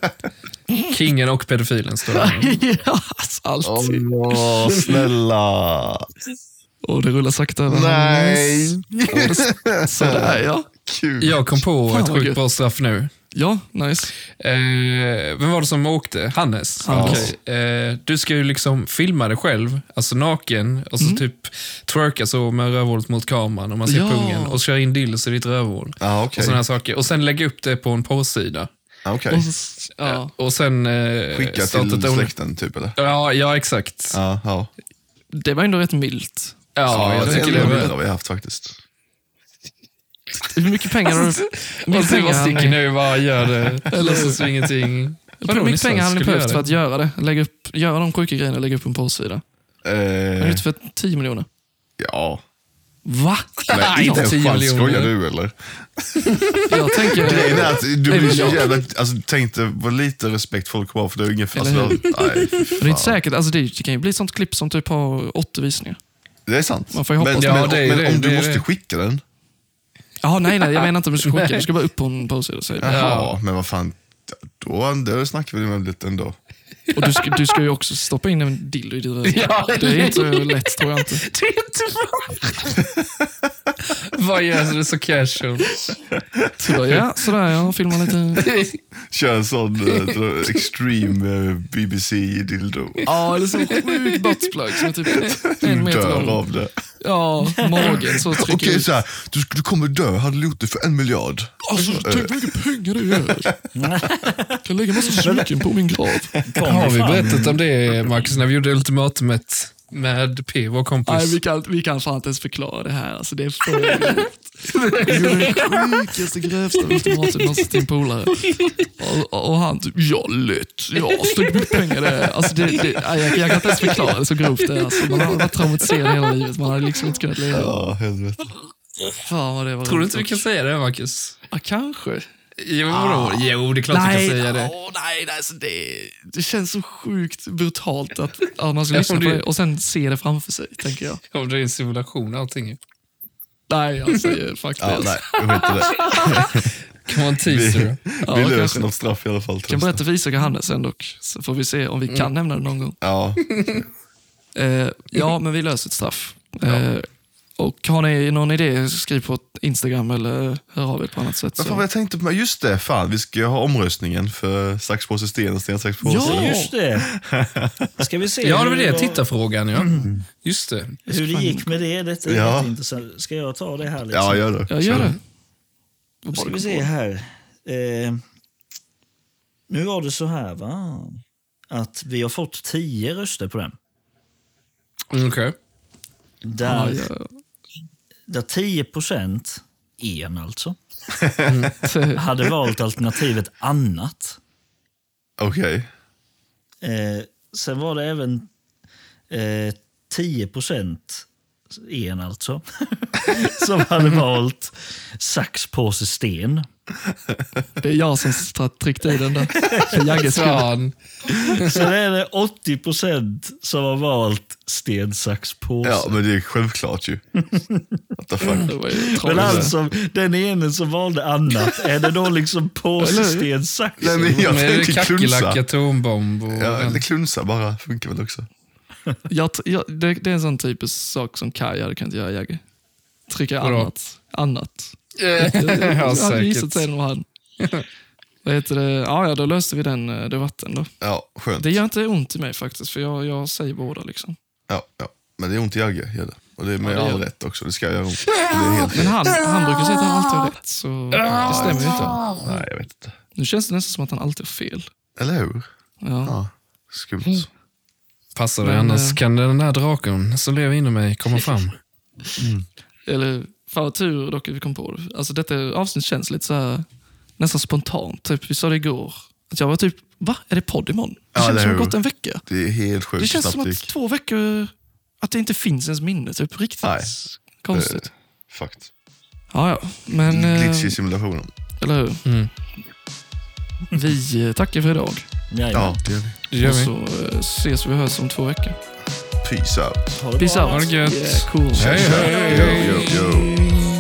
[SPEAKER 4] Kingen och pedofilen står där.
[SPEAKER 1] ja, alltså, alltid.
[SPEAKER 2] Åh, snälla.
[SPEAKER 1] Och det rullar sakta över
[SPEAKER 2] Nej.
[SPEAKER 1] Hannes. Sådär ja.
[SPEAKER 2] Kul.
[SPEAKER 4] Jag kom på
[SPEAKER 1] Fan,
[SPEAKER 4] ett
[SPEAKER 1] vad
[SPEAKER 4] sjukt
[SPEAKER 1] gött.
[SPEAKER 4] bra straff nu.
[SPEAKER 1] Ja, nice.
[SPEAKER 4] Eh, vem var det som åkte? Hannes?
[SPEAKER 1] Hannes.
[SPEAKER 4] Okej. Eh, du ska ju liksom filma dig själv, alltså naken, och så typ twerka så med rövhålet mot kameran och man ser
[SPEAKER 1] Mm. Ja.
[SPEAKER 4] pungen och köra in dildos i ditt rövhål.
[SPEAKER 2] Ja, okej.
[SPEAKER 4] Och såna här saker. Och sen lägga upp det på en porrsida.
[SPEAKER 2] Ja, okej.
[SPEAKER 1] Och så, ja.
[SPEAKER 4] Och sen... Eh,
[SPEAKER 2] Skicka
[SPEAKER 4] starta
[SPEAKER 2] till
[SPEAKER 4] ett own-
[SPEAKER 2] släkten typ eller?
[SPEAKER 4] Ja, ja, exakt. Ja,
[SPEAKER 2] Ja, ja.
[SPEAKER 1] Det var ändå rätt milt.
[SPEAKER 4] jag
[SPEAKER 2] det
[SPEAKER 4] tycker
[SPEAKER 2] är
[SPEAKER 4] det.
[SPEAKER 2] en bild
[SPEAKER 4] Var...
[SPEAKER 2] har vi haft faktiskt.
[SPEAKER 1] Hur mycket pengar har
[SPEAKER 2] Alltså,
[SPEAKER 1] du... hur
[SPEAKER 4] Och
[SPEAKER 1] mycket
[SPEAKER 4] sen
[SPEAKER 1] pengar
[SPEAKER 4] bara
[SPEAKER 1] han-
[SPEAKER 4] sticker nu, bara gör det. Eller så, så ingenting.
[SPEAKER 1] Hur
[SPEAKER 4] Vadå,
[SPEAKER 1] mycket
[SPEAKER 4] ni
[SPEAKER 1] pengar hade ni
[SPEAKER 4] skulle
[SPEAKER 1] behövt för
[SPEAKER 4] göra
[SPEAKER 1] att göra det? Lägga upp, göra de sjuka grejerna och lägga upp en porrsida? Är det
[SPEAKER 2] Eh,
[SPEAKER 1] inte för 10 miljoner?
[SPEAKER 2] ja.
[SPEAKER 1] Va?
[SPEAKER 2] Men inte en
[SPEAKER 4] 10
[SPEAKER 2] chans.
[SPEAKER 4] miljoner.
[SPEAKER 2] Skojar du eller?
[SPEAKER 1] Jag tänker...
[SPEAKER 2] Det är att du
[SPEAKER 1] Nej,
[SPEAKER 2] blir
[SPEAKER 1] men
[SPEAKER 2] så
[SPEAKER 1] jag-
[SPEAKER 2] jävla... Alltså, tänk dig vad lite respekt folk har för det. är Ungefär,
[SPEAKER 1] Eller
[SPEAKER 2] alltså, nej, fy
[SPEAKER 1] Men det är inte
[SPEAKER 2] fan.
[SPEAKER 1] säkert. Alltså det, det kan ju bli ett sånt klipp som typ har 80 visningar.
[SPEAKER 2] det är sant.
[SPEAKER 1] Man får ju hoppas.
[SPEAKER 2] men
[SPEAKER 4] Ja,
[SPEAKER 2] men,
[SPEAKER 4] det är
[SPEAKER 2] men
[SPEAKER 4] det,
[SPEAKER 2] om
[SPEAKER 4] det
[SPEAKER 2] du
[SPEAKER 4] är
[SPEAKER 2] måste
[SPEAKER 4] det.
[SPEAKER 2] skicka den?
[SPEAKER 1] Jaha, nej, nej. Jag menar inte att du ska skicka. Du ska bara upp på en porrsida. säger jag.
[SPEAKER 2] Jaha, men vad fan. Då, då snackar vi väl lite ändå.
[SPEAKER 1] Och du ska, du ska ju också stoppa in en dildo i ditt röv. Det är inte lätt tror jag inte.
[SPEAKER 4] Det är inte bra. Vad gör du så casual?
[SPEAKER 1] Sådär ja, sådär ja. Filma lite.
[SPEAKER 2] Kör en sån eh, dra- extreme eh, BBC-dildo.
[SPEAKER 1] Ja, eller så sjuk buttplug som är typ en
[SPEAKER 2] Du
[SPEAKER 1] meter
[SPEAKER 2] Mm, dör
[SPEAKER 1] lång.
[SPEAKER 2] av det.
[SPEAKER 1] Ja, magen så trycker
[SPEAKER 2] Okej,
[SPEAKER 1] ut.
[SPEAKER 2] så här, du, sk- du kommer dö. Hade du gjort det för en miljard?
[SPEAKER 1] Alltså, tänk vad mycket pengar det är. Jag kan lägga massa smycken på min grav.
[SPEAKER 3] Kom
[SPEAKER 4] Har vi
[SPEAKER 3] fram.
[SPEAKER 4] berättat om det, Marcus, när vi gjorde ultimatumet med P, vår kompis?
[SPEAKER 1] Nej, vi kan, vi kan fan inte ens förklara det här. Alltså, det är för Vi gjorde den sjukaste, grövsta ultimatumet någonsin till en polare. Och, och han typ, ja lätt. Ja, så mycket pengar det är. Alltså, det, det, nej, jag, jag kan inte ens förklara det så grovt det är. Alltså, man har varit traumatiserad hela livet. Man har liksom inte kunnat leva.
[SPEAKER 2] Ja, helvete.
[SPEAKER 1] Fan vad det var
[SPEAKER 4] Tror du
[SPEAKER 1] roligt
[SPEAKER 4] inte vi kan
[SPEAKER 1] också.
[SPEAKER 4] säga det, Marcus?
[SPEAKER 1] Ja, kanske.
[SPEAKER 4] Jo, ah. jo det är klart vi kan säga det.
[SPEAKER 1] åh, nej, nej, alltså det, det känns så sjukt brutalt att ja, man ska lyssna
[SPEAKER 4] om
[SPEAKER 1] på
[SPEAKER 4] det-
[SPEAKER 1] det och sen se det framför sig, tänker jag.
[SPEAKER 4] Om det är en simulation och allting.
[SPEAKER 1] Nej, jag säger faktiskt.
[SPEAKER 2] Ja, nej, jag vet inte det.
[SPEAKER 4] Kan vara en teaser. då.
[SPEAKER 1] Ja,
[SPEAKER 2] Vi
[SPEAKER 1] kanske.
[SPEAKER 2] löser något straff i alla fall.
[SPEAKER 1] Jag
[SPEAKER 2] tror
[SPEAKER 1] kan
[SPEAKER 2] jag.
[SPEAKER 1] berätta för Isak och Hannes sen dock, så får vi se om vi kan nämna det någon gång.
[SPEAKER 2] Ja,
[SPEAKER 1] Eh, ja, men vi löser ett straff. Eh, Och har ni någon idé, skriv på Instagram eller hör av er på annat sätt.
[SPEAKER 2] Vad fan
[SPEAKER 1] Så.
[SPEAKER 2] var jag tänkte på? men Just det, fan vi ska ha omröstningen för sax, påse, sten och sten, sax, påse.
[SPEAKER 1] Ja!
[SPEAKER 3] Just det. Ska vi se
[SPEAKER 4] Ja, det var
[SPEAKER 3] hur
[SPEAKER 4] det.
[SPEAKER 3] var-
[SPEAKER 4] Tittarfrågan, ja. Just det.
[SPEAKER 3] Hur det gick med det. Detta är
[SPEAKER 2] Ja.
[SPEAKER 3] jätteintressant. Ska jag ta det här? Liksom?
[SPEAKER 2] Ja, gör det.
[SPEAKER 1] Ja, gör det.
[SPEAKER 3] Då ska vi se här. Eh, nu var det så här, va? Att vi har fått tio röster på den.
[SPEAKER 4] Mm, Okej.
[SPEAKER 1] Ja,
[SPEAKER 3] Där, där 10 procent, en alltså,
[SPEAKER 1] ja.
[SPEAKER 3] hade valt alternativet annat.
[SPEAKER 2] Okej.
[SPEAKER 3] Eh, sen var det även eh, 10 procent, en alltså, som hade valt sax, påse, sten.
[SPEAKER 1] Det är jag som tra- tryckte i den där. För Jagges skull.
[SPEAKER 4] Fan.
[SPEAKER 3] Sen är det 80 procent som har valt sten, sax, påse.
[SPEAKER 2] Ja, men det är självklart ju. What the fuck.
[SPEAKER 1] Det var ju
[SPEAKER 3] Men
[SPEAKER 1] tragiskt.
[SPEAKER 3] alltså, den ene som valde annat, är det då liksom påse,
[SPEAKER 1] Eller hur?
[SPEAKER 3] sten, sax?
[SPEAKER 2] Nej, men jag
[SPEAKER 4] Med
[SPEAKER 2] tänker
[SPEAKER 4] kackerlack,
[SPEAKER 2] klunsa.
[SPEAKER 4] atombomb och...
[SPEAKER 2] typ Ja, eller klunsa bara. Funkar väl också.
[SPEAKER 1] Jag, t- jag, det, det är en sån typisk sak som Kaj hade kunnat göra, Jagge. Trycka
[SPEAKER 4] Vadå?
[SPEAKER 1] annat. Annat.
[SPEAKER 4] ja,
[SPEAKER 1] jag hade gissat
[SPEAKER 4] säkert.
[SPEAKER 1] sig nog han. Vad heter det? Ja, ja, då löste vi den eh, debatten då.
[SPEAKER 2] Ja, skönt.
[SPEAKER 1] Det gör inte ont i mig faktiskt, för jag, jag säger båda. liksom.
[SPEAKER 2] Ja, ja. Men det är ont i Jagge, gör det. Och det är med
[SPEAKER 1] det gör
[SPEAKER 2] all
[SPEAKER 1] det.
[SPEAKER 2] rätt också. Det ska göra ont. Det är helt
[SPEAKER 1] Men han, han brukar säga att han alltid har rätt, så det stämmer ju inte.
[SPEAKER 2] Nej, jag vet inte.
[SPEAKER 1] Nu känns det nästan som att han alltid har fel.
[SPEAKER 2] Eller hur?
[SPEAKER 1] Ja.
[SPEAKER 2] Ja.
[SPEAKER 1] Mm.
[SPEAKER 2] Skumt.
[SPEAKER 4] Passar det,
[SPEAKER 1] Men,
[SPEAKER 4] annars
[SPEAKER 1] eh,
[SPEAKER 4] kan den här draken som lever inom mig komma fram.
[SPEAKER 1] Eller, fan vad tur dock att vi kom på det. Alltså detta avsnitt känns lite så här, nästan spontant. Typ, vi sa det igår. Att jag var typ, va? Är det podd imorgon? Det
[SPEAKER 2] Ja,
[SPEAKER 1] känns
[SPEAKER 2] eller
[SPEAKER 1] som det
[SPEAKER 2] hur?
[SPEAKER 1] har gått en vecka.
[SPEAKER 2] Det är helt sjukt
[SPEAKER 1] Det
[SPEAKER 2] hur
[SPEAKER 1] känns
[SPEAKER 2] snabbt
[SPEAKER 1] som
[SPEAKER 2] det
[SPEAKER 1] att
[SPEAKER 2] gick.
[SPEAKER 1] två veckor, att det inte finns ens minne. Typ riktigt
[SPEAKER 2] Nej.
[SPEAKER 1] konstigt.
[SPEAKER 2] Fakt.
[SPEAKER 1] Ja, ja. Men, eh,
[SPEAKER 2] Eh, Glitch i simulationen.
[SPEAKER 1] eller hur?
[SPEAKER 4] Mm.
[SPEAKER 1] Vi eh, tackar för idag.
[SPEAKER 2] Ja,
[SPEAKER 3] Jajamän.
[SPEAKER 2] det gör vi.
[SPEAKER 4] Det gör
[SPEAKER 1] Och
[SPEAKER 4] vi.
[SPEAKER 1] så eh, ses vi och hörs om två veckor.
[SPEAKER 2] Peace out.
[SPEAKER 3] Ha det bra.
[SPEAKER 1] Peace
[SPEAKER 4] Ha
[SPEAKER 1] out.
[SPEAKER 4] det gött.
[SPEAKER 1] Yeah, cool.
[SPEAKER 4] Hej, hej.
[SPEAKER 2] Yo, yo, yo.